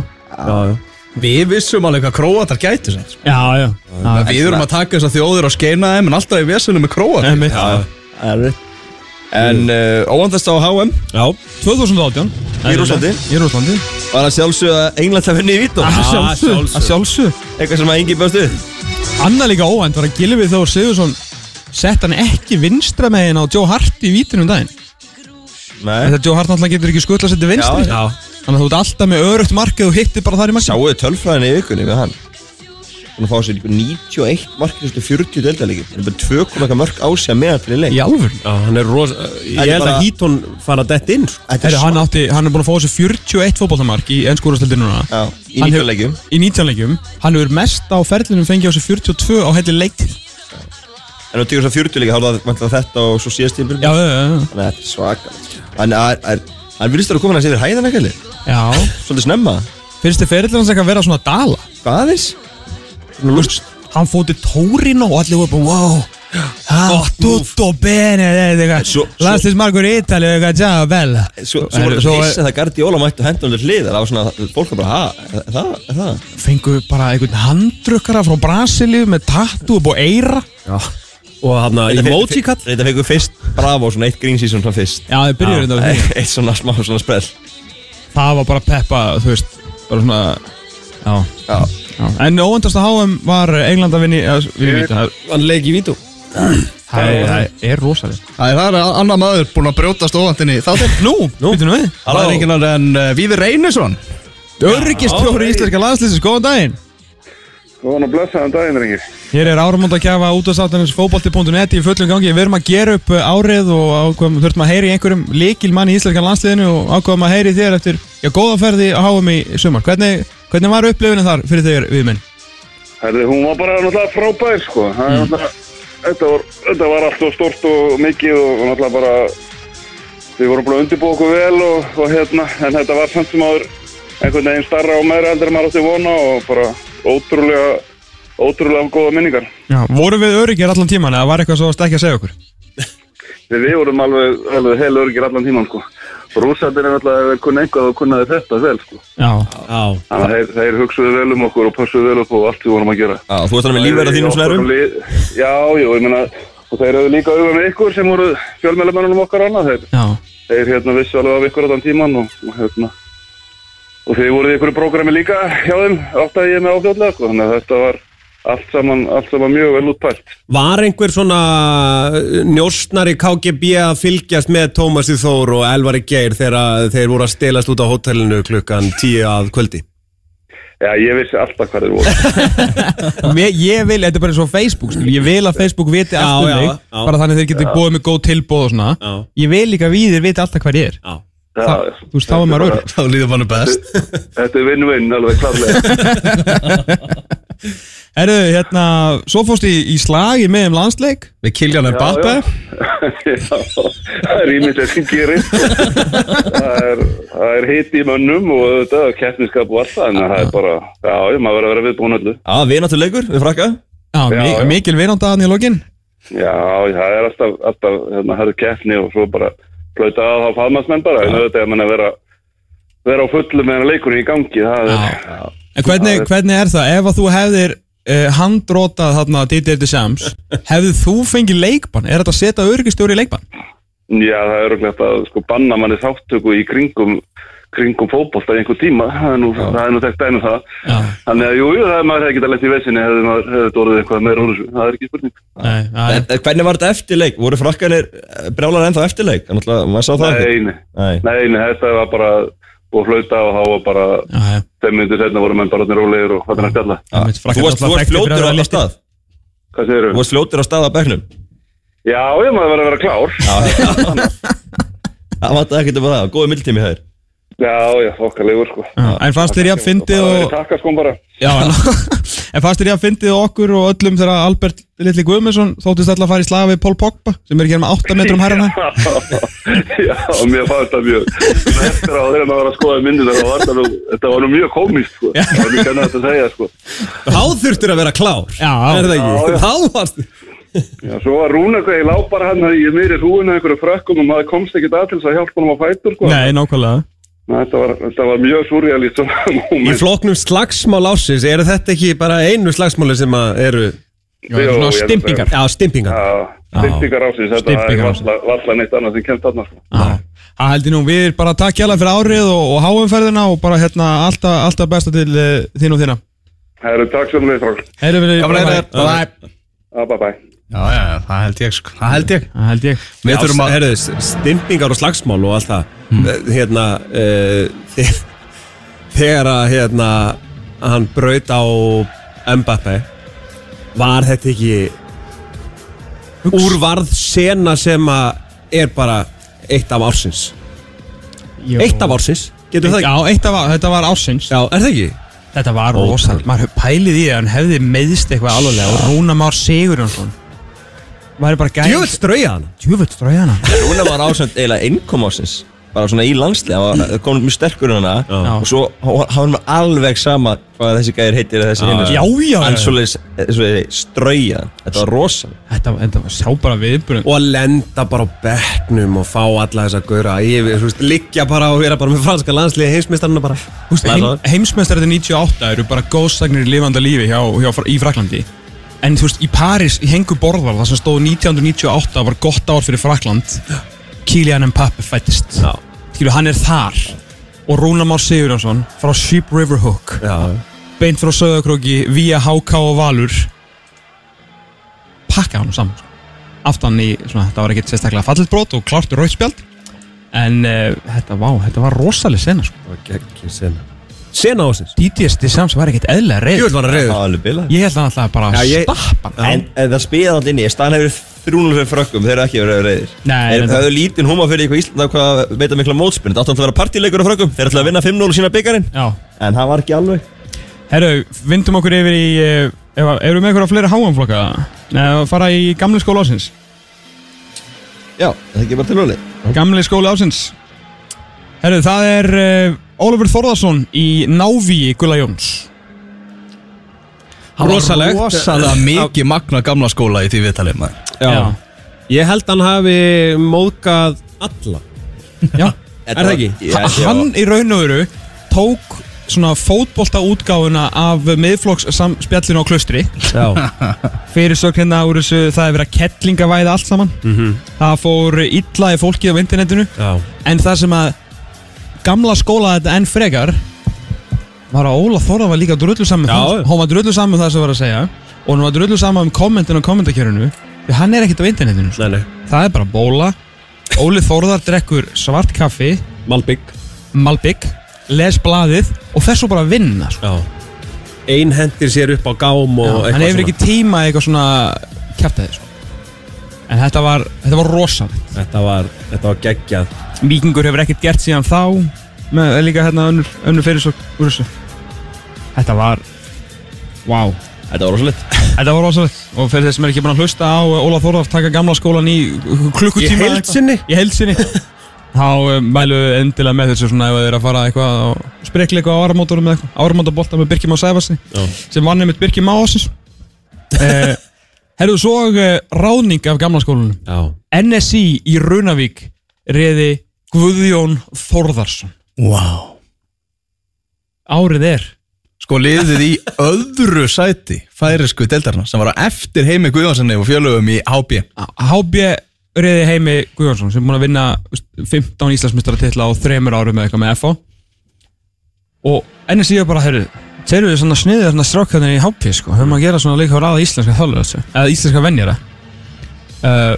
Við vissum alveg hvað króatar gætu sko. sér já, já Já, Við erum að taka þessar þjóðir og skeina þeim En alltaf í vesunum með króatar einmitt. Erfitt. En uh, óvæntast á HM Já, 2018 Í Rússlandi. Í Rúslandi Var að sjálfsögðu að England hafi henni í vító Að sjálfsög Að sjálfsög Eitthvað sem að engi bjóðst við Annað líka óvænt var að Gilvi Þór Sigursson Sett hann ekki vinstra megin á Joe Hart í vítunum um daginn Nei Þetta Joe Hart náttúrulega getur ekki skuttla að setja vinstri Já, Þannig að þú ert alltaf með örugt markið og hittir bara þar í markið Sáu þið tölfræðinni í vikunni með hann Hann fá sér ykkur 91 markið Svolítið 40 deltaleikir Hann er bara 2 koma eitthvað mörg á sig að meðan fyrir leik Í alvöru Já, hann er rosa Ég Þetta er held bara- að Hítón fara dett inn sko. Þetta er Herri, hann, átti, hann er búin að fá þessu 41 fótboltamark í ennskúrastildi núna Já, í Hann 19 hefur- leikjum. Í 19 leikjum Hann hefur mest á ferlinum fengið á þessu 42 á helli leik En þú tekur þess að 40 leika Þá er það vantlega þetta og svo síðast tímpil Já, já, já, já. Þannig að þetta er svakalegt Hann er, er Hann virðist vera komin að segja hæðan ekkert já Svolítið snemma Finnst þið ferillin hans ekki að vera svona dala? Hvað aðeins? Nú lúst hann fóti Tórino og allir voru bara wow ah, tutto bene Svo- svo- landslis margur í Ítali eitthvað, já, vel Svo, svo voru Herri, svo svo- að það gardi óla mættu hendur undir hlið Það var svona Fólk var bara ha, er Það, er það fengu bara einhvern handrukkara frá Brasilíu með tattu upp á eira Og hann að emoji kall Þetta fengur fyrst Bravo svona eitt green season svona fyrst já, þið byrjuðu þetta á því. Eitt svona smá svona sprell það var bara peppa, þú veist bara svona já. Já Já. en óvendast að háum var England að vinni að vinni víta það Hann leik í vítu það- það er rosalega Það er, það er annar maður búin að brjótast óvæntinni Þáttir nú, nú, býtum við Það er enginn annar en uh, Víður Reynisson öryggistjóri íslenska landslýsins, góðan daginn Góðan og blessaðan daginn, reyngir. Hér er áramónd að kjafa útastáttanins fótbolti.net í fullum gangi. Við erum að gera upp uh, árið og ákveðum, þurftum að heyri einhverjum líkilmann í Íslenska landsliðinu og ákveðum að heyri þér eftir, já, góða ferði að háum í sumar. Hvernig, hvernig var upplifinu þar fyrir þegar við minn? Herði, hún var bara náttúrulega frábær, sko. Það er náttúrulega, þetta var, þetta var allt og stort og mikið og náttúrulega bara, við vorum bara að undirbúa okkur vel og, og hérna, en þetta var samt sem áður einhvern veginn starra og meira heldur en maður átti vona og bara ótrúlega, ótrúlega góða minningar. Já, vorum við öryggir allan tíman eða var eitthvað svo varst ekki að segja okkur? Við, við vorum alveg, alveg heil örgir allan tíman, sko. Rússandir er náttúrulega vel kunna einhvað og kunnaði þetta vel sko. Já, Þannig að þeir, þeir hugsuðu vel um okkur og passuðu vel upp á allt við vorum að gera Já, þú veist hann með um lífverða þínum Í snærum okkar lið- Já, já, ég meina og þeir höfðu líka auðvitað með ykkur sem voru fjölmjölamennunum okkar annað þeir, já, þeir hérna vissu alveg af ykkur á þann tíman og, og hérna og þeir voruð í ykkur prógrami líka hjá þeim átt að ég með áfljóðlega sko, þannig að þetta var allt saman, allt saman mjög vel útpælt Var einhver svona uh, njósnari KGB að fylgjast með Tómasi Þór og Elvari Geir þegar að þeir voru að stelast út á hótelinu klukkan 10 að kvöldi? Já, ég vissi alltaf hvað þeir voru Mér, ég vil, þetta er bara eins og Facebook skil. Ég vil að Facebook viti allt um já, mig já. Bara þannig að þeir geti búið með góð tilbóð og svona Já. Ég vil líka að víðir viti alltaf hvað ég er Já. Já, Það- já. Þú veist, þá er maður Þetta örg Þá líður mann best Þetta er vinn-vinn alveg klarlega Herru, hérna, svo fórst í, í slagi með um landsleik Við Kiljan er Bappe Já, það er ímyndið sem gerir sko. það er, það er hiti í mönnum og þetta er keppniskap og allt það en það er bara, já, já, maður verður að vera viðbúin öllu Já, við náttúrulegur, við frakka Já, Já, já, já. mikil vinandaðan í lokin Já, já, það er alltaf, alltaf hérna, það er keppni og svo bara flöta að þá faðmasmenn bara en auðvitað er mann að vera vera á fullu meðan leikurinn í gangi það er, En hvernig, hvernig er það, ef að þú hefðir uh, handrótað þarna DDR til Sams Hefðir þú fengið leikbann? Er þetta að setja örgistjóri í leikbann? já, það er örglegt að sko banna manni þáttöku í kringum kringum fótbolta í einhver tíma það er nú, það er nú þekkt dæmi um það Já, Þannig að jú, jú, það er maður hefði getað lett í vesinni hefði maður hefði þetta orðið eitthvað meira úr þessu, það er ekki spurning. nei, já, En en hvernig var þetta eftirleik? Voru frakkanir brjálar ennþá eftirleik? Þannig að maður sá það ekki Nei, nei, Nei nei, nei, þetta var bara búið að flauta og þá var bara já, já. þeim myndir setna voru menn bara orðnir rólegir og hvað er að spjalla. Einmitt, Ah, Þú Frakkar varst náttúrulega þekktir fyrir þú varst að fljótur vera á léttir. stað Hvað segir Þú varst fljótur á stað á bekknum Já, ég maður verið að vera klár. Það vant ekkert um það, góði mildtími það er Já, já, okkalegur sko. Já, En fannst þér ég að fyndið Það og er takka sko bara. Já, en, en fannst þér ég að fyndið okkur og öllum þegar Albert Lilli Guðmundsson þóttist alltaf að fara í slaga við Pól Pogba sem er hérna með 8 metrum hærna já, og mér fannst það mjög eftir á þeirra maður var að skoða myndir þar var það nú, þetta var nú mjög komist sko. Það er mjög kannið að þetta segja sko. Þá þurftur að vera klár. Já, Er það ekki? Já, já. Þá varst Já, svo var Rúna eitthvað, ég lá bara hann í miðri hrúinu einhverju frökkum og maður komst ekkert að til þess að hjálpa honum á fætur sko. Nei, nákvæmlega Nei, Þetta var, þetta var mjög surrealist svona Í moment. floknum slagsmál ásins, eru þetta ekki bara einu slagsmáli sem að eru Já, þetta er Jó, svona ég held að stimpingar Já, stimpingar? Stimpingar ásins, þetta er Stympingar ársins. valla- valla neitt annað sem kemst þarna sko. Já. Það heldur nú, við erum bara takk hjálpa fyrir árið og, og háumferðina og bara hérna alltaf, alltaf besta til uh, þín og þína Það eru takk sem leið frá. Heyrðu við Gaman að heyra þér. Bye. Bye bye. Já, já, það held ég sko Það held ég Það held ég Við Já, þurfum að herðu, stimpingar og slagsmál og allt það. Eh, Hérna, uh, þegar, þegar að hérna, hann braut á Mbappe, var þetta ekki úrvarð sena sem að er bara eitt af ársins? Eitt af ársins, getur það Já, ekki? eitt af, þetta var ásins Já, er það ekki? Þetta var rosal Maður hefur pælið í að hann hefði meðist eitthvað alveg og Rúna Már Sigurjónsson Maður er bara gæð Jöfnveld strauja hann. Djöfull ströðina Rúna var ásönd eiginlega innkom ásins bara svona í landsli, hann var komin mjög sterkur hana Já. og svo hann var alveg sama hvað þessi gæðir heitir eða þessi hinn Já, já, já. En svoleiðis eh, svoleiðis strauja, þetta var rosa Þetta, þetta var sjá bara viðbrun og að lenda bara á bekknum og fá alla þess að gauðra yfir, þú veist, liggja bara og vera bara með franska landsliði heimsmeistarna bara Húst, heim, heimsmeistarið 98 eru bara góðsagnir í lifanda lífi hjá, hjá, í Fraklandi en þú veist, í París, í hengu borðar það sem stóð 1998 var gott ár fyrir Frakland Kylian Mbappe fættist Já. Skilu, hann er þar og Rúnar Már Sigurjónsson frá Sheep River Hook Já, beint frá Söðakróki, via HK og Valur pakka hann saman sko. aftan í, svona, þetta var ekkert sérstaklega fallit brot og klart rauðspjald en uh, þetta, vá, þetta var rosalega sena sko. og geggjum sena Sena ásins DDS til sams var ekkert eðlega reyð Júl var hann það reyður var alveg bilað Ég held hann alltaf bara Já, að ég- stappa hann. en, en það spiðaði alltaf inni, staðan hefur þrúnul fyrir frökkum, þeir eru ekki verið reyðir Nei, Þeir- nei, Það hefur lítinn húma fyrir eitthvað Íslanda hvað veita mikla mótspinn, þetta átti að vera partíleikur á frökkum þeir ætlaði að vinna 5-0 sína byggarinn Já, en það var ekki alveg herru, vindum okkur yfir í eh, ef að- Eru við með eitthvað fleiri háanflokka? Nei, að fara í gamli skóla ásins Já, það ekki bara tilhjóli Gamli skóla ásins Herru, það er uh, Ólafur Þórðarsson í Návíi Gulla Jóns Það var Rosalegt. Rosalega mikið magna gamla skóla í því viðtalið maður Ég held hann hafi móðgað alla Já, Er það ekki? Já, Ha- ég var- Hann í raun og veru tók svona fótbolta útgáfuna af miðflokks spjallinu á klustri fyrir sök hérna úr þessu það er verið að kettlingavæða allt saman það fór illa í fólkið á internetinu Já. en það sem að gamla skóla þetta enn frekar var að Óla Þóra var líka drullu saman Já, já. hún var drullu saman um það sem var að segja og hún var drullu saman um kommentin og kommentakjörinu því hann er ekkert á internetinu sko. Nei, nei, það er bara bóla Óli Þórðar drekkur svart kaffi Malbygg Malbygg, les blaðið og fer svo bara að vinna sko. Já Ein hendir sér upp á gám og eitthvað hann hefur ekki tíma í eitthvað svona kjæftæði sko. en þetta var, þetta var rosalegt Þetta var, þetta var geggjað Víkingur hefur ekkert gert síðan þá með líka hérna önnur, önnur fyrir svo úr þessu þetta var wow. Þetta var rosalegt þetta var rosalegt og fyrir þeir sem er ekki búin að hlusta á Óla Þórðar taka gamla skólan í klukkutíma Í eða heild eitthvað. sinni? í held sinni þá um, mælu við endilega með þessu svona ef þið eru að fara eitthvað og spekla eitthvað á áramótorum eða eitthvað áramótabolta með Birkjum á Sæfarsi Já. sem vann einmitt Birkjum á ásins eh, Herðu svo eh, ráðning af gamla skólanum Já NSI í Runavík reði Guðjón Þórðarsson Wow Árið er Sko liðið í öðru sæti færisku deildarna sem var á eftir heimi Guðjónssoni og fjölugum í HB HB reði heimi Guðjónsson sem er búin að vinna þú veist, 15 Íslandsmyndstara titla á þremur árum með eitthvað með FO og NSI er bara, heyrðu þeir eru svona sniðið svona strákarnir í HP sko, höfum að gera svona líka á ráða íslenska þálega þessu, eða íslenska venjara uh,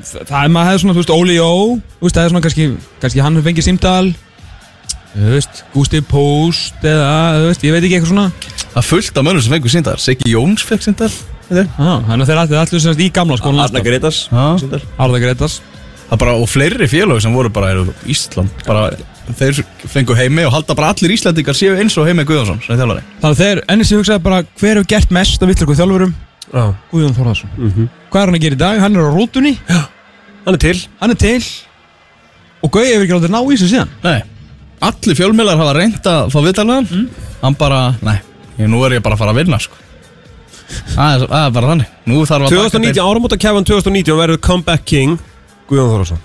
þa- það er maður hefði svona, þú veist, Óli Jó þú veist, það er svona kannski, kannski hann fengið símdal þú veist, Gústi Póst eða, þú veist, ég veit ekki eitthvað svona Það er fullt af mönnum sem fengur síndar Siggi Jóns fekk síndar ah, þannig að þeir allir, allir sem sagt í gamla skólan Arna Gretas Það Arna Gretars bara og fleiri fjölög sem voru bara eru Ísland bara, Þeir fengu heimi og halda bara allir Íslandingar séu eins og heimi Guðjónsson sem þjálfari Þannig að þeir ennig sem hugsaði bara hver hefur gert mest af villurku þjálfurum Já Guðjón Þorðarsson Hvað er hann að gera í dag? Hann er á rútunni, Hann er til hann er til og Gauði hefur ekki látið ná í þessu síðan Nei, allir fjölmiðlar hafa reynd að fá viðtalvegan mm. Hann bara, nei, ég, nú er ég bara að fara að vinna sko. Það er, það er bara þannig Nú þarf að taka 2019, áramóta kefan 2019 verður comeback king Guðjón Þórðarsson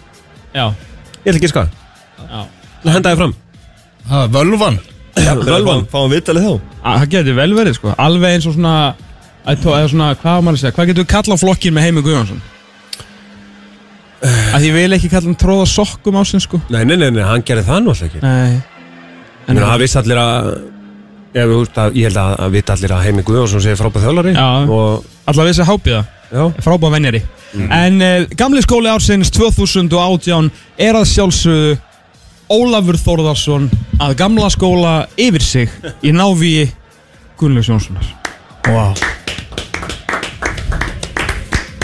Já, Ég ætla ekki að skaða Hendaði fram til- Það er völvan Rölvan Fáum viðtalið þá það getur vel verið sko alveg eins og svona, að tó- eða svona hvað á maður að segja, hvað getur við kallað flokkin með heimi Guðjónsson? Uh. Að ég vil ekki kalla hann tróða sokkum á sin sko Nei, nei, nei, nei, hann gerði það nú alltaf ekki Nei En það vissi allir að Ef þú veist að, ég held að, að vita allir að Heimi Guðjónsson sé frábæð þjólari Já. Og, Alla vissi að hápið það já, frábæð venjari En uh, gamli skóli ársins 2018 er að sjálfsögðu Ólafur Þórðarsson að gamla skóla yfir sig í návíi Gunnlegs Jónssonar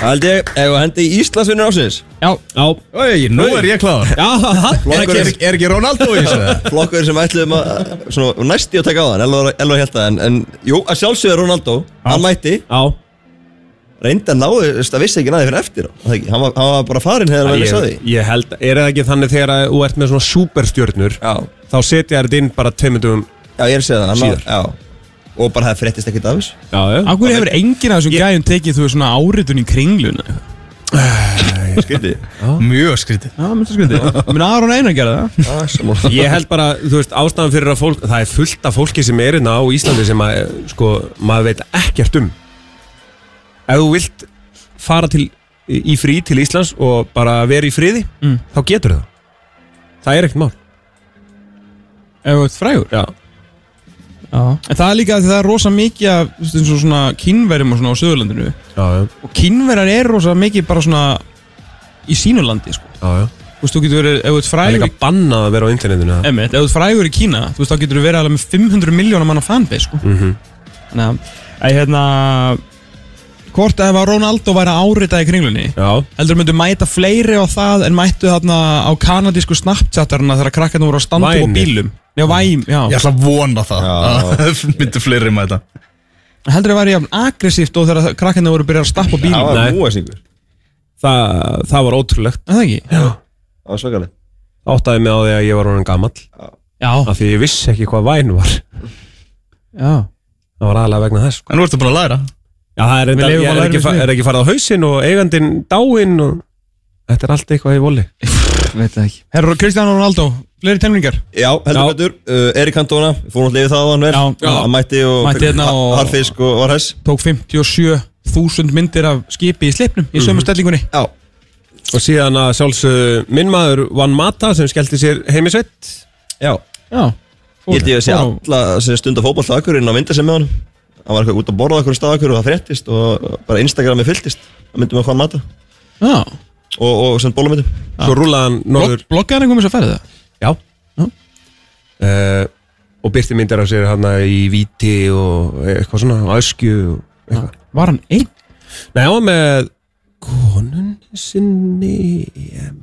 Það held ég, ef við hendi í Íslandsvinnur ásins Já, já, Oi, nú er ég kláður já, hann er, er, er ekki Ronaldo í þessu? Flokkur sem ætluðum að, svona, næsti að taka á hann Elva Elva held það, en, en jú, að sjálfsögðu Ronaldo Hann mætti, Já, reyndi að náðu, veist, það vissi ekki næði fyrir eftir á það ekki, hann var, hann var bara farinn hefur hann sagði ég, ég held, er það ekki þannig þegar að þú ert með svona superstjörnur Já, Þá setja þér þetta inn bara tveimundum já, ég er að segja það, hann Síðar. var, já Og bara það fréttist ekkert af þess Já, já, af hverju hefur enginn af þessum gæjum tekið þú veist, svona áritun í kringluna Skriti Mjög skrítið Já, minnst það skriði Minn Aron Einar gerði það Ég held bara, þú veist, ástæðan fyrir að fólk Það er fullt af fólki sem er hérna á Íslandi sem að, sko, maður veit ekkert um Ef þú vilt fara til, í í frí til Íslands og bara vera í friði Mm. þá getur það Það er ekkert mál Ef þú ert frægur Já, Já. En það er líka af því það er rosa mikið af þú veist, eins og svona kínverjum og svona á Suðurlandinu já, já, og kínverjar er rosa mikið bara svona í sínu landi sko. já, já. Þú veist, þú getur verið, ef þú ert Það er frægur í líka bannað að vera á internetinu eða? Emmett, ef þú ert frægur í Kína, þú veist, þá getur þú verið alveg með 500 miljónar manna fanbase, sko. Mm Mhm. -hmm. Þannig að, hérna, hvort ef að Ronaldo væri að árita í kringlunni, Já, heldur myndu mæta fleiri á það en mættu þarna á kanadísku Snapchatarna þegar krakkarna voru að standa upp á Vænir. bílum. Já, væm, já. Ég ætla að vona það að Myndu fleiri mæta Heldur það væri jafn aggressíft og þegar krakkarna voru að byrja að stappa á bílum. Það Nei. var múasingur, það, það var ótrúlegt Er það ekki? það var svakaleg Áttaði mig á því að ég var orðin gamall Já, Af því ég vissi ekki hvað væn var já. Það var aðalega vegna þess sko. En nú ertu búin að læra Já, það er, enda, lifum ég á er, lærum ekki, fa- sviði. er ekki farið á hausinn og eigandinn dáinn og... Þetta er allt eitthvað í voli veit það ekki Herru, Kristján Ronaldo, fleiri temningar Já, heldur betur, uh, Erik Cantona, fórum alltaf yfir það á hann vel Já. Já. Hann mætti og Mætti hérna og- harfisk og var hess Tók 57.000 myndir af skipi í slipnum í sömu stellingunni Já, Og síðan að sjálfsög minn maður Van Mata sem skellti sér heimisveitt já Já Ég held ég að sé Fór á- alla sem stunda fótbolta á akkurinn á mynda sem með honum Hann var eitthvað út að borða okkur stað akkur og það fréttist og bara Instagrami fylltist Það myndum við hvað hann mata Já, og, og sem bólumyndum Svo rúlaði hann norður blokkaði hann einhverjum þess að ferði það? Ah. Já uh, Og byrti myndir af sér hann í víti og eitthvað svona, á öskju og eitthvað Var hann einn? Nei, hann var með konunni sinni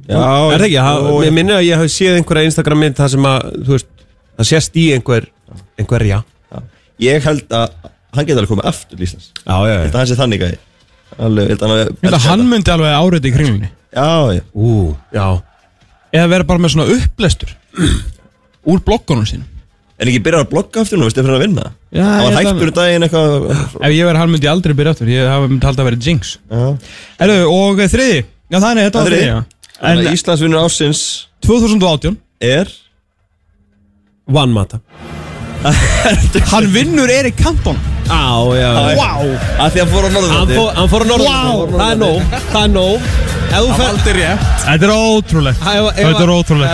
Já, er það ekki, það, já. mér minni að ég hafi séð einhverja Instagram mynd það sem að, þú veist, það sést í einhver, einhverja Ég held að hann geti alveg komið aftur til Íslands Já, já, Þetta hann sé þannig gæði Alveg, ég held að hann Ég held að elskar hann þetta. myndi alveg áriði í kringlunni Já, já, Ú, já Eða vera bara með svona upplestur Úr blokkunum sínum en ekki byrjar að blogga aftur nú, veistu, fyrir hann að vinna Já, Hann ég var held að- hættur um daginn eitthvað Ef ég verið hann myndi ég aldrei byrja aftur Ég hafi myndi haldið að vera jinx Já. Erðu, og þriði Já, þannig, þetta var Þriði. þriði já. En En Íslandsvinnur ásins 2018 er Vanmata Hann vinnur Erik Kanton Á, já, já Vá að því hann fór á Hann Norðurlandi fór, hann fór að norður Það er nóg, það er nóg Ef þú fer Aldrei rétt Þetta er ótrúlegt Þetta er ótrúlegt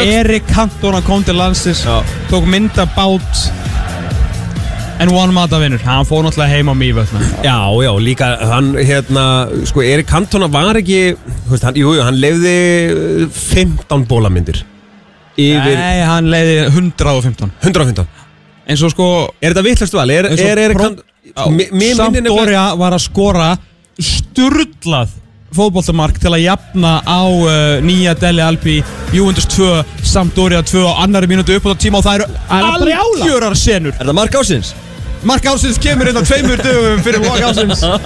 Erik Kantona kom til landsins Tók mynda bát En one mata vinnur Hann fór náttúrulega heim á mývötna Já, já, líka hann, hérna, sko, Erik Cantona var ekki, þú veist, hann, jú, jú, hann lefði eh, 15 bólamyndir Yfir Nei, hann leiði 115 115 En svo sko Er þetta vittlust val? Er, eins og er, er, pró- kann, Já, mér, mér minnir nefnilega Sampdoria var að skora Sturlað fótboltamark til að jafna á uh, nýja Deli Albi Juventus 2, Sampdoria 2 á annari mínútu upp á tíma og það eru algjörar senur Er það mark ásins? Mark Ásins kemur hérna tveimur dögum fyrir Mark Ásins Það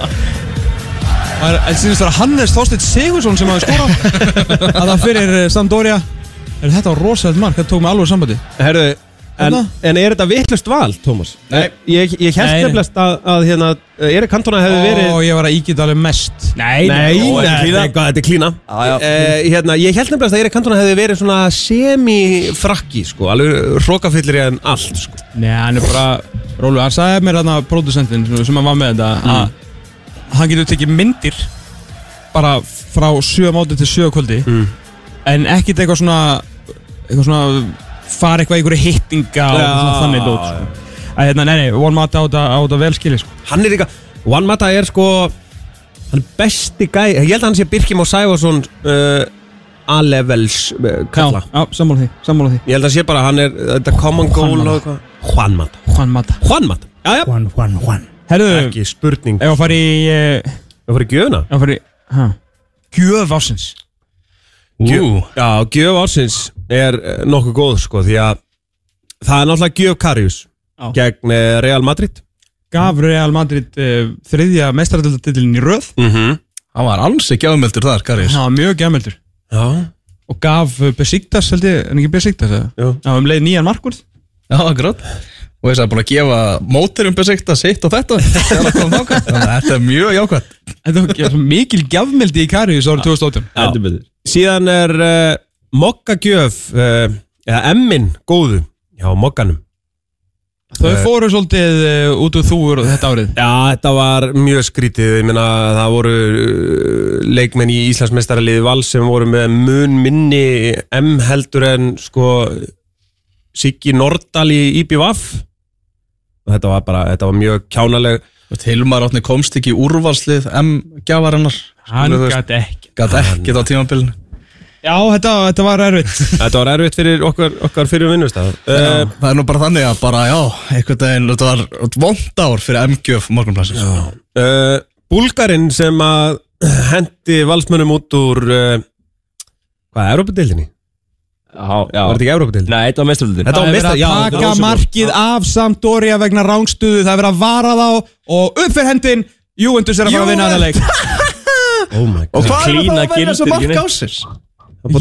er það sínist vera Hannes Þorstedt Sigursson sem hafði skorað að það fyrir eh, Sampdoria Er þetta var rosalegt mark, þetta tók mig alveg sambandi Herðu, Hérna? en, Þarna? en er þetta vittlust val, Tómas? Nei Ég, ég Nei, held nei. nefnilegst að, að hérna, Erik Cantona hefði verið Og ég var að ígita alveg mest Nei, nei, ó, þetta er klína. þetta er- þetta er klína já. Eh, hérna, Ég held nefnilegst að Erik Cantona hefði verið svona semi-frakki, sko Alveg hrókafyllir en allt, sko Nei, hann er bara Rólu, hann sagði mér þarna pródusentinn sem hann var með þetta að hann getur tekið myndir bara frá sjö mátu til sjö á kvöldi en ekkert eitthvað svona eitthvað svona fara eitthvað í einhverju hittinga og Já, svona þannig dót sko. að hérna, nei, nei, one mat á þetta á þetta vel skilið sko. Hann er líka, One Mata er sko Hann er besti gæ Ég held að hann sé Birkjum og Sæfarsson uh, A-levels uh, kalla Já, já, sammála því, sammála því Ég held að sé bara að hann er, þetta er common goal og eitthvað Juan Mata Juan Mata Juan Mata, já, já One, one, one Herðu, ef Ekki spurning að fara í eh, Það fyrir gjöfuna ef að fara í, hæ Gjöf ásins Ú, Já, gjöf ársins er eh, nokkuð góð sko Því að það er náttúrulega gjöf Karius Já. Gegn eh, Real Madrid gaf Real Madrid uh, þriðja mestaradöldatitilin í röð mm Mhm. -hmm. hann var alls ekki ámeldur þar, Karis það var mjög gemmeldur Já og gaf uh, Besiktas held ég, en ekki Besiktas eða? Jú. Já, um leið nýjan markvörð Já, akkurat Og þess að búin að gefa mótirum besikta sitt og þetta þegar það kom þangað. Þannig að Þetta er mjög jákvæmt Þetta var ekki- mikil gjafmildi í Karius árið 2018 Heldur betur Síðan er uh, Mokkagjöf uh, Eða emmin góðu Já, Mokkanum Þau Eh. fóru svolítið uh, út úr þúur þetta árið Já, þetta var mjög skrítið Ég meina, það voru uh, leikmenn í Íslandsmeistaraliði Vals sem voru með mun minni M heldur en sko Siggi Nordal í IBVF og þetta var bara, þetta var mjög kjánaleg Og Hilmar átni komst ekki í úrvarslið M-gjafarinnar Hann gæti ekki Gat ekkert á tímabilinu Já, þetta, þetta var erfitt Þetta var erfitt fyrir okkar, okkar fyrir vinnustaf uh, Já, Það er nú bara þannig að bara, já, einhvern veginn, þetta var vond ár fyrir MGF morgunplassins. uh, Búlgarinn sem að hendi Valsmönnum út úr uh, hvað, Európa-deildinni? Já, Var já þetta ekki Európa-deildinni? Nei, þetta var mestaröldin Þetta Það er var verið meistar- já, að þetta var taka Rósenborg. markið af Sampdoria vegna rángstuðu Það er verið að vara þá og upp fyrir hendin Juventus er að fara að vinna þetta leik Oh my god Hvað er það Klína að vera þessu gildir ekki mark neitt. ásins?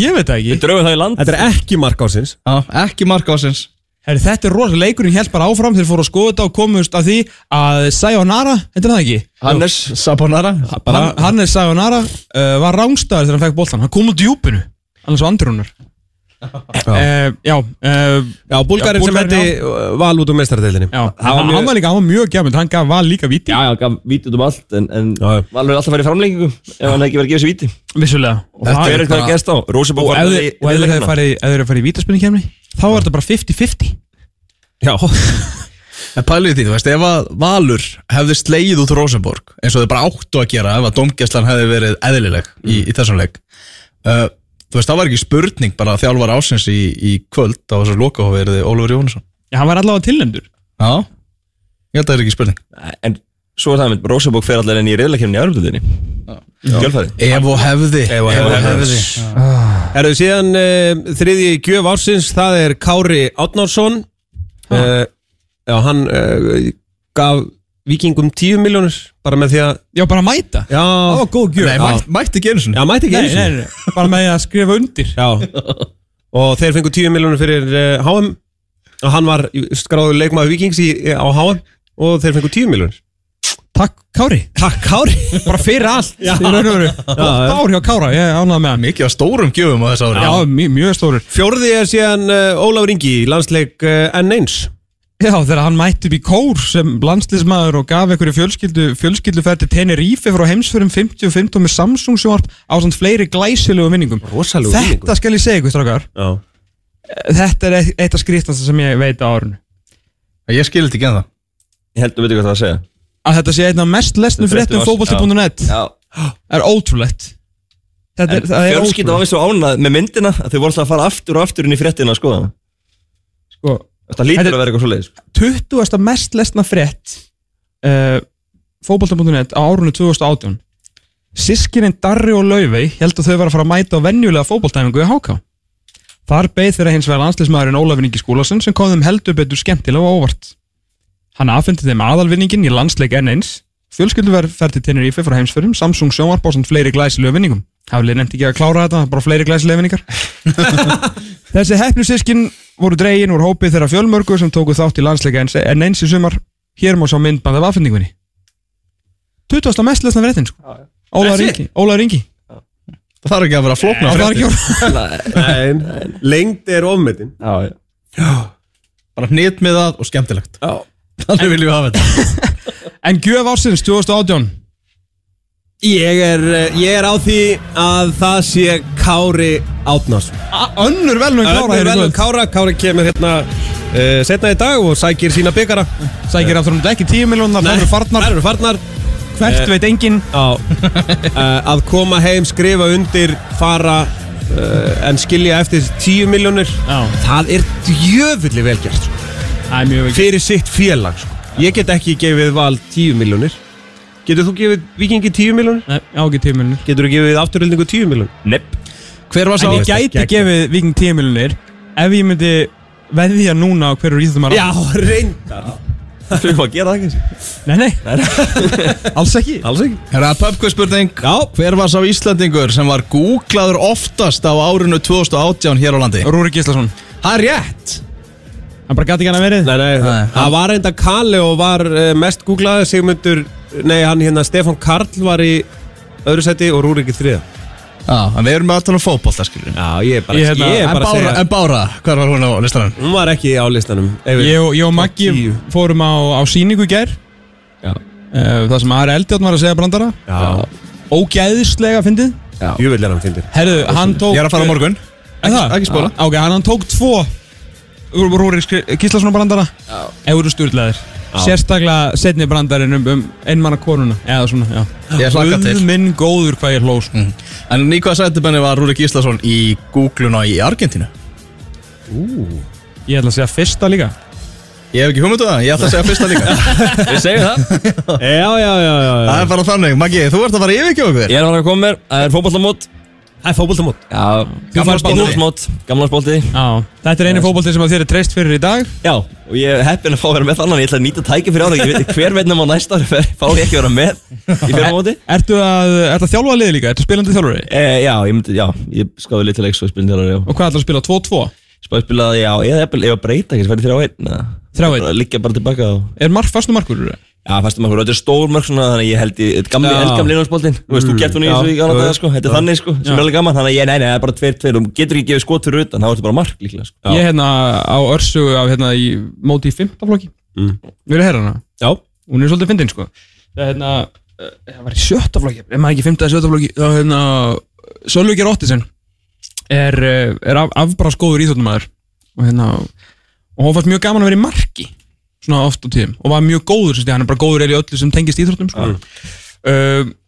Ég veit það ekki Drögu það í land Þetta er ekki mark ásins Já, ekki mark ásins. Herri, þetta er rosa leikurinn held bara áfram þeir fóru að skoða þetta og komust að því að Sayonara, heitir það ekki? Hannes Sabonara Hann, Hannes Sayonara uh, var rángstæður þegar hann fekk boltan, hann kom úr djúpinu annars var andrunar uh, Já, uh, Já, Búlgarinn sem hætti Búlgarinn, val út úr meistaradeildinni já. Það var Hann, hann mjög var líka, hann var mjög gjafmynd hann gaf val líka víti Já, já, gaf vítið um allt En, en Já, já. Valur er alltaf að fara í framlengingu Ef hann ekki verið að gefa sér víti vissulega og Þetta það er er eitthvað að bara- gerst á Rósabó og ef þið- og ef þeir hefðu farið ef þeir hefðu farið í vítaspinningkemni þá er þetta bara 50-50 Já, En pælið því, þú veist, ef að Valur hefði slegið út Rosenborg eins og þau bara áttu að gera ef að domgæslan hefði verið eðlileg í, í þessum leik uh, Þú veist, það var ekki spurning bara að þjálfar ásins í, í kvöld á þessu lokahofi er þið Ólfur Jónsson Já, hann var allavega tilnæmdur Já, ég held að það er ekki spurning En svo er það mynd Rósabók fer allir enn í reyðlakefni í Örnblutinni Gjölfari Ef og hefði Ef og hefði. Erðu Ah. síðan uh, þriðji gjöf ársins, það er Kári Átnársson Ah. uh, Já, hann uh, gaf vikingum 10 miljónur bara með því að Já, bara mæta Já, Það var góð gjöf Nei, mætt, mætti ekki einu já sinni mætti ekki Nei, einu nei, sinni. nei, bara með því að skrifa undir Já, og þeir fengu 10 miljónur fyrir uh, HM og hann var skráður leikmaður vikings í, á HM og þeir fengu 10 miljónur Takk Kári Takk Kári Bara fyrir allt Já, Já, já. Ár hjá Kára, ég ánað með hann Mikið á stórum gjöfum á þessu ári Já, mj- mjög stóru Fjórði er síðan uh, Ólafur Ingi í landsleik uh, N1 Já, þegar hann mætti upp í kór sem landslismæður og gaf einhverju fjölskyldu fjölskylduferð til Tenerife frá heimsförum 50 og 15 með Samsung sjónvarp á samt fleiri glæsilegu vinningum Rosalegu Þetta skal ég segja ykkur strákar Já, Þetta er eitt- eitt af skrýtnasta sem ég veit á árinu Ég skil þetta ekki en það Ég held að veitu hvað það að segja að þetta sé einn af mest lesnum Fréttum fréttum árs- fótbolti.net Já er ótrúlegt Þetta er, það er Fjölskylda ótrúlegt var við svo ánað með myndina að þau voru alltaf að fara aftur og aftur inn í fréttina að skoða hana. sko, Þetta lítur Þetta- að vera eitthvað svoleiðis 20. mest lesna frétt uh, fótbolta.net á árunni 2018 Sískinin Darri og Laufey held að þau var að fara að mæta á venjulega fótboltæfingu í HK Þar beið þeirra hins vegar landslismæðurinn Ólafur Ingi Skúlason sem kom þeim heldur betur skemmtilega og óvart Hann affindi þeim aðalvinningin í landsleik N1 Fjölskylduverð fer til Tenerife frá heimsförum Samsung sjónvarp á samt fleiri glæsilega vinningum Haflið nefndi ekki að klára þetta, bara fleiri glæsilega vinningar Þessi hefnusískin voru dregin úr hópi þeirra fjölmörgu sem tóku þátt í landsleika en- en eins í sumar hér má sá myndband af afhendingunni 20. mest lesna fréttin sko. Ólaður Ingi, Ólaður Ingi Það þarf ekki að vera flókna Það var fréttir. ekki orð Nei, lengd er ofmetin Já, já Bara hnýtt með það og skemmtilegt Já. Þannig viljum við hafa þetta En gjöf ársins 2018 Ég er, eh, ég er á því að það sé Kári Átnars A- Önnur velnum klára hér í Kára, kvöld Kára, Kári kemur hérna uh, setna í dag og sækir sína byggara Sækir aftur um þetta ekki 10 miljónar, það eru farnar Það eru farnar Hvert veit enginn á, eh, Að koma heim, skrifa undir, fara uh, en skilja eftir 10 miljónir Já. Það er djöfulli velgjart Það er mjög fyrir sitt félag sko. Ég get ekki gefið val 10 miljónir Getur þú gefið vikingi 10 miljónir? Nei, á ekki 10 miljónir Getur þú gefið afturhildingu 10 miljónir? Nepp Hver var sá? En ég gæti gefið viking 10 miljónir ef ég myndi veðja núna á hverju íþjóðum að Já, reyndar Það fyrir að gera það kannski Nei, nei, alls ekki Alls ekki Herra, pubquiz spurning Já Hver var sá Íslandingur sem var googlaður oftast á árinu 2018 hér á landi? Rúri Gíslason Það er rétt Hann bara gæti ekki hann að verið Nei, nei, Nei. það var reynda Kali og var eh, mest googlaði Sigmundur, nei hann hérna Stefan Karl var í öðru seti og Rúrik í þriða Já, en við erum með að tala um fótbolta, skiljum Já, ég er bara, Ég ég hérna- er En bara að Bára, segja en Bára, hver var hún á listanum? Hún var ekki á listanum ef við- Ég, og- ég og Maggi tíu. fórum á, á síningu í gær Já. Eh, Það sem Ari Eldjátt var að segja brandara Já, Ógæðislega fyndið jú vil er hann fyndir Herðu, hann tók Ég er að fara á morgun Er það? Ah, ekki spóla. Ok, hann, hann tók tvo Rúri Kíslason og brandara Já Ef eru stjórnleðir Sérstaklega setni brandarinn um, um einmanna konuna Eða svona, já Ég hlakka til. Guð minn góður hvað ég hló sko. Mm. En í hvaða sættibenni var Rúrik Íslason í googluna í Argentínu? Mm. Ég ætla að segja fyrsta líka Ég hef ekki hugmyndu það, ég ætla að segja fyrsta líka Við segjum það Já, já, já, já, já. Það er bara þannig, Maggi, þú ert að fara yfir ekki okkur Ég er að fara að koma mér Það er fótballamót Það er fótboltamót Já færð bolti. Gamlarsmót Gamlarsmóti Já Þetta er einu fótbolti sem að þér er treyst fyrir í dag Já Og ég er heppin að fá að vera með þannig Ég ætla að nýta tæki fyrir ára Ég veit hver veit nema á næsta ári fer- Fá ég ekki að vera með Í fyrir móti Ertu að, ertu að þjálfa Eh, liði líka? Ertu spilandi þjálfari? e, Já, ég myndi Já, ég skáði litið leiks og spilin þjálfari já. Og hvað ætlar að spila? 2-2? Spáði spilaði ég á, eða jafnvel, ég var að breyta ekki, það færi þrjá einn eða? 3-1. Bara Liggja bara tilbaka og Er mark, fastu markur? eða? Já, fastum okkur, þetta er stór mörg svona, þannig að ég held í, þetta er gamli, Já. Mm, eldgamli innvarsboltinn, þú veist, þú gert hún í þessu í gana daga, sko, þetta er þannig, sko, sem er alveg gaman, þannig að ég, nei, nei, það er bara tveir, tveir, þú getur ekki gefið skot fyrir utan, þá ertu bara mark líklega, sko. Ég er hérna á örsu af hérna í móti í 5. flokki mm. Vil ég herra hana? Já Hún er svolítið fyndin sko Það er hérna eh, Það var í 7. flokki Ef maður ekki 5. eða 7. flokki Þá er hérna Sölvugir Ottisen Er, eh, er af, afbrast góður íþjóttumæður Og hérna Og hún fannst mjög gaman að vera í marki Svona oft á tíðum Og var mjög góður sem því Hann er bara góður eða í öllu sem tengist íþjóttum sko. Uh,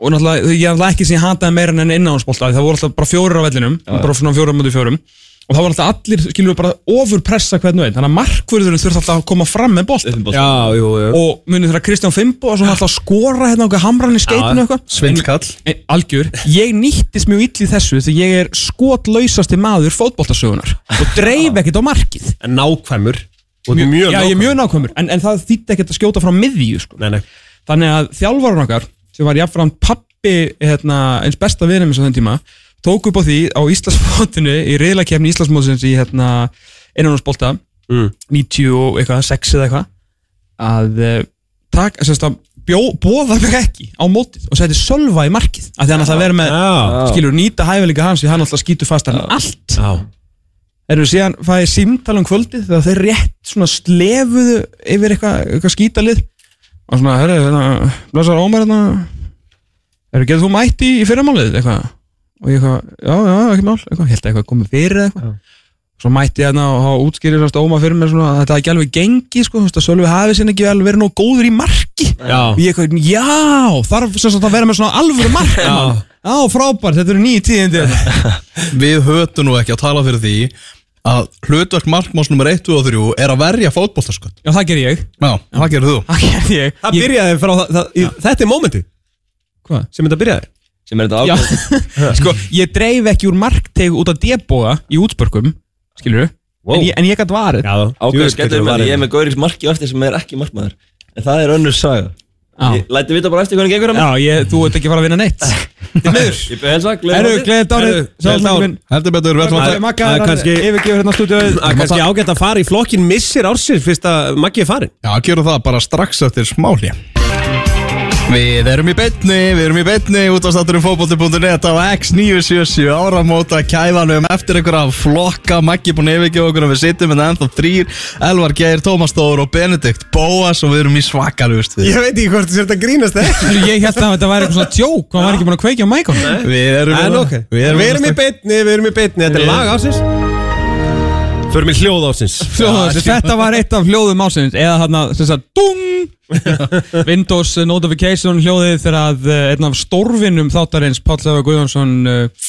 og náttúrulega, ég náttúrulega ekki sem ég hataði meira en innáhansbólta, það voru alltaf bara fjórir á vellinum, bara svona fjórir mútið fjórum og það voru alltaf allir, skilur við bara ofurpressa hvern og einn, þannig að markvörðurinn þurfti alltaf að koma fram með bóltan Já, jú, jú. og munið þegar Kristján Fimbo og svona alltaf að skora hérna okkar hamran í skeitinu eitthvað Svindlkall. En- en Algjör, ég nýttist mjög illi þessu því ég er skotlausasti maður fótboltasögunar og dreif ekkert á markið En nákvæmur. Og þú er mjög Já, ég er mjög nákvæmur, en, en það þýtti ekkert að skjóta frá miðju sko. Nei, nei. Þannig að þjálfarun okkar sem var jafnframt pappi hérna, eins besta vinum eins á þenn tíma tók upp á því á Íslandsmótinu í reyðlakefni Íslandsmótsins í hérna, einanúrsbolta Mm. 90 og eitthvað, 6 eða eitthvað að eh, tak, semst, að bjó, bóða mig ekki á mótið og seti sölva í markið af því hann ætlaði að vera með Já. skilur nýta hæfileika hans því hann alltaf skýtur fast hann allt Já. Erum við síðan fæði símtal um kvöldið þegar þeir rétt svona slefuðu yfir eitthvað eitthva skítalið og svona, herri, hérna, blessar Ómar hérna, herri, getur þú mætt í, í fyrramálið eitthvað og ég eitthvað, já, já, ekki mál, eitthvað, held að eitthvað komið fyrir eða eitthvað svo mætti ég hérna og þá útskýrið svona Ómar fyrir mér svona að þetta hafi ekki alveg gengi sko, þú veist að Sölvi hafi sinni ekki alveg verið nóg góður í marki Já. og ég eitthvað, já, þarf sem sagt að vera með svona alvöru mark já. frábært, þetta eru nýjum tíðindi hérna. Við höfum nú ekki að tala fyrir því að hlutverk markmáns nummer 1 og 3 er að verja fótboltaskott Já, það ger ég, Já, það gerir þú það ger ég Það Ég- byrjaði frá það, það í, þetta er mómenti Hvað? sem þetta byrjaði. Sem er þetta Já, ákveð. sko, ég dreif ekki úr markteg út af debóða í útspörkum, skilur Wow. en, ég- en ég gætt varð Já, Ákveð skellur með, ég er með Gauriks marki á eftir sem er ekki markmaður, en það er önnur saga. Já. Ég læti vita bara eftir hvernig gengur hann. Já, ég, þú ert ekki að fara að vinna neitt Þið miður Ég beði helsa, Erðu, gleður gleðið dárið Heyrðu, gleðilegt árið. Sjálfsmækjum minn Heldur betur, við ætlum að Magga- taka Magga það er er að kannski- yfirgefur hérna stúdíu Það er kannski ágætt að fara í flokkin missir ársins fyrst að Maggi er farin. Já, gerum það bara strax eftir smáli Við erum í betni, við erum í betni út af staturum fótbolti.net á X977 áramóta kæfanum eftir einhverja flokka Maggi búin yfirgeð okkur og við sittum en ennþá þrýr Elvar Geir, Tómas Dór og Benedikt Bóas og við erum í svakalust við. veit ekki hvort þú sér þetta grínast eða. Ég held að þetta væri eitthvað svona tjók og hann var ekki búin að kveikja á mækon Við erum, hérna- En ok, við erum, í beitni, hérna við erum í beitni, þetta er lag ársins. Förum í hljóð ársins. Þetta var eitt af hljóðum ásins eða þarna, sem sagt, dung Windows notification hljóðið þegar að eh, einn af stórvinnum þáttarins Páll Lefa Guðjónsson uh,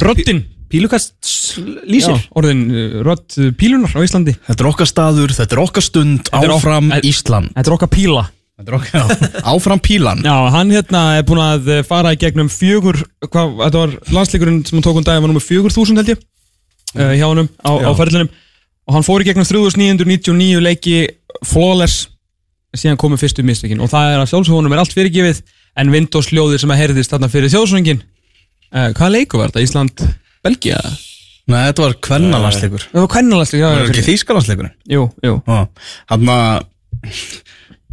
Röddinn Pílukast Já, lýsir. orðin uh, rödd uh, pílunar á Íslandi Þetta er okkar staður, þetta er okkar stund er ok- Áfram Þetta- Ísland Þetta er okkar píla Þetta er okkar Áfram Pílan Já, hann hérna er búin að uh, fara í gegnum fjögur hvað, Þetta var landsleikurinn sem hann tók um daginn var nummer fjögur þúsund held ég uh, hjá honum á, á ferlinum og hann fór í gegnum 3999 leiki flawless síðan komu fyrstu mistökin og það er að sjálfsögónum er allt fyrirgefið en Windows hljóðið sem að heyrðist þarna fyrir þjóðsöngin uh, Hvaða leiku var þetta? Ísland? Belgia? Nei, þetta var kvennalandsleikur Það var kvennalandsleik já, Það já, er ekki fyrir- þýskalandsleikurinn Jú, jú Þannig að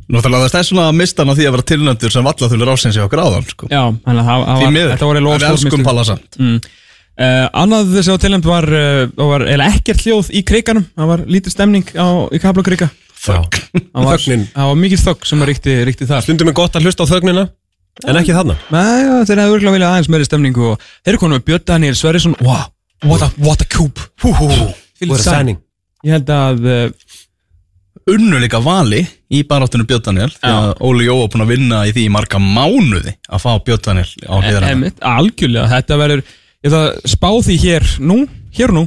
Náttúrulega það er stærst svona að mista hann af því að vera tilnöndur sem valla þulur ásins í okkur áðan sko. Já, þannig að það- það Því var- miður, þetta var eiginlega við of stór elskum mistök. Palla samt Uh, annað sem var tilhengd var, uh, það var eða ekkert hljóð í kriganum, það var lítið stemning á, í Kabla kriga Fuck Það var, Þögnin. það var mikið þögg sem var ríkti, ríkti þar Stundum er gott að hlusta á þögnina, en ekki þarna. Nei, já, Þeir hefðu örgulega viljað aðeins meiri stemningu og þeir eru konum með Björn Daniel Sverrisson wow, what, a, what a cube hú, hú, hú. What a signing. Ég held að uh, Unnu líka vali í baráttunum Björn Daniel Því að Óli Jó var búin að vinna í því í marga mánuði að fá Björn Daniel á hlýðan Emmett, algjörlega, þetta verður ég ætla að spá því hér nú hér og nú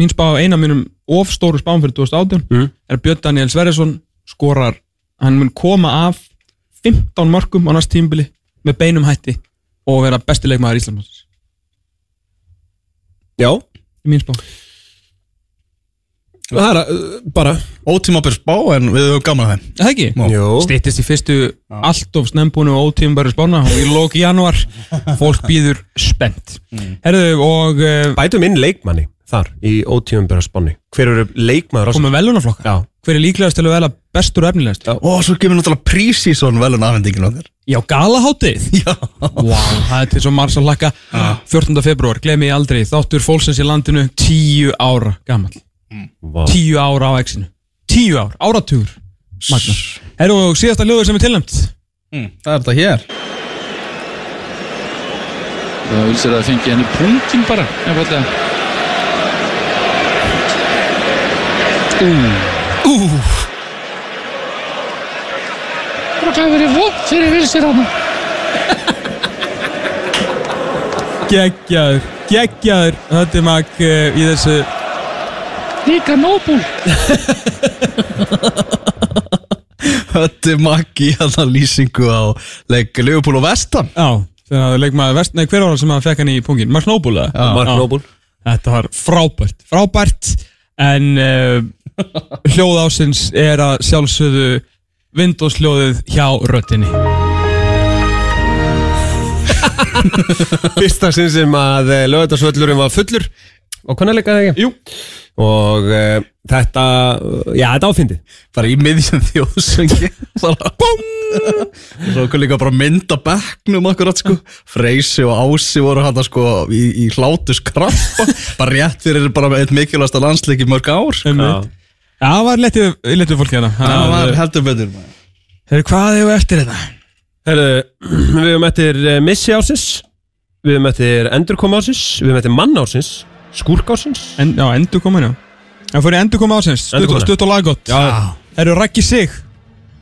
mín spá, eina mínum ofstóru spám fyrir 2018 Mhm. er Björn Daniel Sverjesson skorar, hann mun koma af 15 mörgum á næst tímbili með beinum hætti og vera besti leikmaður Íslands Já, í mín spá það er að, uh, bara. Ótímabir spá en við höfum gaman að þeim Er Það ekki? Jó. Stýttist í fyrstu allt of snembúinu og ótímbæru spána og í lóki Mm. januar fólk býður spennt Herðu og uh, Bætum inn leikmanni. þar í ótífumbera spáni? Hver eru leikmaður Komum við velunaflokka? Já, Hver er líklegast til að vela bestur og efnilegast? Já, Og svo kemur náttúrulega prísísón velun afhendingin okkar galahátið Já Vá, það er til svo margs að hlakka 14. februar, glemi ég aldrei Þáttur fólksins í landinu, 10 ára gamall vá. 10 ára á exinu 10 ár, áratugur Magnar Herru, og síðasta ljóður sem er tilnæmt Það er þetta hér Það vil sér að fengi henni punktinn bara Einfallega Ú Ú Bara hvað hefur verið vond fyrir vil sér hana Geggjaður, geggjaður Höttimag uh, í þessu Líka nóbúl Hötti Maggi í alltaf lýsingu á leik Leopold og Vestam Já, þegar að leikmaður vest Nei, hver var það sem að fekk hann í pungin? Mark Noble, eða? Mark Noble Þetta var frábært, frábært En uh, hljóð ásins er að sjálfsögðu Windows hljóðið hjá röttinni Fyrsta sinn sem að lögðarsvöllurinn var fullur og hvernig leikaði ekki? Jú. Og uh, þetta, eh, já þetta áfyndið Bara í miðjum þjóðsengi Bara BOOM Og svo okkur líka bara mynda bekknum akkurat sko Freysi og Ási voru hann sko í, í hlátus krabba Bara rétt fyrir bara eitt mikilvægasta landsleik í mörg ár sko. Já, Um það var letið, letið fólk hérna Þannig Það að- var heldur betur maður. Herru, hvað hefur eftir hérna? þetta? Herðu, við höfum eftir eh, missi ásins Við höfum eftir endurkoma ásins Við höfum eftir mann ásins Skúrk ásins En, já, endur koma hérna En fyrir endur koma ásins, stutt, Endurkoma. stutt og laggott Já. Herru, Raggi Sig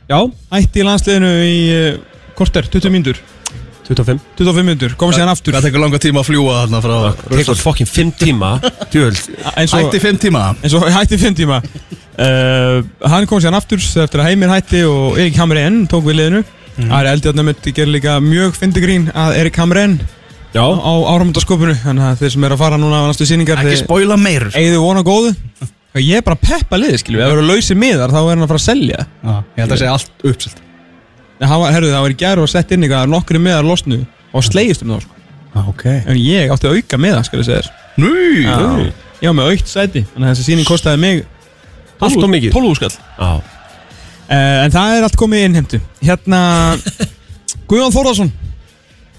Já, Ætti í landsliðinu í uh, korter, 20 mínútur 25 25 mínútur, komið síðan aftur Það tekur langa tíma að fljúa þarna frá Tekur fokkin 5 tíma Djöld eins og, Ætti fimm tíma eins og hætti 5 tíma uh, Hann kom síðan aftur eftir að Heimir hætti og Erik Hamren tók við liðinu Mhm. Það er eldjarnamönd, ég ger líka mjög fyndigrín að Erik Hamren Já, á áramöndaskopinu Þannig að þeir sem eru að fara núna á næstu síningar Ekki spoila meir Eða vona góðu Ég er bara að peppa liðið, skilju Ef það eru lausir miðar, þá er hann að fara að selja Ég held að segja allt uppselt Nei, hann var, herruðu, það var í gæru og sett inn eitthvað nokkri meðar losnu og slegist um það sko. Ok en ég átti að auka meða, skal ég segja þér Nú Já. ég var með aukt sæti, þannig að þessi síning kostaði mig Allt of mikið. 12 úrskall já Eh, en það er allt komið innhemdu hérna, Guðjón Þórðarsson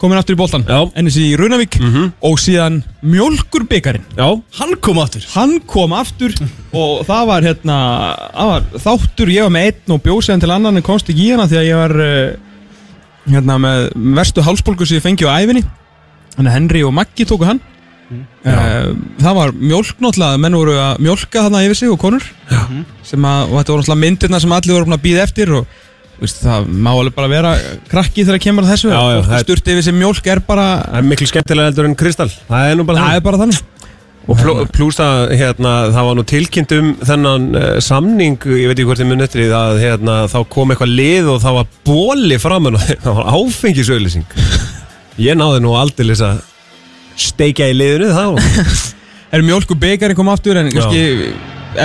komin aftur í boltan Já. Mhm. ennis í Runavík og síðan Mjölkur byggarinn Já, Hann kom aftur hann kom aftur og það var, hérna, það var þáttur, ég var með einn og bjósiðan til annan en komst ekki í hana því að ég var eh, hérna, með verstu hálsbólgu sem ég fengi á æfinni þannig að Henry og Maggi tóku hann Eh, það var mjólk náttúrulega menn voru að mjólka þarna yfir sig og konur sem að, og þetta voru náttúrulega myndirna sem allir voru búin að býða eftir og þú veist, það má alveg bara vera krakki þegar kemur að þessu Já, já, það er- sturt yfir sig mjólk er bara það er miklu skemmtilega eldur en Kristall Það er nú bara það er bara þannig Og pló- plús að hérna, það var nú tilkynnt um þennan uh, samning, ég veit ekki hvort þið munið eftir í það, að hérna, þá kom eitthvað lið og það var bóli framan og það var áfengisauðlýsing. Ég náði nú aldrei að steikja í liðinu það og er mjölku byggarinn kom aftur en kannski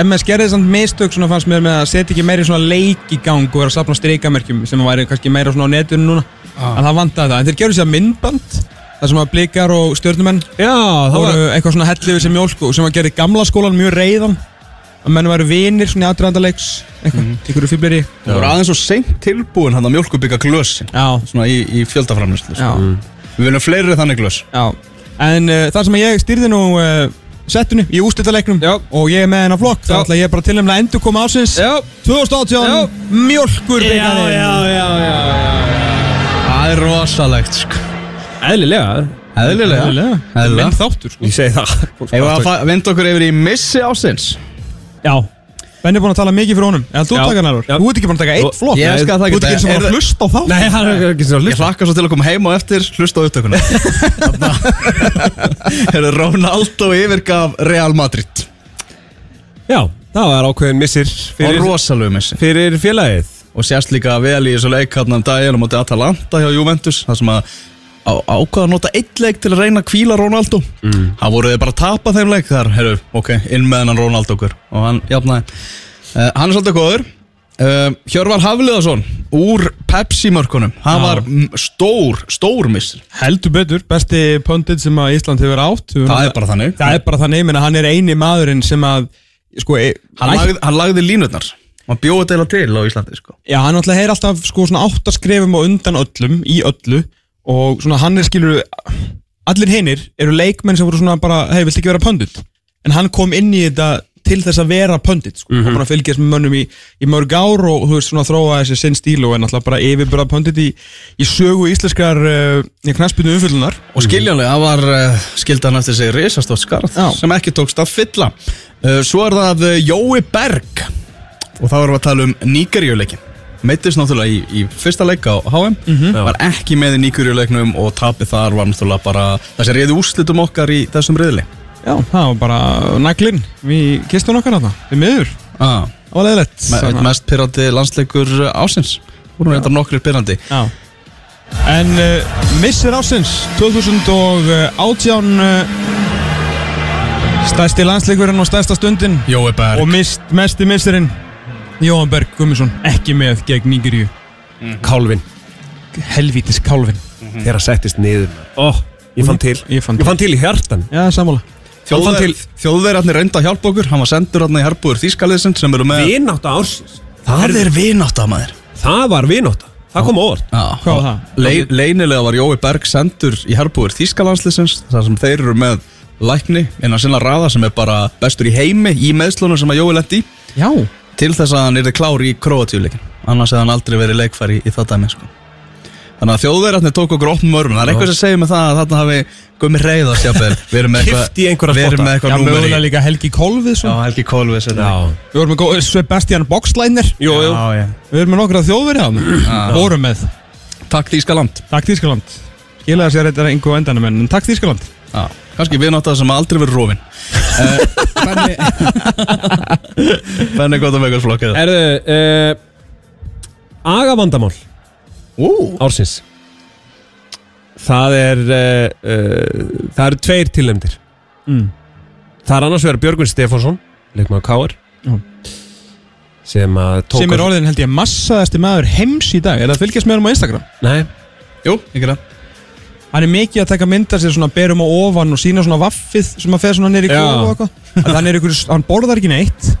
MS gerði samt mistök svona fannst mér með að setja ekki meiri svona leik í gang og vera að safna streikamerkjum sem væri kannski meira svona á netunum núna en það vantaði það, en þeir gerðu sér myndband þar sem að blikar og stjörnumenn já, það var, voru eitthvað svona hellið við sem mjölku sem að gerði gamla skólan mjög reiðan að menn væru vinir svona í aðdraðandaleiks eitthvað, Mhm. mm. ykkur fýblir í Það voru aðeins svo seint tilbúin hann að mjölkubika glösin já, Svona í, í fjöldaframlislu já, Mm. Við viljum fleiri þannig glös já en uh, þar sem að ég styrði nú uh, settunni í ústildaleiknum og ég er með hennar flokk, þá Já. ætla ég bara til að endur koma ásins já, 2018 Mjölkur já, já, já, já, Það er rosalegt sko eðlilega, Eðlilega Eðlilega. Minn þáttur sko ég segi það. Ef við að fa- vinda okkur yfir í missi ásins Já Benni er búinn að tala mikið fyrir honum En þú Já. takar nærvar Já. Þú ert ekki búinn að taka Þú- eitt flokk Ég skal það ekki Þú ert ekki eins og Er- bara að hlusta á þá Nei, það er ekki svona Ég hlust. hlakka svo til að koma heim og eftir hlusta á upptökuna Þarna er Ronaldo yfirgaf Real Madrid Já, það var ákveðin missir Og fyrir, rosalegu missi fyrir félagið. og sérst líka vel í þessu leik hann um daginn á móti Atalanta hjá Juventus þar sem að á, ákvaða að nota eitt leik til að reyna að kvíla Ronaldo mm. hann voruði bara að tapa þeim leik þar herru, ok, inn með hennan Ronaldo okkur og hann jafnaði uh, hann er Eh, svolítið góður uh, Hjörvar Hafliðarsson úr Pepsi-mörkunum Hann Já. var mm, stór, stór missir Heldur betur, besti pundit sem að Ísland hefur átt Við Það vorum- er bara þannig það er bara þannig, ég meina, hann er eini maðurinn sem að sko, e- Hann, lagði, hann lagði línutnar Hann bjóði þetta eiginlega til á Íslandi sko. Já, hann alltaf heyr alltaf sko svona átta skrefum og undan öllum í öllu og svona hann er skilur allir hinnir eru leikmenn sem voru svona bara hei, viltu ekki vera pöndut? En hann kom inn í þetta til þess að vera pöndut sko. mm -hmm. hann fylgjast með mönnum í, í mörg ár og þú veist svona þróa þessi sinn stíl og er náttúrulega bara yfirbyrða pöndut í, í sögu íslenskar uh, knaspinu umfyllunar Og skiljanlega, hann var uh, skildan eftir sig risastótt skarð Já. sem ekki tókst að fylla uh, Svo er það uh, Jói Berg og þá erum við að tala um Nígerjuleikin Meittist náttúrulega í, í fyrsta leik á HM var ekki með í Nígerjuleiknum og tapið þar var náttúrulega bara þessi reyði úrslitum okkar í þessum reyðli Já, það var bara naglinn við kistum okkar að það, við miður ah, það var leðilegt me, einn mest pyrrandi landsleikur uh, ásins voru þetta nokkrir pyrrandi Já En uh, Missir Ásins 2018 uh, Stærsti landsleikurinn og stærsta stundin Jói Berg Og mist, mesti missirinn Jóhann Berg Gummisson Ekki með gegn Nígeríu Kálvin, Helvítis kálfin þegar að settist niður Ó, ég fann til Ég fann Ég fann til í hjartan Já, sammála Ég fann til Þjóðverðarnir reynda að hjálpa okkur Hann var sendur hann í herbúður Þískaliðsinn sem eru með vinátt ársins Það er vinátt af maður Það var vinátt Það kom á óvart Já, Hvað var það? Le leynilega var Jói Berg sendur í herbúður Þískalandsliðsins þar sem þeir eru með lækni innan sinna raða sem er bara bestur í heimi í meðslunum sem að Jói lendi í Já til þess að hann yrði klár í króatíuleikin annars hefði hann aldrei verið leikfæri í það dæmi sko. þannig að þjóðverðarnir tók okkur opnum örmum það er eitthvað sem segir mig það að þarna hafi gummi reyðast jafnvel verið með Keypt í einhverja verið spotta. með Já, eitthvað númeri mögulega líka Helgi Já, Kolviðsson Helgi Kólvið Við vorum með góð- Sebastian Boxleiner Jú, jú Við vorum með nokkra þjóðverið á hann Vorum með Takk Þískaland Takk Þískaland Skilaði sér þetta einhver á endanum en en takk Þískaland Já, kannski við náttu það sem aldrei verið rofin Þannig Þannig gott um að með eitthvað flokkið Erðu uh, Agavandamál Ú, ársins Það er uh, uh, Það eru tveir tilnefndir Mm. Það er annars vegar Björgvin Stefánsson Leikmaður Káar Mm. Sem að tók sem er á- orðin held ég massaðasti maður heims í dag er það að fylgjast með hann á Instagram Nei, jú, ekki það hann er mikið að taka mynda sér svona berum á ofan og sína svona vaffið sem að feða svona neyri í Já. kofa og eitthvað Að hann er ykkur, hann borðar ekki neitt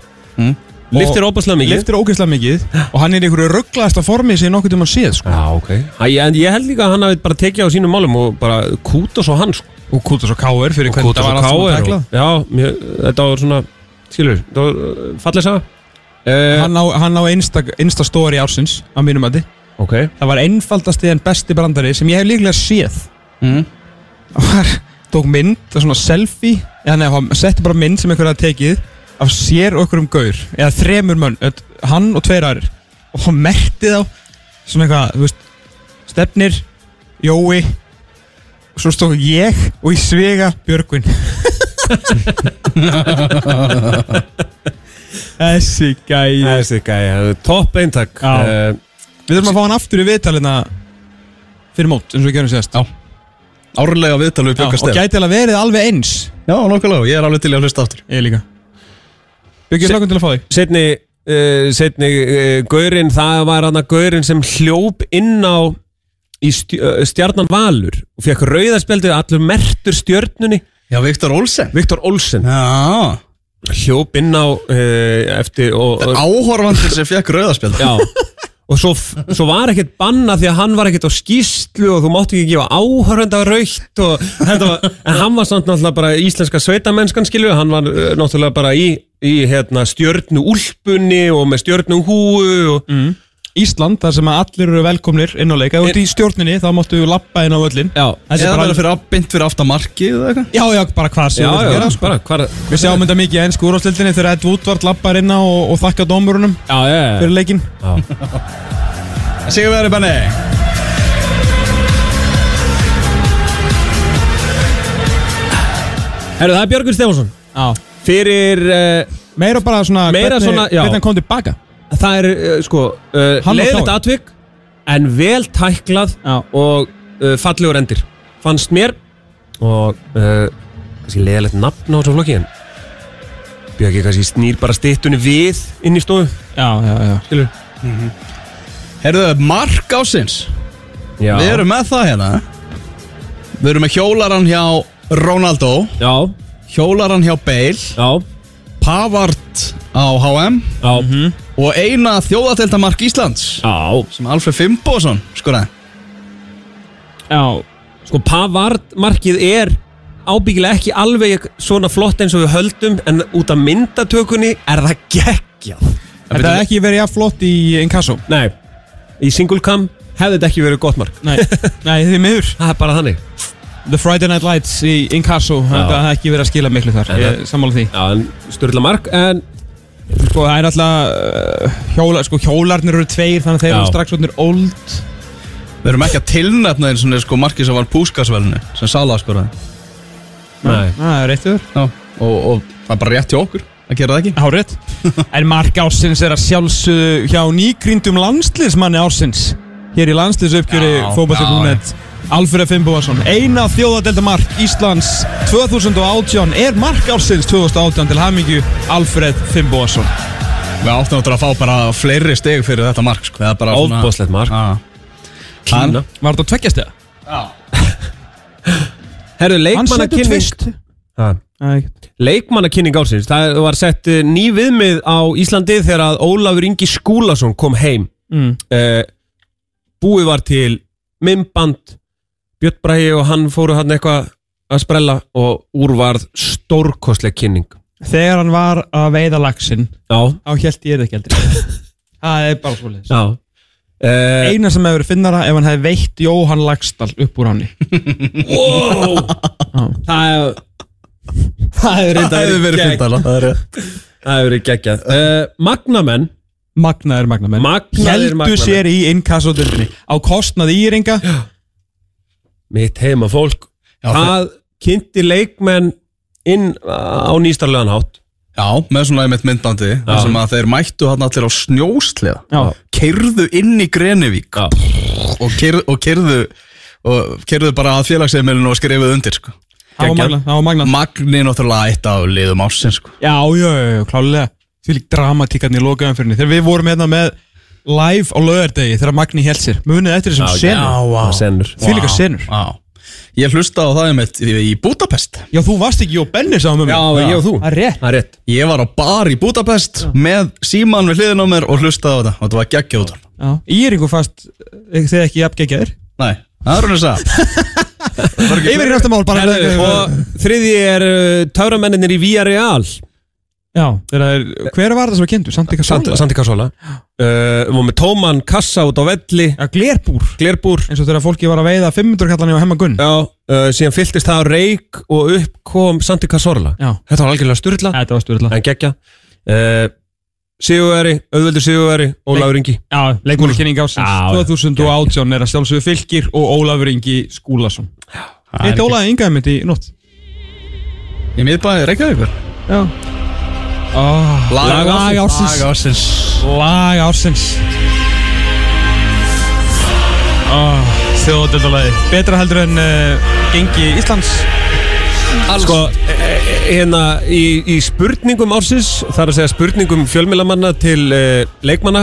liftir óbáslega mikið liftir ógeðslega mikið og hann er ykkur rugglaðasta formið sem ég nokkuð tíma séð sko. Já, ok Æ, En ég held líka að hann hafi bara tekið á sínum málum og bara kúta svo hann sko. og Kútas og Káir fyrir hvernig Kúta það svo var allt sem að Káar tekla og, Já, mér, þetta var svona Skilur, þetta var uh, falleg saga uh, hann á, hann á Insta, Insta story ársins á mínum mati Ok það var einfaldasti en besti brandari sem ég hef líklega séð mm. var, tók mynd, það var svona selfie eða nefn, hann setti bara mynd sem einhver að tekið af sér og einhverjum gaur eða þremur mönn, öll- hann og tveir aðrir og hann merkti þá svona eitthvað, þú veist, stefnir Jói og svo stók ég og ég svega Björgvin Þessi gæja Þessi gæja, topp eintak Já. Eh, Við þurfum að fá hann aftur í viðtalina fyrir mót, eins og við gerum sérst Já, Árlega viðtalið við og Björgar Steff gæti alveg verið alveg eins Já, nokkulega, ég er alveg til í að hlusta aftur Ég líka Björgir, slökkum til að fá þig Setni, uh, setni uh, Gaurin, það var hann að Gaurin sem hljóp inn á í stj uh, stjarnan Valur og fekk rauðarspjaldið allur mertur stjörnunni Já, Viktor Olsen Viktor Olsen Já, hljóp inn á uh, eftir og, og, áhorfandir sem fekk rauðaspjald já, og svo, svo var ekkert banna því að hann var ekkert á skýslu og þú mátti ekki gefa áhörenda raukt og, þetta var, en hann var samt náttúrulega bara íslenska sveitamennskan skilju hann var uh, náttúrulega bara í, í hérna, stjörnu úlpunni og með stjörnu húu og Ísland, þar sem að allir eru velkomnir inn á leik Ef þú ert í stjórninni, þá máttu lappa inn á völlin Já, Þessi Eða bara- verið fyrir afbynd fyrir aftamarkið eða eitthvað já, já, bara hvað sem já, við já, gera já, sko. bara, hvar, Við sjáum þetta mikið í ennsku úrváðslildinni þegar Ed Woodward lappar inn á og, og þakka dómurunum já, já, fyrir leikin Sigur verið benni Herru, það er Björgur Stefánsson Já Fyrir, uh, Meira bara svona, Meira hvernig, svona, já. hvernig hann kom tilbaka það er, uh, sko, uh, Hann og leiðitt Kári. atvik En vel tæklað Já. og uh, fallegur endir Fannst mér Og, uh, kannski leiðilegt nafn á þessu flokki En Björgi kannski snýr bara stittunni við inn í stofu Já, já, já Skilur Herðu, mark ásins Já. Við erum með það hérna Við erum með hjólaran hjá Ronaldo Já, Hjólaran hjá Bale já, Pavard á HM já, mm Mhm. -hmm. Og eina þjóðateldamark Íslands já Sem Alfred Fimboðsson skoraði Já, Sko Pavard-markið er ábyggilega ekki alveg svona flott eins og við höldum en út af myndatökunni er það geggjað þetta hefði ekki verið jafn flott í Inkasso Nei, í single cam hefði þetta ekki verið gott mark Nei, nei því miður Það er bara þannig The Friday Night Lights í Inkasso Það hefði ekki verið að skila miklu þar Ég er sammála því Já, en styrla mark en Sko það er alltaf uh, hjóla, sko, Hjólarnir eru tveir þannig að þeir Já. eru strax orðnir old Við erum ekki að tilnefna þeir svona sko marki sem var púskasvelinu Sem Sala skoraði Nei, Á, Ah, Það er réttur Já, og, og það er bara rétt hjá okkur að gera það ekki Hárið En mark ársins er að sjálfsögðu hjá nýgrindum landsliðsmanni ársins Hér í landsliðsöpgjöri Já, fókbaltabúnet Alfred Fimboðarsson Eina þjóðadelda mark Íslands 2018 er mark ársins 2018 til hamingju Alfred Fimboðarsson Við áttum náttúrulega að fá bara fleiri steg fyrir þetta mark sko. Það er bara svona- Ofboðslegt mark. Já. Kína Var þetta tveggjast eða? Herðu, Hann setur leikmannakynning tvist Ha. Leikmannakynning ársins Það var sett eh, ný viðmið á Íslandi þegar að Ólafur Ingi Skúlason kom heim Mm. Eh, Búið var til mymband Björn Bræði og hann fóru hann eitthvað að sprella og úr varð stórkostleg kynning Þegar hann var að veiða laxinn Já, Á hjælt ég er það ekki aldrei Það er bara svolítið já Uh, Eina sem hefur verið finnara ef hann hefði veitt Jóhann Lagstall upp úr hann wow. Það er Það er Það hefur verið fyrndala Það er rétt Það hefur verið geggjað uh, Magnamenn Magnaðir magnamenn Magnaðir Hjeldu magnamenn sér í innkassodöldinni Á kostnað íringa Mitt heima fólk Já, Það kynnti leikmenn inn á nýstarlegan hátt Já, með svona einmitt myndbandi þar sem að þeir mættu hann allir á snjóslega Já. keirðu inn í Grenivík Já. og, keir, og keirðu og keirðu bara að félagsheimilinu og skrifuðu undir sko. Það var Geggjað. magnað, það var magnað Magni náttúrulega eitt af liðum ásins sko. Já, já, já, já, klálega Því lík dramatíkarnir í lokaðan fyrir henni Þegar við vorum hérna með live á laugardegi Þegar Magni held sér Munið eftir þessum senur wow. Senur Því líka senur Já. Ég hlusta á það einmitt í, í Budapest Já, þú varst ekki Jó Bennis á mömmu Já, ég og þú um Það er rétt Það er rétt Ég var á bar í Budapest með síman við hliðin á mér og hlustaði á þetta og þetta var geggja út já. Íringu fast Þegar eh, ekki jafngeggjaðir Nei, það er hún að sagða Yfir í næsta mál bara Herðu, Og þriði er uh, Tauramennir í Villarreal Já, þegar það er Hver var það sem var kynntu? Samt eitthvað Sant- sálega Santi Kassola uh, um Með tóman kassa út á velli Já, glerbúr Glerbúr Eins og þegar fólki var að veiða 500 kallan hjá hemma Gunn Já, uh, síðan fylltist það á reik og upp kom Santi Casorla Já. Þetta var algjörlega styrla, Þetta var styrla en geggja uh, Sigurveri, auðvöldur Sigurveri Ólafur Ingi Já, leikmannakynning ásins Já, já. 2018 er að sjálfsögðu fylgir og Ólafur Ingi Skúlason Eitt Ólafur Inga er mitt í nótt Ég miðbæði Reykjavíkur Já oh, Lag ársins. Lag ársins Lag ársins oh, Þjóðdöldalagi Betra heldur en uh, gengi Íslands Sko, e- e- hérna í, í spurningum ársins þar að segja spurningum fjölmilamanna til uh, leikmanna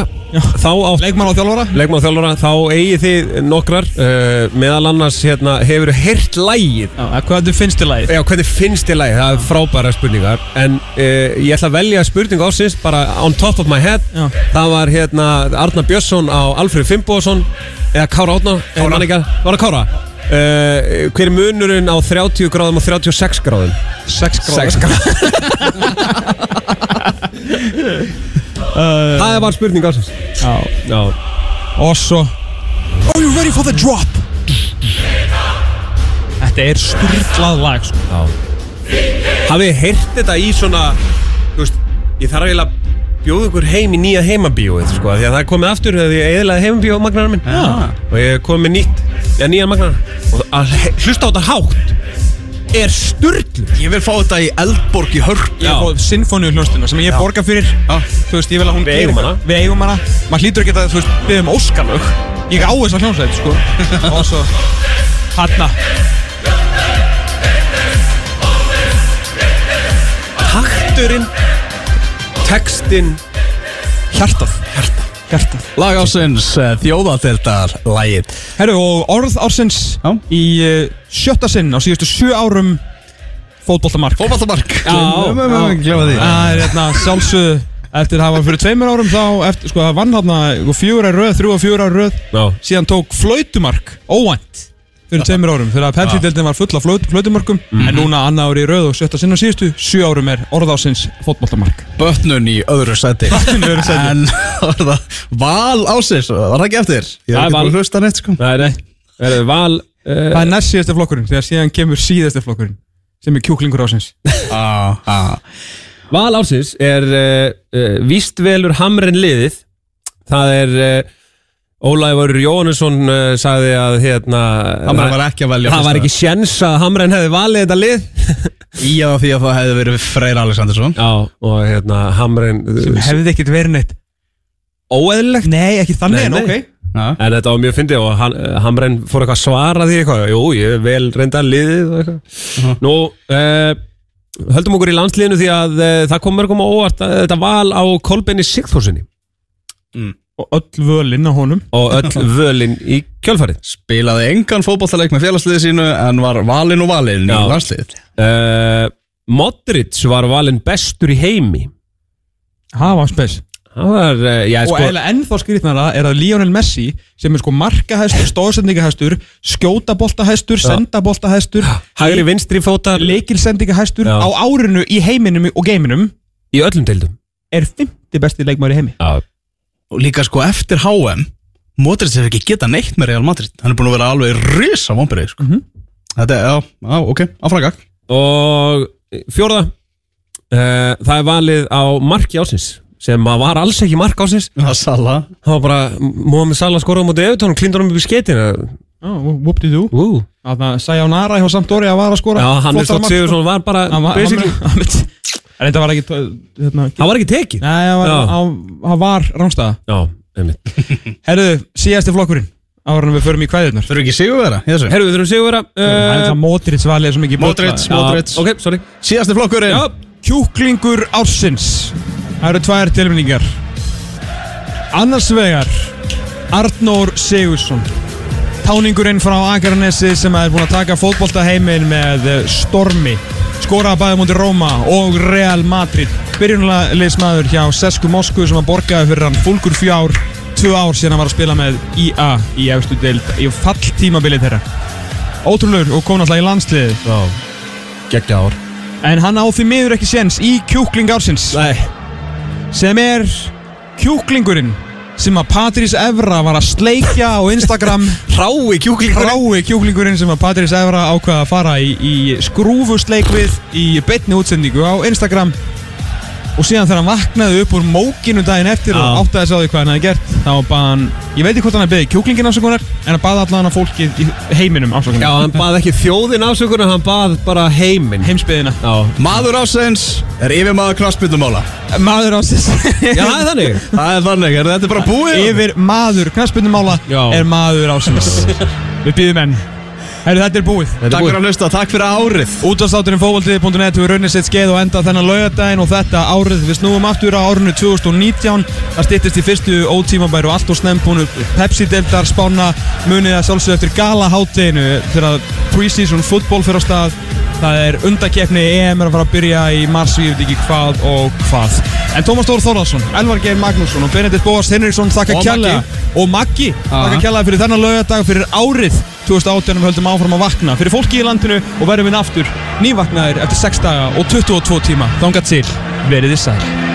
þá átt Leikmann og þjálfara leikmann og þjálfara, þá eigið þið nokkrar uh, meðal annars hérna, hefur heyrt lægið Já, að hvað þú finnst í lagið? Já, hvernig finnst þér lagið? Það er frábæra spurningar En uh, ég ætla að velja spurningu ásins bara on top of my head Já. Það var hérna Arna Björnsson á Alfred Fimboðsson eða Kára Átna Kára ekki, Var það Kára? Uh, hver er munurinn á 30 gráðum og 36 gráðum? 6 gráður Sex gráðum Það var spurning ásins Já, Já og svo Are you ready for the drop? Þetta er styrlað lag sko. Hafið þið heyrt þetta í svona Þú veist, ég þarf eiginlega að bjóða ykkur heim í nýja heimabíóið sko, af Því að það er komið aftur þegar ég eðlaði heimabíó magnarar minn Já. Og ég er komið með nýtt Já, nýjan magnarar Og að he- hlusta á þetta hátt Er sturglu Ég vil fá þetta í Eldborg í Hörp Ég fóð sinfóníu hljónstuna sem ég borga fyrir Þú veist, ég vil að hún Við geri eigum eitthvað. hana. Við eigum hana Maður hlýtur ekki að, þú veist, við um óskalög Ég á þessa hljónsæti, sko Og svo Hanna Takturinn Textinn Hjartað Hjartað Hjartað Lag eh, ásins þjóðadeldar lægið Herru, og orð ársins Já. í uh, sjötta sinn á síðustu sjö árum fótboltamark Fótballamark Glefa því Það er hérna sjálfsögðu eftir að hafa fyrir tveimur árum þá eftir, sko, það vann hérna fjóra röð, þrjú og fjóra röð Já. síðan tók flautumark óvænt fyrir tveimur árum þegar að Pepsi-deldin var full af flaut, flautumarkum en núna annað ári í röð og sjötta sinn á síðustu sjö árum er orðásins fótboltamark Bötnun í öðru sæti Bötnun í öðru sæti. En var það val ásins Var það ekki eftir? Ég Það er er ekki Val. búin að hlusta neitt sko Nei, nei Er það val uh, Það er næst síðasti flokkurinn þegar síðan kemur síðasti flokkurinn sem er kjúklingur ásins Á, á. Val ásins er uh, uh, Vístvelur Hamren liðið Það er uh, Ólæfur Jóhannesson uh, sagði að hérna Hamren var ekki að velja Það fyrsta. var ekki sjens að Hamren hefði valið þetta lið Í að því að það hefði verið Freyr Alexandersson Já Og hérna Hamren sem hefði ekkert verið neitt Óeðlilegt Nei, ekki þannig Nei, en nei. ok Já. En þetta var mjög fyndið og hann, eh, Hamren fór eitthvað að svara því eitthvað Jú, ég er vel reynda liðið og eitthvað Nú, uh, höldum okkur í landsliðinu því að uh, það kom mörgum á óvart að þetta val á Kolbeini Sigþórsinni Og öll völinn á honum og öll völin í kjölfarið Spilaði engan fótballaleik með félagsliði sínu En var valinn og valinn í Já. landslið uh, Modric var valinn bestur í heimi Það var spes Það var, uh, já, Og sko eiginlega ennþá skrýtnara er að Lionel Messi sem er sko markahæstur, stóðsendingahæstur skjótaboltahæstur, sendaboltahæstur Hægri vinstri fótar leikilsendingahæstur Já. á árinu í heiminum og geiminum í öllum deildum er fymti besti leikmaður í heimi Já, Og líka sko eftir HM Modric hefur ekki getað neitt með Real Madrid Hann er búin að vera alveg risa vombrið sko. Mhm. Þetta er, já, já, ok, áfranga Og fjórða uh, Það er valið á marki ásins sem að var alls ekki mark ásins Það er Sala Það var bara Mohamed Salah skoraði á móti Evertón og klíndur hann upp í skeitina oh, Whoop did you Ú, Þannig að Sæjá Nara hjá Sampdóri að vara að skora Já, Hannes Þótt Sigursson var bara sko. Hann var- hann basically- var- En þetta var ekki hérna, Hann var ekki tekið Nei, hann var, Já. hann- hann var rámstæða Já, einmitt Herðu, síðasti flokkurinn Ára en við förum í kvæðirnar Þurfum ekki sigurvera í þessu Herru, við þurfum sigurvera Það er uh, það Modric valið svo mikið Modric, bulla. Modric Ok, sorry Síðasti flokkurinn Já, Kjúklingur ársins Það eru tvær tilmyndingar Annars vegar Arnór Sigursson Táningurinn frá Akarnesi sem er búin að taka fótboltaheimin með eh, stormi skoraði bæði múti Róma og Real Madrid byrjunarleismadur hjá Sesku Moskvu sem að borgaði fyrir hann fólkur fjár tvö ár síðan hann var að spila með IA í efstu deild í falltímabilið þeirra ótrúlegur og kom náttúrulega í landsliðið Gekkja ár En hann á því miður ekki séns í kjúkling ársins Nei sem er kjúklingurinn sem að Patrís Evra var að sleikja á Instagram Rái kjúklingur Rái kjúklingurinn sem að Patrís Evra ákvaða að fara í, í skrúfusleik við í beinni útsendingu á Instagram og síðan þegar hann vaknaði upp úr mókinu daginn eftir og Já. áttaði sig á því hvað hann hefði gert þá baða hann, ég veit ekki hvort hann hefði beðið kjúklingin afsökunar en hann baða allan að fólkið í heiminum Já, afsökunar hann bað ekki þjóðin afsökunar, hann bað bara heiminn heimsbyðina Já, Maður ásins er yfirmaður knassbyttumála maður ásins já það er þannig Það er þannig, er þetta bara búið? yfir maður knastbundumála Já. er maður ásins Við býðum enn Herru, þetta er búið Takk fyrir að hlusta, takk fyrir árið Útastátturinn fókvaldið.net hefur raunnið sitt skeið og endað þennan laugardaginn og þetta árið við snúum aftur á árinu 2019 það styttist í fyrstu ótímabæru allt og snembúnu Pepsi-deildar spána munið að sjálfsögðu eftir gala hátteginu þegar pre-season fútból fyrir á stað það er undakefni EM er að fara að byrja í mars og ég veit ekki hvað og hvað en Tómas Dór Þórðarsson, Elvar Geir Magnússon og Benedikt Bóas Henriksson þakka Og kjalla og Maggi þakka kjalla fyrir þennan laugardag fyrir árið 2018 við höldum áfram að vakna fyrir fólki í landinu og verðum við aftur nývaknaðir eftir 6 daga og 22 tíma þangat til, verið þið sæl